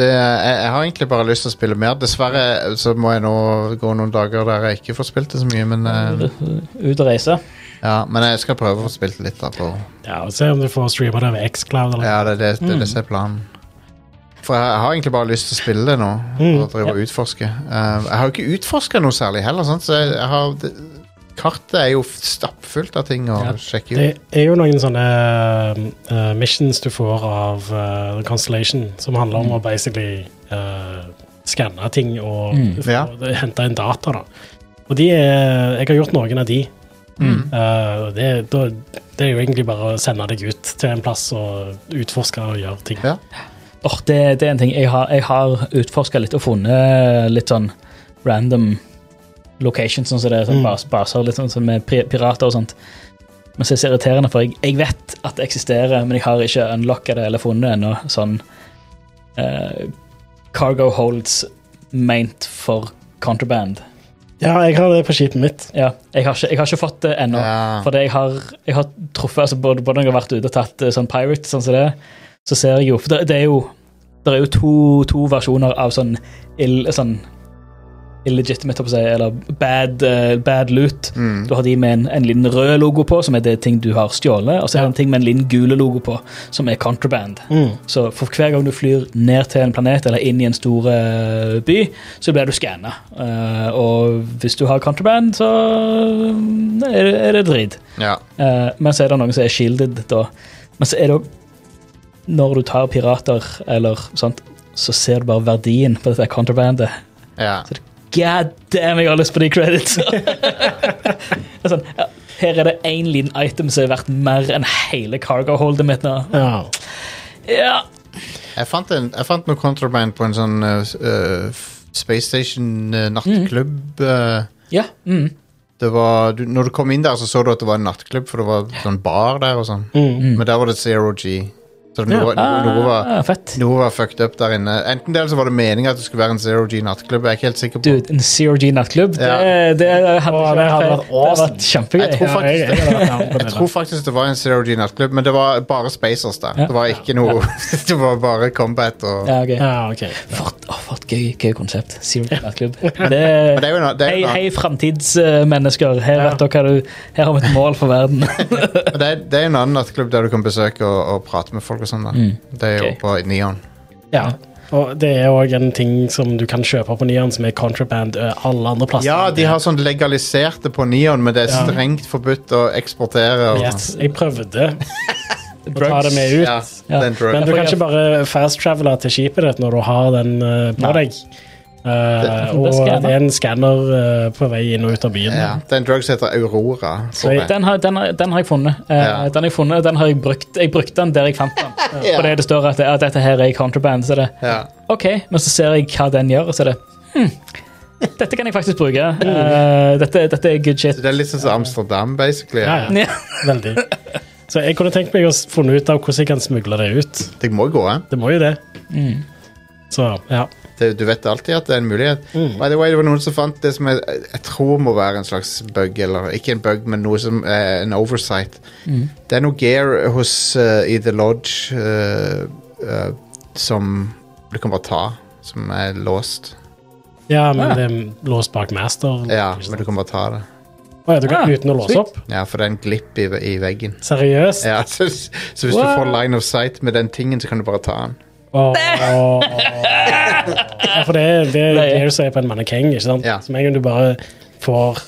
det, jeg, jeg har egentlig bare lyst til å spille mer. Dessverre eh, så må jeg nå gå noen dager der jeg ikke får spilt det så mye, men, eh,
Ut og reise.
ja, men jeg skal prøve å få spilt det litt da på
Ja, og Se om du får streama det over Xcloud. Eller.
Ja, det er det, det, er det som er planen. For jeg, jeg har egentlig bare lyst til å spille det nå. Og drive og utforske. Eh, jeg har jo ikke utforska noe særlig heller, sant? så jeg, jeg har det, Kartet er jo stappfullt av ting å
Ja,
sjekke
Det
ut.
er jo noen sånne eh, missions du får av eh, Constellation, som handler
Mm.
om å basically eh, skanne ting og få-
Mm. Ja.
hente inn data. da. Og de er, jeg har gjort noen av de.
Mm.
Eh, og det, da, det er jo egentlig bare å sende deg ut til en plass og utforske og gjøre ting.
Ja.
Åh, det, det er en ting. Jeg har, jeg har utforska litt og funnet litt sånn random locations. Sånn som det er sånn
Mm.
bas, baser litt sånn som med pri- pirater og sånt. Men så er det så irriterende, for jeg, jeg vet at det eksisterer, men jeg har ikke unlocka det eller funnet ennå. Sånn eh, cargo holds meant for contraband.
Ja, jeg har det på skipet mitt.
Ja, jeg har ikke, jeg har ikke fått det ennå.
Ja.
Fordi jeg har, jeg har truffet altså både, både når jeg har vært ute og tatt eh, sånn pirate, sånn som det, så ser jeg jo For det, det er jo det er jo to, to versjoner av sånn, ill, sånn illegitimate, holdt på å si, eller bad, eh, bad loot.
Mm.
Du har de med en, en liten rød logo på, som er det ting du har stjålet, og så er det en ting med en liten gule logo på, som er contraband.
Mm.
Så for hver gang du flyr ned til en planet eller inn i en stor eh, by, så blir du skanna. og hvis du har contraband, så eh, er det, er det drit.
Ja.
Eh, men så er det noen som er shielded, da. Men så er det òg Når du tar pirater eller sånt, så ser du bare verdien på dette contrabandet.
ja.
God damn, jeg har lyst på de credits! Det er sånn, ja, her er det én liten item som er verdt mer enn hele cargo-holdet mitt nå.
Ja.
Ja,
Jeg fant, en, jeg fant noe contraband på en sånn eh, s- eh, f- Space Station eh, nattklubb. eh,
ja. Mm.
det var, du, når du kom inn der, så så du at det var en nattklubb, for det var sånn bar der og sånn. Men der var det zero G. Så noe, noe, noe, var,
Mm. Ah, fett.
noe var fucked up der inne. Enten det, eller så var det meningen at det skulle være en zero G nattklubb. Jeg er ikke helt sikker på
Dude, en Zero G nattklubb,
Ja.
det, det hadde ikke
Åh, det hadde vært
feil. Det hadde
awesome.
vært kjempegøy.
Jeg tror
Ja,
faktisk
jeg, jeg, hadde vært down på
Jeg
det
tror
der.
faktisk det var en zero G nattklubb, men det var bare spacers der.
Ja.
Det var ikke noe Det var bare combat og
Ja, ok.
Ja, ok.
For, åh, for et gøy, gøy konsept. Zero G nattklubb. Det-
Men det er jo en, det er
Hei,
jo en,
hei framtidsmennesker. Her
Ja.
vet dere hva du Her har vi et mål for verden.
Men det, er- det er en annen nattklubb der du kan besøke og, og prate med folk og sånn. da.
Mm.
Det er jo
Ok.
på Neon.
Ja. Og det er òg en ting som du kan kjøpe på Nian, som er contraband eh, alle andre plasser.
Ja, de har sånn legalisert det på Neon, men det er
Ja.
strengt forbudt å eksportere. Og, sånn.
Yes, jeg prøvde å ta det med ut.
Ja,
Ja.
den drug.
Men du
Ja, for
kan
jeg-
ikke bare fast-travele til skipet ditt når du har den eh, på deg. Eh,
Det-
og
det skanner.
det er en skanner eh, på vei inn og ut av byen.
ja, det er en drug som heter Aurora. tror
Så-
jeg.
Den har, den har, den har jeg funnet. Eh,
Ja.
Den har jeg funnet, og den har jeg brukt. Jeg brukte den der jeg fant den.
Ja.
Fordi det står at, det- at dette her er i contraband. Så det
Ja.
OK, men så ser jeg hva den gjør, og så er det hm, Dette kan jeg faktisk bruke. Eh, dette, dette er good shit.
Så det er litt sånn som Amsterdam, basically.
Ja, ja.
Ja.
Veldig. Så jeg kunne tenkt meg å s- funne ut av hvordan jeg kan smugle det ut.
Det må gå an.
Det må jo det.
Mm.
Så ja.
Det- eh, Du vet alltid at det er en mulighet. By the way, det var noen som fant det som jeg, jeg tror må være en slags bug, eller ikke en bug, men noe som er en oversight. Det er noe gear hos eh, i The Lodge eh, eh, som du kan bare ta, som er låst.
ja, men
Ah.
det er låst bak master.
Ja,
ikke
men
sant?
du kan bare ta det.
Å ja, du kan,
Ah,
uten å låse
sweet.
opp?
Ja, for det er en glipp i, i veggen.
Seriøst?
Ja, så, så hvis du
What?
får line of sight med den tingen, så kan du bare ta den.
Åh. Ja, for det, er- det er
Løye.
det som er på en mannekeng, ikke sant?
Ja.
Som en gang du bare får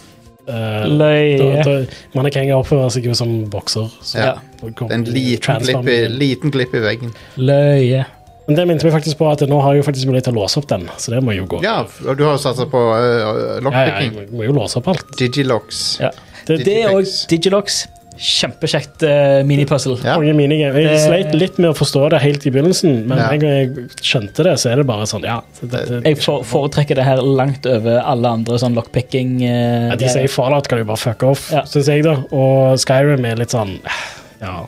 eh, da-
Løye.
da- Mannekenger oppfører seg jo som bokser. Så
Ja.
da kommer
Det er en liten
transformen
glipp i,
inn.
liten glipp i veggen.
Løye.
Men det minte meg faktisk på at nå har jeg jo faktisk mulighet til å låse opp den, så det må jo gå.
Ja, og du har jo satsa på uh,
Ja, ja, jeg
lockpicking.
må- må jo låse opp alt.
Digilocks.
Ja.
Det-
Det er òg
Digitex.
Digilox. Kjempekjekt uh, minipuzzle.
Ja. Eh.
Mange minigame. Jeg
Det-
sleit litt med å forstå det helt i begynnelsen, men
Ja.
en gang jeg skjønte det, så er det bare sånn, ja. Det, det,
Jeg for, foretrekker det her langt over alle andre sånn lockpicking. eh,
Ja, de sier Fallout kan jo bare fuck off,
Ja.
synes jeg, da. Og Skyrim er litt sånn Ja.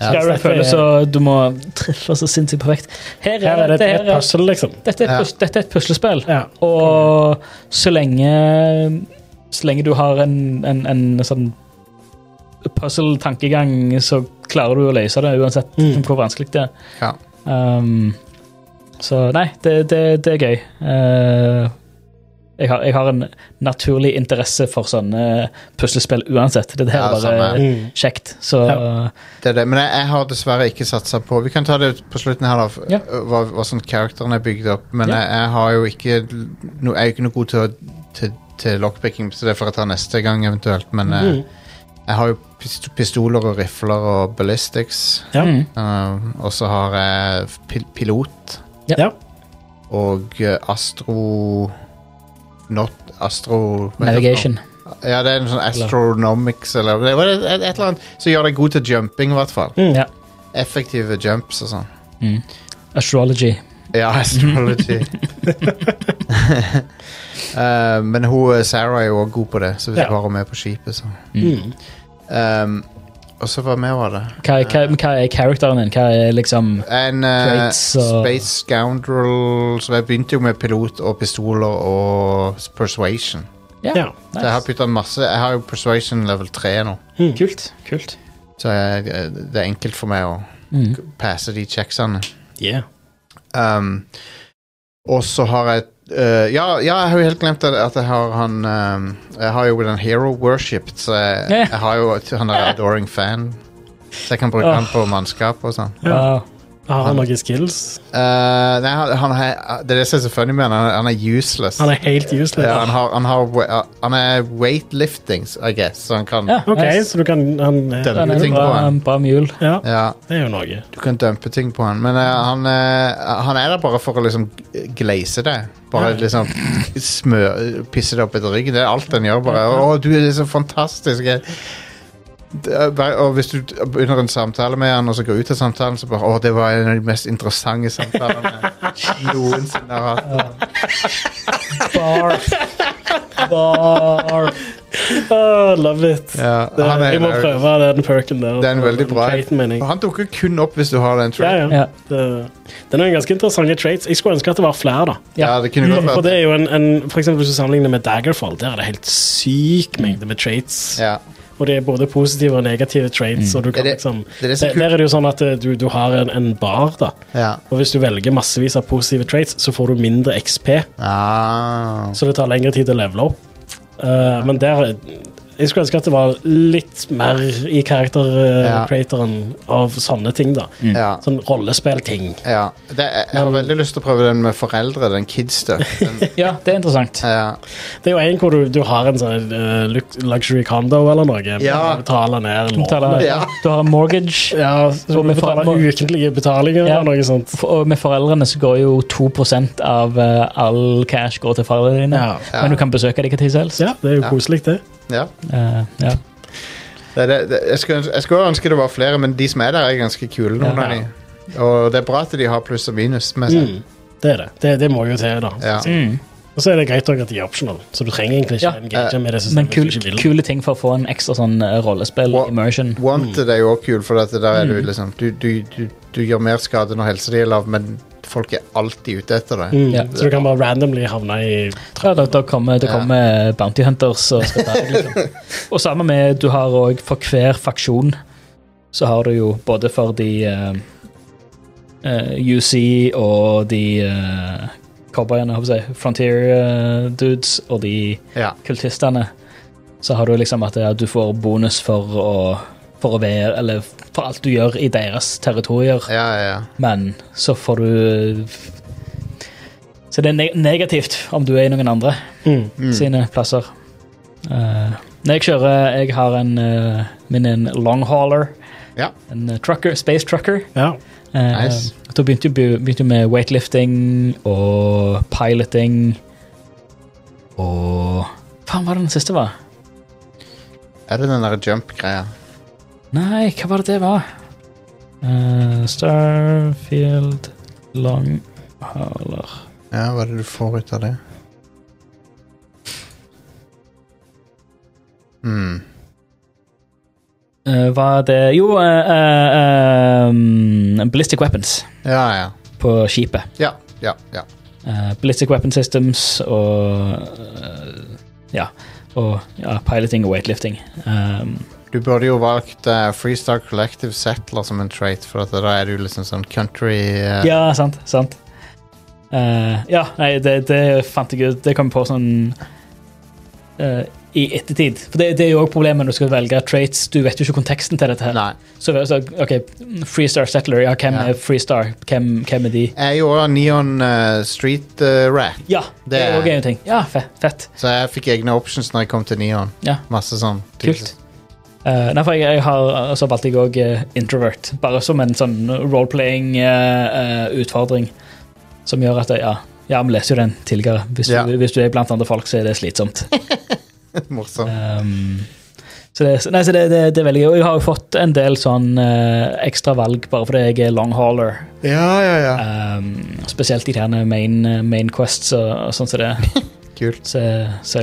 Skyrim føles så du må treffe så sinnssykt perfekt. Her
Her er det et, et
her er-
puzzle, liksom.
dette, er et
Ja.
pus, dette er et puslespill.
Ja.
Og så lenge Så lenge du har en, en, en sånn puzzle-tankegang, så klarer du å løse det uansett
Mm.
hvor vanskelig det er.
Ja.
Um, Så nei, det, det, det er gøy. Eh, jeg, har, jeg har en naturlig interesse for sånne puslespill uansett. Det her
Ja,
er bare
Mm.
samme.
kjekt. Så
Det er det. Men jeg, jeg har dessverre ikke satsa på Vi kan ta det på slutten her, da. f-
Ja.
Hva, hva sånn karakterene er bygd opp. Men
Ja.
jeg, jeg har jo ikke no, Jeg er jo ikke noe god til, å, til, til lockpicking, så det får jeg ta neste gang eventuelt. Men eh,
Mhm.
Mm.
jeg har jo pist- pistoler og rifler og ballistics.
Ja.
mm.
eh, og så har jeg pil pilot
Ja.
Ja.
og eh, astro... Not astro... hva heter det for noe?
Navigation.
Ja, det er en sånn astronomics eller det var et, et, et eller annet som gjør deg god til jumping, i hvert fall.
Mm.
Ja.
Effektive jumps og sånn.
Astrology.
Ja, astrology. Eh, men hun, eh, Sarah er jo også god på det, så hvis
Ja.
du har henne med på skipet, så
Mm.
Ehm, Og så hva mer var det?
Hva, er- hva, men hva er characteren din? Hva er liksom
En eh,
Traits og-
space scoundrel Så jeg begynte jo med pilot og pistoler og persuasion.
ja.
Så jeg har puttet masse Jeg har jo persuasion level 3 nå,
Mm.
Kult. kult.
så jeg, eh, det er enkelt for meg å
Mm.
passe de checksene.
Yeah.
Um, og så har jeg eh, ja, ja, jeg har jo helt glemt at at jeg har han um, Jeg har jo den Hero Worshipped, så jeg,
Ja.
jeg har jo et- han der Adoring Fan. Så jeg kan bruke
Åh.
han på mannskap og sånn.
Wow.
Har han noen skills?
Eh, nei, han, han er, det er det som er så funny med han. Han, han er useless.
Han er helt useless.
ja, han, har, han, har, we- han er weightlifting, I guess, så han kan
Ja,
Ok,
nice.
så du kan han,
Den-
ja,
Den er
ting
en
på
bra,
han.
bra mule.
ja,
ja,
det er jo noe.
du kan dumpe ting på han. Men eh, han, eh, han er der bare for å liksom glaze det. Bare liksom smø, pisse det opp etter ryggen. Det er alt han gjør. bare Å, du er så fantastisk. Jeg, det er bare, og hvis du begynner en samtale med han og så går ut av samtalen, så bare Å, det var en av de mest interessante samtalene jeg noensinne har hatt.
Barf. Barf.
Ah, love it.
Ja,
Det,
han
jeg må
er,
prøve den perken der.
det er en veldig bra
Traiten, mener jeg.
Og Han dukker kun opp hvis du har den
Ja,
traiten.
ja.
Ja.
Det, den er jo ganske interessante traits. Jeg skulle ønske at det var flere, da.
Ja, det kunne godt
Mm, For
vært
det er jo en, en For eksempel hvis du sammenligner med Daggerfall, der er det helt syk mengde med traits.
ja.
Og det er både positive og negative traits. Og du kan
Det er det-
liksom
det er det som
der,
kul-
der er det jo sånn at eh, du, du har en, en bar, da.
ja.
Og hvis du velger massevis av positive traits, så får du mindre XP.
Ah.
Så det tar lengre tid å levele opp. Eh, men der Jeg skulle ønske at det var litt mer i
Ja. Mm.
character-creatoren av sånne ting, da.
Ja.
Sånn rollespill-ting.
Ja. Det, jeg, jeg har veldig lyst til å prøve den med foreldre, den kidstuff. Den-
Ja, det er interessant.
Ja.
Det er jo en hvor du, du har en sånn eh, lux- luxury condo eller noe. men
Ja.
Du betaler ned lån.
Taler-
Ja.
Du har en mortgage.
Ja, så
Og
du
med
betaler
farmor.
ukentlige betalinger
Ja.
eller noe sånt.
Og med foreldrene så går jo 2 av eh, all cash går til foreldrene dine.
Ja.
Ja.
Men du kan besøke dem hva tid som helst.
Ja, det er jo koselig, det.
ja.
Eh, ja.
Det, er det, det, jeg, skulle, øns- jeg skulle ønske det var flere, men de som er der, er ganske kule. Noen
Ja.
av de. Og det er bra at de har pluss og minus med seg.
Mm. Det er det. det. Det må jo til, da.
Ja.
Mm.
Og så er det greit også at de er optional, så du trenger egentlig ikke
Ja.
engage med det systemet.
Men
hvis du
kul,
ikke vil.
kule ting for å få en ekstra sånn eh, rollespill
Wa-
immersion.
Wanted er jo også kul, for at der er
Mm.
du liksom du, du, du, du gjør mer skade når helsa di er lav, men folk er alltid ute etter deg.
Mm.
Ja.
Så du kan bare randomly havne i
Ja, da, da kommer, da kommer Bounty Hunters og skal ta deg, liksom. Og sammen med du har òg for hver faksjon så har du jo både for de eh, eh, UC og de uh, cowboyene, håper jeg, å si, Frontier eh, dudes og de
Ja.
kultistene, så har du liksom at ja, du får bonus for å, for å være Eller for alt du gjør i deres territorier.
Ja, ja, ja.
Men så får du Så det er ne negativt om du er i noen andre
Mm.
sine plasser. Eh, når jeg kjører Jeg har en eh, min er en longhauler.
Ja.
En eh, trucker, space trucker.
Ja.
Eh,
Nice.
Da begynte jeg be- begynte jeg med weightlifting og piloting og Faen, hva var det den siste var?
Er det den der jump-greia?
Nei, hva var det det var? Eh, Starfield longhauler
Ja, hva er det du får ut av det? Mm.
Eh, var det Jo, eh, eh, ehm, Ballistic Weapons
Ja, ja.
på skipet.
Ja, ja, ja.
Eh, ballistic Weapon Systems og eh, Ja. Og ja, piloting og weightlifting. Ehm,
Du burde jo valgt eh, Freestar Collective Settler som en trait, for at da er du liksom sånn country eh,
ja, sant. sant Eh, ja, nei, det, det fant jeg ut Det kom jeg på sånn eh, i ettertid. For det, det er jo også problemet når du skal velge traits. Du vet jo ikke konteksten til dette. her.
Nei.
Så, så ok, Freestar Settler, ja, hvem
Ja.
er Freestar? Hvem, hvem er de?
Jeg er jo også Neon eh, Street eh, Rat,
Ja, det,
Det
er
er-
også en ting. Ja, fe- fett.
så jeg fikk egne options når jeg kom til Neon.
Ja.
Masse sånn.
Kult. Eh, nei, for jeg, jeg har så valgte jeg òg introvert, bare som en sånn role-playing-utfordring. som gjør at jeg, ja, ja, vi leser jo den tidligere. Hvis,
Ja.
du, hvis du er blant andre folk, så er det slitsomt.
Morsomt.
Um, så det, nei, så det, det, det er veldig gøy. Og jeg har jo fått en del sånn eh, ekstra valg bare fordi jeg er long hauler.
Ja, ja, ja.
Um, spesielt i de her main, eh, main quests og, og sånn som det.
Kult.
Så, så,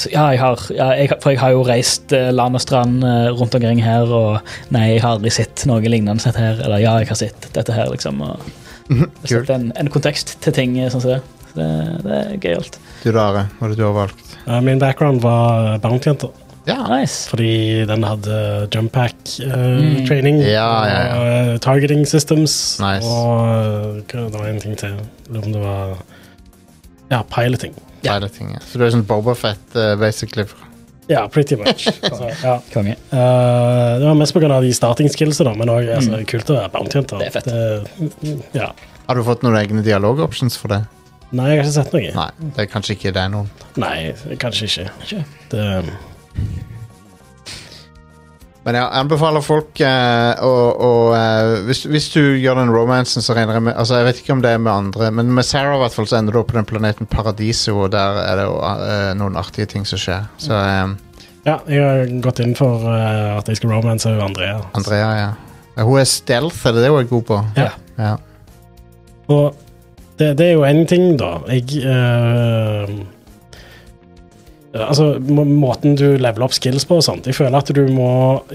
så ja, jeg har, ja jeg, har- For jeg har jo reist eh, land og strand eh, rundt omkring her, og nei, jeg har aldri sett noe lignende sett her. Eller ja, jeg har sett dette her, liksom. Og
Kult.
sett en, en kontekst til ting eh, sånn som det. Så det, det er gøyalt.
Du, Dare, hva er det du har valgt?
Eh, Min background var eh, bounty-jenter,
Ja.
Nice.
fordi den hadde jump
Mm.
pack-training.
Ja, ja, ja.
Og eh, targeting systems.
Nice.
Og eh, hva- det var en ting til. Jeg Lurer om det var Ja, piloting.
Piloting, ja. Så du er sånn Bobafett, uh, basically.
Ja, pretty much. altså, ja.
Konge.
Eh, det var mest pga. de starting skillsa, da, men òg altså, kult å være bounty-jenter.
Mm. Det er fett.
Det- mm, Ja.
Har du fått noen egne dialogoptions for det?
Nei, jeg har ikke sett noe.
Nei, det er kanskje ikke det noen.
Nei, kanskje ikke.
Ikke.
Det,
Men jeg anbefaler folk eh, å, å eh, hvis, hvis du gjør den romansen, så regner jeg med Altså, jeg vet ikke om det er med andre, men med Sarah i hvert fall så ender du opp på den planeten Paradiso, og der er det jo eh, noen artige ting som skjer. Så eh,
ja, jeg har gått inn for eh, at jeg skal romance med Andrea.
Andrea, ja. Ja, Hun er stealth, er det det hun er god på?
Ja.
Ja.
Og det, det er jo én ting, da. Jeg eh, Altså, må- måten du leveler opp skills på og sånt. Jeg føler at du må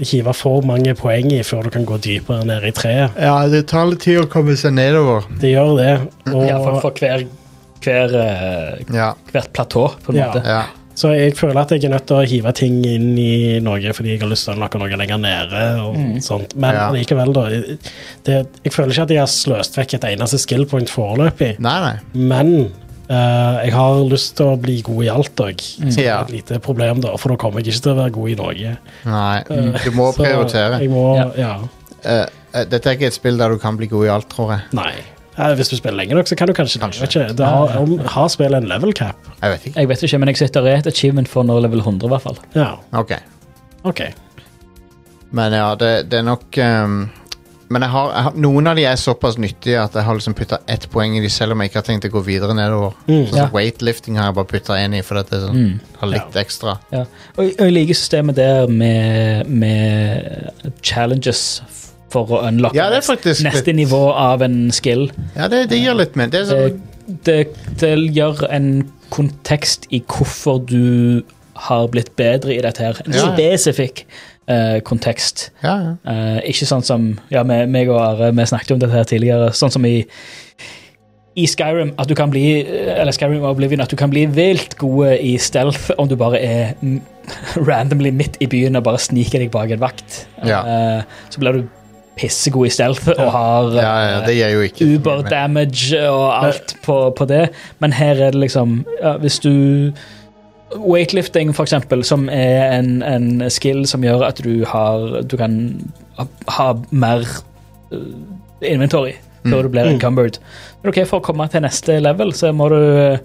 hive for mange poeng i før du kan gå dypere ned i treet.
ja, det tar litt tid å komme seg nedover.
Det gjør det. Og,
Mm. Ja, for, for hver, hver, eh,
Ja,
hvert platå, på en
Ja.
måte.
ja.
Så jeg føler at jeg er nødt til å hive ting inn i noe fordi jeg har lyst til å unlocke noe lenger nede. og sånt. Men
Ja.
likevel, da. Det, jeg føler ikke at jeg har sløst vekk et eneste skill point foreløpig.
Nei, nei.
Men eh, jeg har lyst til å bli god i alt òg. Så det
Ja.
er et lite problem, da, for da kommer jeg ikke til å være god i Norge.
nei. Du må
Så
prioritere.
Jeg må, ja.
Ja.
Eh, eh, dette er ikke et spill der du kan bli god i alt, tror jeg.
Nei. Eh, Hvis du spiller lenge nok, så kan du kanskje, det,
Kanskje.
vet ikke. det. Har, om, har spillet en level cap?
Jeg vet ikke.
Jeg vet ikke, men jeg sitter i et achievement for når level 100, i hvert fall.
Ja,
Ok.
OK.
Men ja, det, det er nok ehm, Men jeg har, jeg har, noen av de er såpass nyttige at jeg har liksom putta ett poeng i de selv om jeg ikke har tenkt å gå videre nedover. Sånn
Mm.
som
Mm. Ja. Mm.
Weightlifting har jeg bare putta én i, for at det er sånn, har litt ekstra.
Ja. Og jeg- og jeg liker systemet der med, med challenges for å unlocke
Ja, det er faktisk
neste
litt-
nivå av en skill.
Ja, det, det gjør litt mer. Det er
Det,
sånn,
det, det gjør en kontekst i hvorfor du har blitt bedre i dette her. En
Ja.
spesifikk eh, kontekst.
ja, ja.
Eh, ikke sånn som Ja, me- meg og Are vi snakket om dette her tidligere. Sånn som i i Skyrim at du kan bli eh, eller Skyrim og Oblivion, at du kan bli vilt gode i stealth om du bare er mm, randomly midt i byen og bare sniker deg bak en vakt.
Ja.
Eh, så blir du pissegod i stealth og har
ja, ja, det gir jo ikke
Uber damage og alt på, på det, men her er det liksom ja, Hvis du Weightlifting, for eksempel, som er en, en skill som gjør at du har Du kan ha, ha mer eh, inventory
Mm.
før du blir encumbered. Men ok, For å komme til neste level, så må du eh,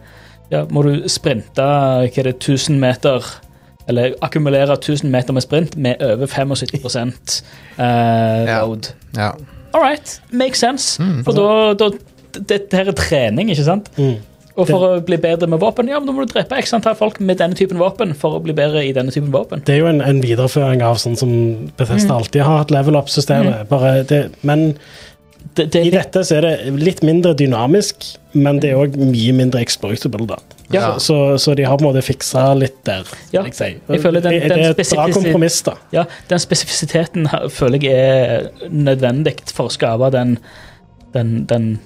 ja, må du sprinte hva er det, 1000 meter Eller akkumulere 1000 meter med sprint med over 75 eh,
Ja.
load.
Ja.
All right, makes sense. For da, da Dette her er trening, ikke sant?
Mm.
Og for å bli bedre med våpen, ja, men da må du drepe x antall folk med denne typen våpen for å bli bedre i denne typen våpen.
Det er jo en, en videreføring av sånn som Bethesda alltid har hatt level up-systemet. Bare det- Men
Det, det,
i dette så er det litt mindre dynamisk, men det er òg mye mindre exploitable, da.
Ja.
Så, så de har på en måte fiksa litt der.
Ja,
vil si.
jeg føler den-
det, det
den
er et bra
spesifisi-
kompromiss, da.
ja, den spesifisiteten her føler jeg er nødvendig for å skape den den, den,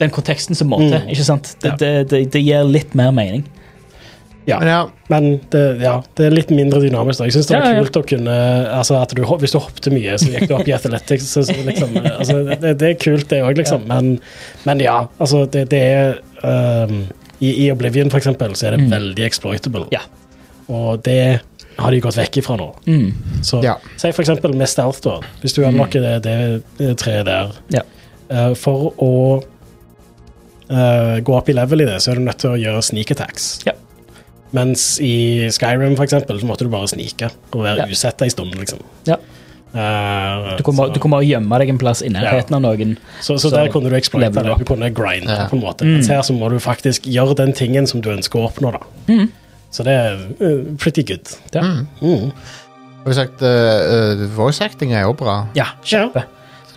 den konteksten som må til. ikke sant? Det,
Ja.
det, det, det gir litt mer mening.
Ja.
Men ja,
Men det, ja, det er litt mindre dynamisk. da. Jeg synes det var
Ja, ja.
kult å kunne altså at du, hop- Hvis du hoppte mye, så gikk du opp i athletics. Så, så liksom, eh, altså, det, det er kult, det òg, liksom. Men, men ja, altså det, det er ehm, i, I Oblivion, for eksempel, så er det veldig exploitable.
Mm. Ja.
Og det har de gått vekk ifra nå.
Mm.
Så
Ja.
si for eksempel med stealth, da. Hvis du unlocker det, det, det treet der.
Ja.
Eh, for å eh, gå opp i level i det, så er du nødt til å gjøre sneak attacks.
Ja.
Mens i Skyrim, for eksempel, så måtte du bare snike og være
Ja.
usett ei stund, liksom.
Ja.
Eh,
Du kommer,
så,
du kommer å gjemme deg en plass i nærheten av noen.
så, så
så
der kunne du exploite
leveler
det. Du
du
kunne grinde,
Ja.
på en måte. Mens her så må du faktisk gjøre den tingen som du ønsker å oppnå, da. Så det er eh, pretty good.
Ja.
Mm.
har vi sagt eh, eh, voice acting er jo bra.
Ja, kjempe.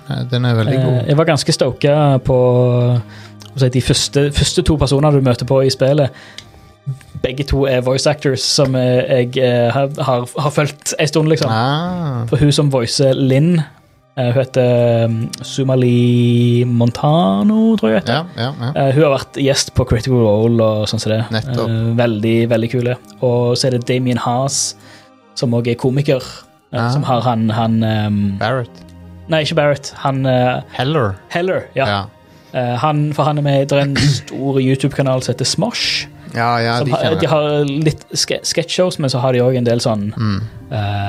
Eh, Den er veldig
Eh,
god.
Jeg var ganske stoka på hva skal jeg si, de første, første to personene du møter på i spillet. Begge to er voice actors som eh, jeg eh, har, har, har fulgt en stund, liksom.
Ah,
For hun som voicer Linn, eh, hun heter um, Sumali Montano, tror jeg. hun heter.
ja, ja, ja.
Eh, hun har vært gjest på Critical Role og sånn som det.
Nettopp.
Eh, veldig, veldig kule. Og så er det Damien Haas, som òg er komiker, eh,
Ah.
som har han, han ehm,
Barrett.
Nei, ikke Barrett. Han eh,
Heller.
Heller,
Ja,
ja.
ja,
Eh, han, for han er med i det er en stor YouTube-kanal som heter Smosh.
ja,
som
de
har-
kjenner
de
jeg.
har litt ske- sketsjshows, men så har de òg en del sånn
Mm.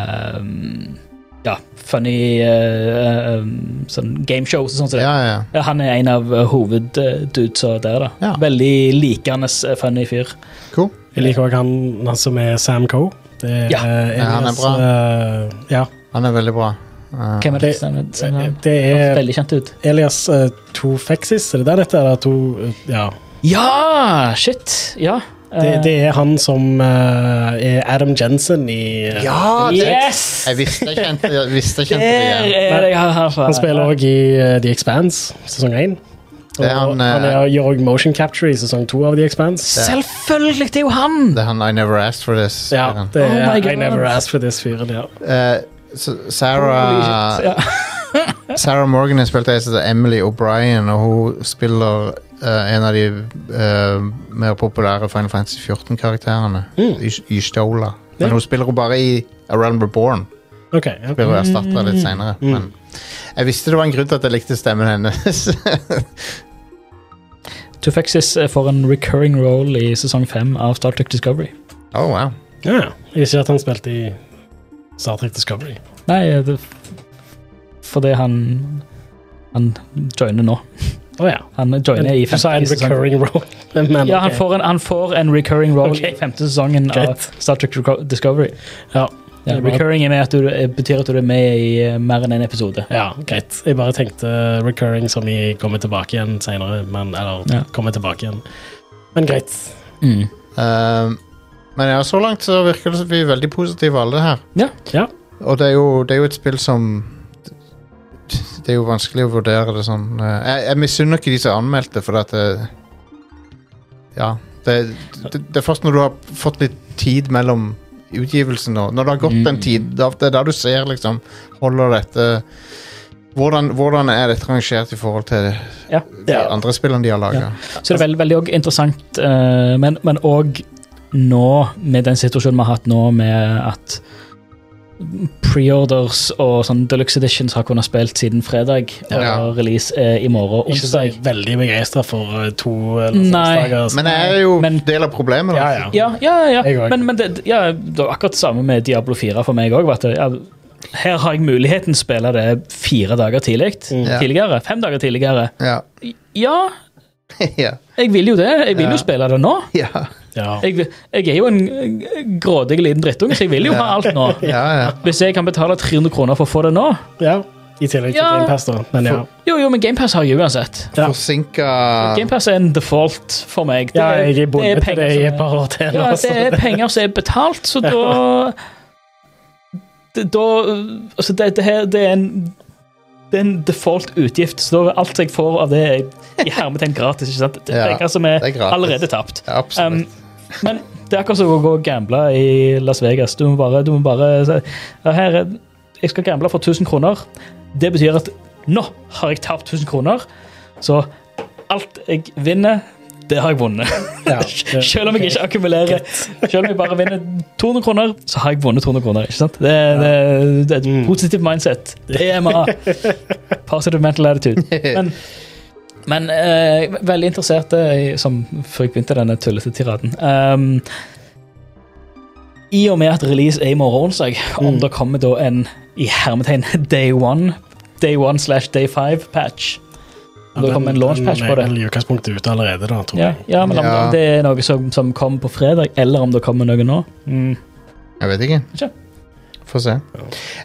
eh, Ja, funny eh, eh, sånn gameshows og sånt. som det.
Ja, ja.
Ja, Han er en av eh, hoveddudesa der, da.
Ja.
Veldig likende eh, funny fyr.
Cool.
Jeg liker òg han, han som er Sam Coe. Det er,
Ja.
eh,
Ja, han er
Elias,
bra.
eh, ja.
Han er veldig bra. Eh,
Hvem er det?
Det-
som er- som er-
Det
høres
er
Veldig kjent ut.
Elias uh, Tofexis, er det der dette er? da? To, eh, ja.
Ja! Shit. Ja.
Det,
Eh,
det er han som eh, er Adam Jensen i eh,
ja, det,
yes! Eh.
jeg visste jeg kjente, jeg visste jeg kjente det
Der
igjen.
er det jeg har herfra.
Han spiller òg i eh, The Expanse, sesong 1. Og
Det er han,
han,
eh,
er- gjør òg motion capture i sesong 2 av The Expanse.
Selvfølgelig, det er jo han!
Det er han I Never Asked For This.
Ja,
er han.
det er
Oh my
I Never
God.
Asked for this fyren, ja.
Eh, S- Sarah
Ja.
Sarah Morgan har spilt ei som heter Emily O'Brien, og hun spiller eh, en av de eh, mer populære Final Fantasy 14-karakterene. I, I Stola. Men
Ja.
hun spiller hun bare i A Realm Reborn.
Ok. Ja.
Blir hun erstatta litt seinere. Men jeg visste det var en grunn til at jeg likte stemmen hennes.
Tufexis eh, får en recurring role i sesong fem av Star Trek Discovery.
oh, wow.
ja. Jeg visste ikke at han spilte i Star Trek Discovery.
Nei, eh, det, fordi han Han joiner nå.
Å ja.
Han joiner i
Du sa
femte
en
sesong.
recurring role. Men,
Ja, han
ok.
får en, han får en recurring role
Ok.
i femte sesongen av
Greit.
Star Trek Reco- Discovery.
ja.
Ja,
Det er bra.
recurring er med at du, eh, betyr at du er med i eh, mer enn én episode.
ja, greit. Jeg bare tenkte recurring som i kommer tilbake igjen senere, men Eller
Ja.
kommer tilbake igjen. Men greit.
Mm.
Ehm, men ja, så langt så virker det som vi er veldig positive alle her.
Ja.
Ja.
Og det er jo, det er jo et spill som Det er jo vanskelig å vurdere det sånn eh, Jeg, jeg misunner ikke de som anmeldte, for at det, Ja. Det, det, det er først når du har fått litt tid mellom utgivelsen og Når det har gått en tid, da, det er da du ser liksom Holder dette hvordan, hvordan er dette rangert i forhold til
Ja.
de andre spillene de har laga?
Så det er veldig, veldig og interessant, eh, men, men også nå, med den situasjonen vi har hatt nå, med at preorders og sånn deluxe editions har kunnet spilt siden fredag, og
Ja.
release er i morgen,
Ikke så
onsdag.
veldig begeistra for eh, to eller
Nei.
seks dager.
Men jeg er jo
Men-
del av problemet. da.
Ja, ja.
Ja, ja, ja.
Jeg
ja.
også.
Men, men det, ja, det var akkurat det samme med Diablo 4 for meg òg. Ja, her har jeg muligheten til å spille det fire dager tidlig.
Ja.
Tidligere. Fem dager tidligere.
Ja.
Ja,
ja.
jeg vil jo det. Jeg vil
Ja.
jo spille det nå.
Ja.
Ja.
Jeg, jeg er jo en eh, grådig liten drittunge, så jeg vil jo ha alt nå.
ja, ja.
Hvis jeg kan betale 300 kroner for å få det nå
ja. I tillegg til
Ja.
Game Pass, da. Men ja.
Jo, jo, men GamePass har jeg uansett.
Ja.
Forsinka
GamePass er en default for meg.
ja, jeg er
det er
bonde til det i et
penger,
par år til.
som er, ja,
altså.
det er penger som er betalt, så da det- Da Altså, det, det her det er en det er en default utgift, så da er alt jeg får av det, er i hermetegn gratis. ikke sant? Det er
Ja,
penger som er,
det er gratis.
allerede tapt.
Ja, absolutt.
Um, men det er akkurat som å gå og gamble i Las Vegas. Du må bare, du må bare si ja, her er, Jeg skal gamble for 1000 kroner. Det betyr at nå har jeg tapt 1000 kroner. Så alt jeg vinner, Det har jeg vunnet.
Ja, det-
Selv om jeg ikke akkumulerer Selv om jeg bare vinner 200 kroner, så har jeg vunnet 200 kroner. ikke sant? Det, det, det er et positivt mindset. PMA. Positive mental attitude. Men, men eh, veldig interessert eh, i- som før jeg begynte denne tullete tiraden ehm, I og med at release er i morgen onsdag,
Mm.
om det kommer da en i hermetegn day one Day one slash day five-patch. Om det kommer en launchpatch på det.
Den er i utgangspunktet ute allerede, da, tror
Ja,
jeg.
ja men om
Ja.
det er noe som, som kommer på fredag, eller om det kommer noe nå. Mm,
Jeg vet ikke.
Ikke?
Få se.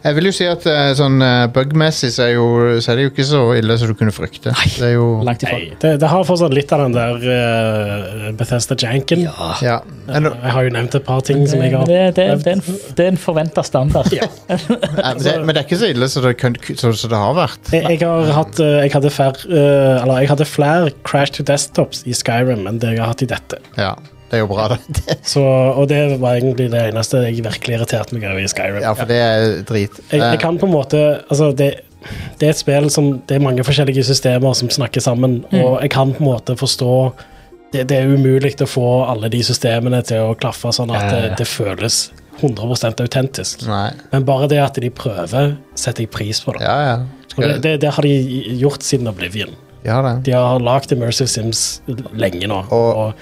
Jeg vil jo si at eh, sånn eh, bug-messig så, er jo- så er det jo ikke så ille som du kunne frykte. Det er jo
Langt ifra.
Nei, det, det har fortsatt litt av den der eh, Bethesda Janken.
Ja.
Eh,
Er det-
Jeg har jo nevnt et par ting som jeg
Men
har
Det, det, det, er en, f- det er en forventa standard.
eh, men det, men det er ikke så ille som det, kun- så- så det har vært.
Jeg, jeg har hatt eh, Jeg hadde fær, eh, Eller jeg hadde flere Crash to Desktops i Skyrim enn det jeg har hatt i dette.
Ja, det er jo bra, det.
Så, og det var egentlig det eneste jeg virkelig irriterte meg over i Skyrim.
Ja, for det er drit.
jeg, jeg
Eh,
kan på en måte Altså, det, det er et spill som Det er mange forskjellige systemer som snakker sammen,
Mm.
og jeg kan på en måte forstå det, det er umulig å få alle de systemene til å klaffe sånn at
Ja, ja,
det,
Eh.
ja.
det føles 100 autentisk.
Nei.
Men bare det at de prøver, setter jeg pris på. det.
Ja, ja.
Og det,
Skal,
det, det har de gjort siden Oblivion.
ja, det.
De har lagd Immersive Sims lenge nå.
Og-
Og,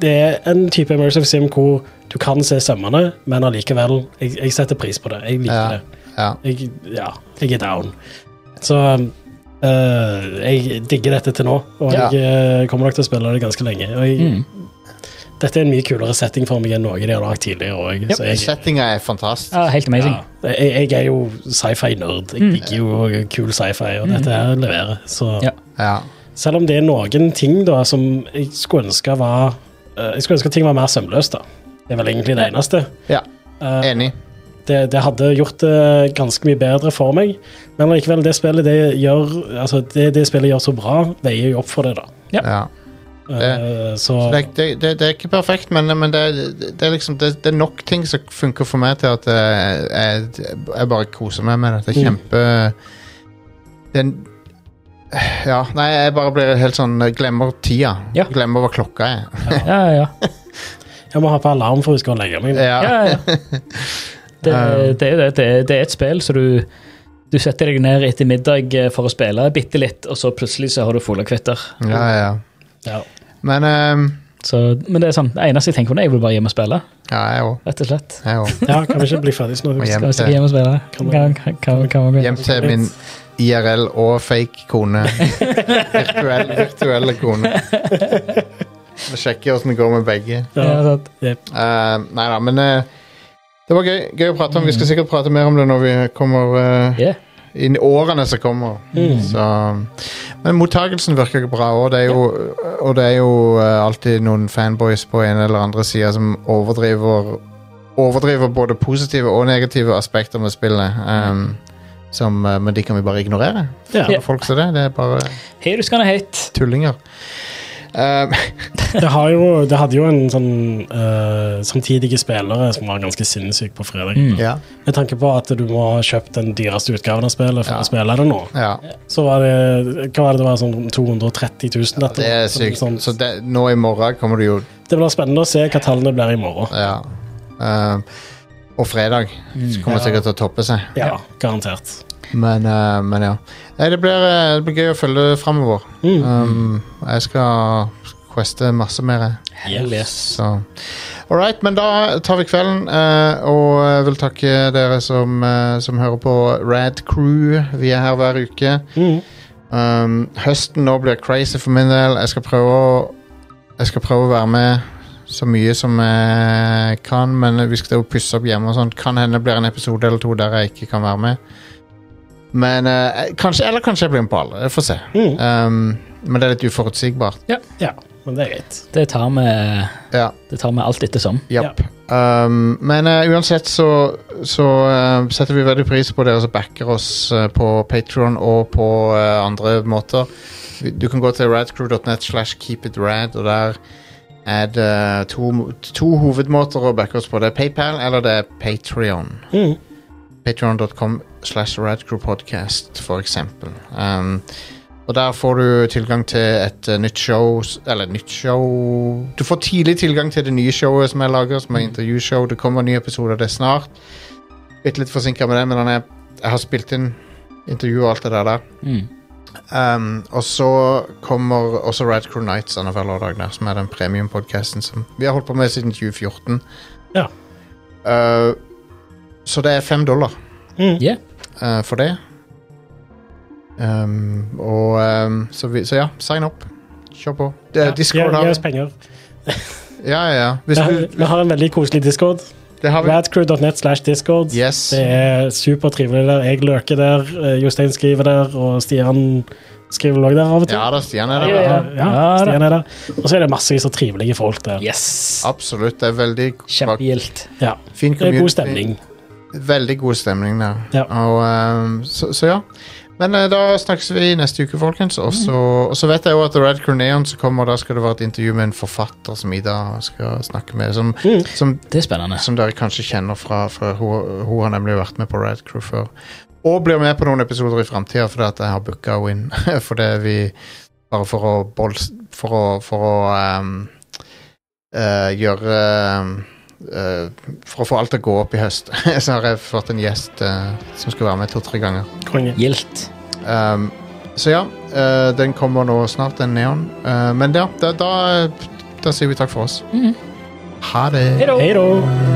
det er en type Immersive Sim hvor du kan se sømmene, men allikevel jeg, jeg setter pris på det. Jeg liker
Ja.
det.
Ja.
Jeg, ja, jeg er down. Så øh, jeg digger dette til nå, og
Ja. Mm.
jeg øh, kommer nok til å spille det ganske lenge. Og jeg, Dette er en mye kulere setting for meg enn noe de har lagd tidligere. og jeg- så jeg,
Settinga er fantastisk.
Ja, helt amazing.
ja, jeg, jeg er jo sci-fi-nerd. Jeg digger jo kul sci-fi, og dette her leverer. Så
Ja.
Ja.
selv om det er noen ting da som jeg skulle ønske var øh, Jeg skulle ønske ting var mer sømløst, da. Det er vel egentlig det eneste.
ja.
Eh,
Enig.
det, det hadde gjort det ganske mye bedre for meg. Men likevel, det spillet, det gjør, altså, det, det spillet gjør så bra, veier jo opp for det, da.
Ja.
Eh, så
Det, er- det, det, det er ikke perfekt, men, men det, er- det, er liksom, det, det er nok ting som funker for meg til at eh, jeg, jeg bare koser meg med det. Det er kjempe det er en, Ja, nei, jeg bare blir helt sånn jeg Glemmer tida.
Ja.
Glemmer hva klokka er.
Ja, ja, ja.
jeg må ha på alarm for å huske å legge meg.
Ja.
ja, ja. Det, det, er jo det, det, er- det er et spill, så du du setter deg ned etter middag eh, for å spille bitte litt, og så plutselig så har du fulle kvitter.
ja, ja.
Ja.
Men eh,
Så, men det er sånn, det eneste jeg tenker på, er jeg vil bare hjem og spille.
Ja, jeg òg.
rett og slett.
Jeg òg.
ja, kan vi ikke bli ferdig snart?
Må hjem.
Skal vi ikke hjem og spille? Kan, kan, kan, kan, kan,
Hjem til min IRL og fake kone. Virtuell, virtuelle kone. Vi sjekker åssen det går med begge.
Ja.
Ja, sant.
Eh, nei da, men eh, det var gøy, gøy å prate om.
Mm.
Vi skal sikkert prate mer om det når vi kommer eh,
Yeah.
inn i årene som kommer.
Mm.
Så, men mottagelsen virker bra òg. Det er jo, og det er jo eh, alltid noen fanboys på en eller andre sida som overdriver Overdriver både positive og negative aspekter med spillet. ehm, som, eh, men de kan vi bare ignorere.
Ja.
For Folk som det. Det er bare
Hey, du skal ha hate.
tullinger. Ehm,
Det, har jo, det hadde jo en sånn eh, samtidige spillere som var ganske sinnssyk på fredag.
Mm.
ja,
Med tanke på at du må ha kjøpt den dyreste utgaven av spillet for
Ja.
å spille det nå.
ja.
Så var det hva var det, det var sånn 230 000 dette
Det er
året. Så
sykt.
sånn-
Så det, nå i morgen kommer du jo
Det blir spennende å se hva tallene blir i morgen.
Ja. Ehm, og fredag Så kommer det sikkert til å toppe seg.
Ja, garantert.
Men, eh, men ja. Nei, det, blir, eh, det blir gøy å følge det framover. Um, jeg skal queste masse mer. jeg.
Yes.
Så All right, men da tar vi kvelden. eh, og jeg vil takke dere som, eh, som hører på Rad Crew. Vi er her hver uke. Um, høsten nå blir crazy for min del. Jeg skal prøve å Jeg skal prøve å være med så mye som jeg kan, men vi skal jo pusse opp hjemme og sånn. Kan hende det blir en episode eller to der jeg ikke kan være med. Men eh, kanskje, Eller kanskje jeg blir med på alle. Jeg får se.
Mm.
Um, men det er litt uforutsigbart.
Ja, men det er greit.
Det tar vi
Ja.
Det tar vi alt ettersom.
Japp. Um, men eh, uansett så, så eh, setter vi veldig pris på dere som backer oss eh, på Patron og på eh, andre måter. Vi- Du kan gå til radcrew.net slash keepitrad, og der er det to, to hovedmåter å backe oss på. Det er PayPal eller det er Patrion.
Mhm.
Patreon.com slash radcrewpodcast, for eksempel. Um, Og der får du tilgang til et eh, nytt show s- Eller nytt show Du får tidlig tilgang til det nye showet som jeg lager, som er intervjushow. Det kommer en ny episode av det snart. Bitte litt forsinka med det, men han er, jeg har spilt inn intervju og alt det der. der.
Mm.
Um, og så kommer også Rad Crew Nights annenhver lørdag, der, som er den premiumpodkasten som vi har holdt på med siden 2014.
Ja.
Uh, så det er fem dollar
Mm.
Yeah.
uh, for det. Um, og um, så, vi, så ja, sign up. Kjør på. Det,
Ja,
Discord
gi,
har
gi oss penger.
Ja, ja, ja. Hvis
Vi har,
du
vi har en veldig koselig discord.
Det har vi.
Radcrew.net slash discord.
Yes.
Det er supertrivelig der. Jeg løker der, eh, Jostein skriver der, og Stian skriver også der av og til.
Ja da, Stian er
Ja,
der.
ja.
Ja,
Ja, da.
Stian er der. Og så er det massevis av trivelige folk der.
Yes.
Absolutt. Det er veldig bra-
Kjempegilt.
Ja.
fin
Det er
community.
god stemning.
Veldig god stemning der.
Ja.
Og, ehm, så, så ja. Men eh, da snakkes vi neste uke, folkens. Og så, og så vet jeg jo at Red Corneon som kommer, da skal det være et intervju med en forfatter som Ida skal snakke med. Som,
Mm.
som,
Det er spennende.
som dere kanskje kjenner fra, fra hun, hun har nemlig vært med på Red Crew før. Og blir med på noen episoder i framtida fordi at jeg har booka henne inn. fordi vi Bare for å bols... For å, for å ehm, eh, gjøre ehm, eh, For å få alt til å gå opp i høst, så har jeg fått en gjest eh, som skal være med to-tre ganger.
Konge.
Gildt.
Ehm, så ja, eh, den kommer nå snart, den neon. Eh, men ja, da, da, da sier vi takk for oss. Ha det.
Mhm. Hei da.
Hei da.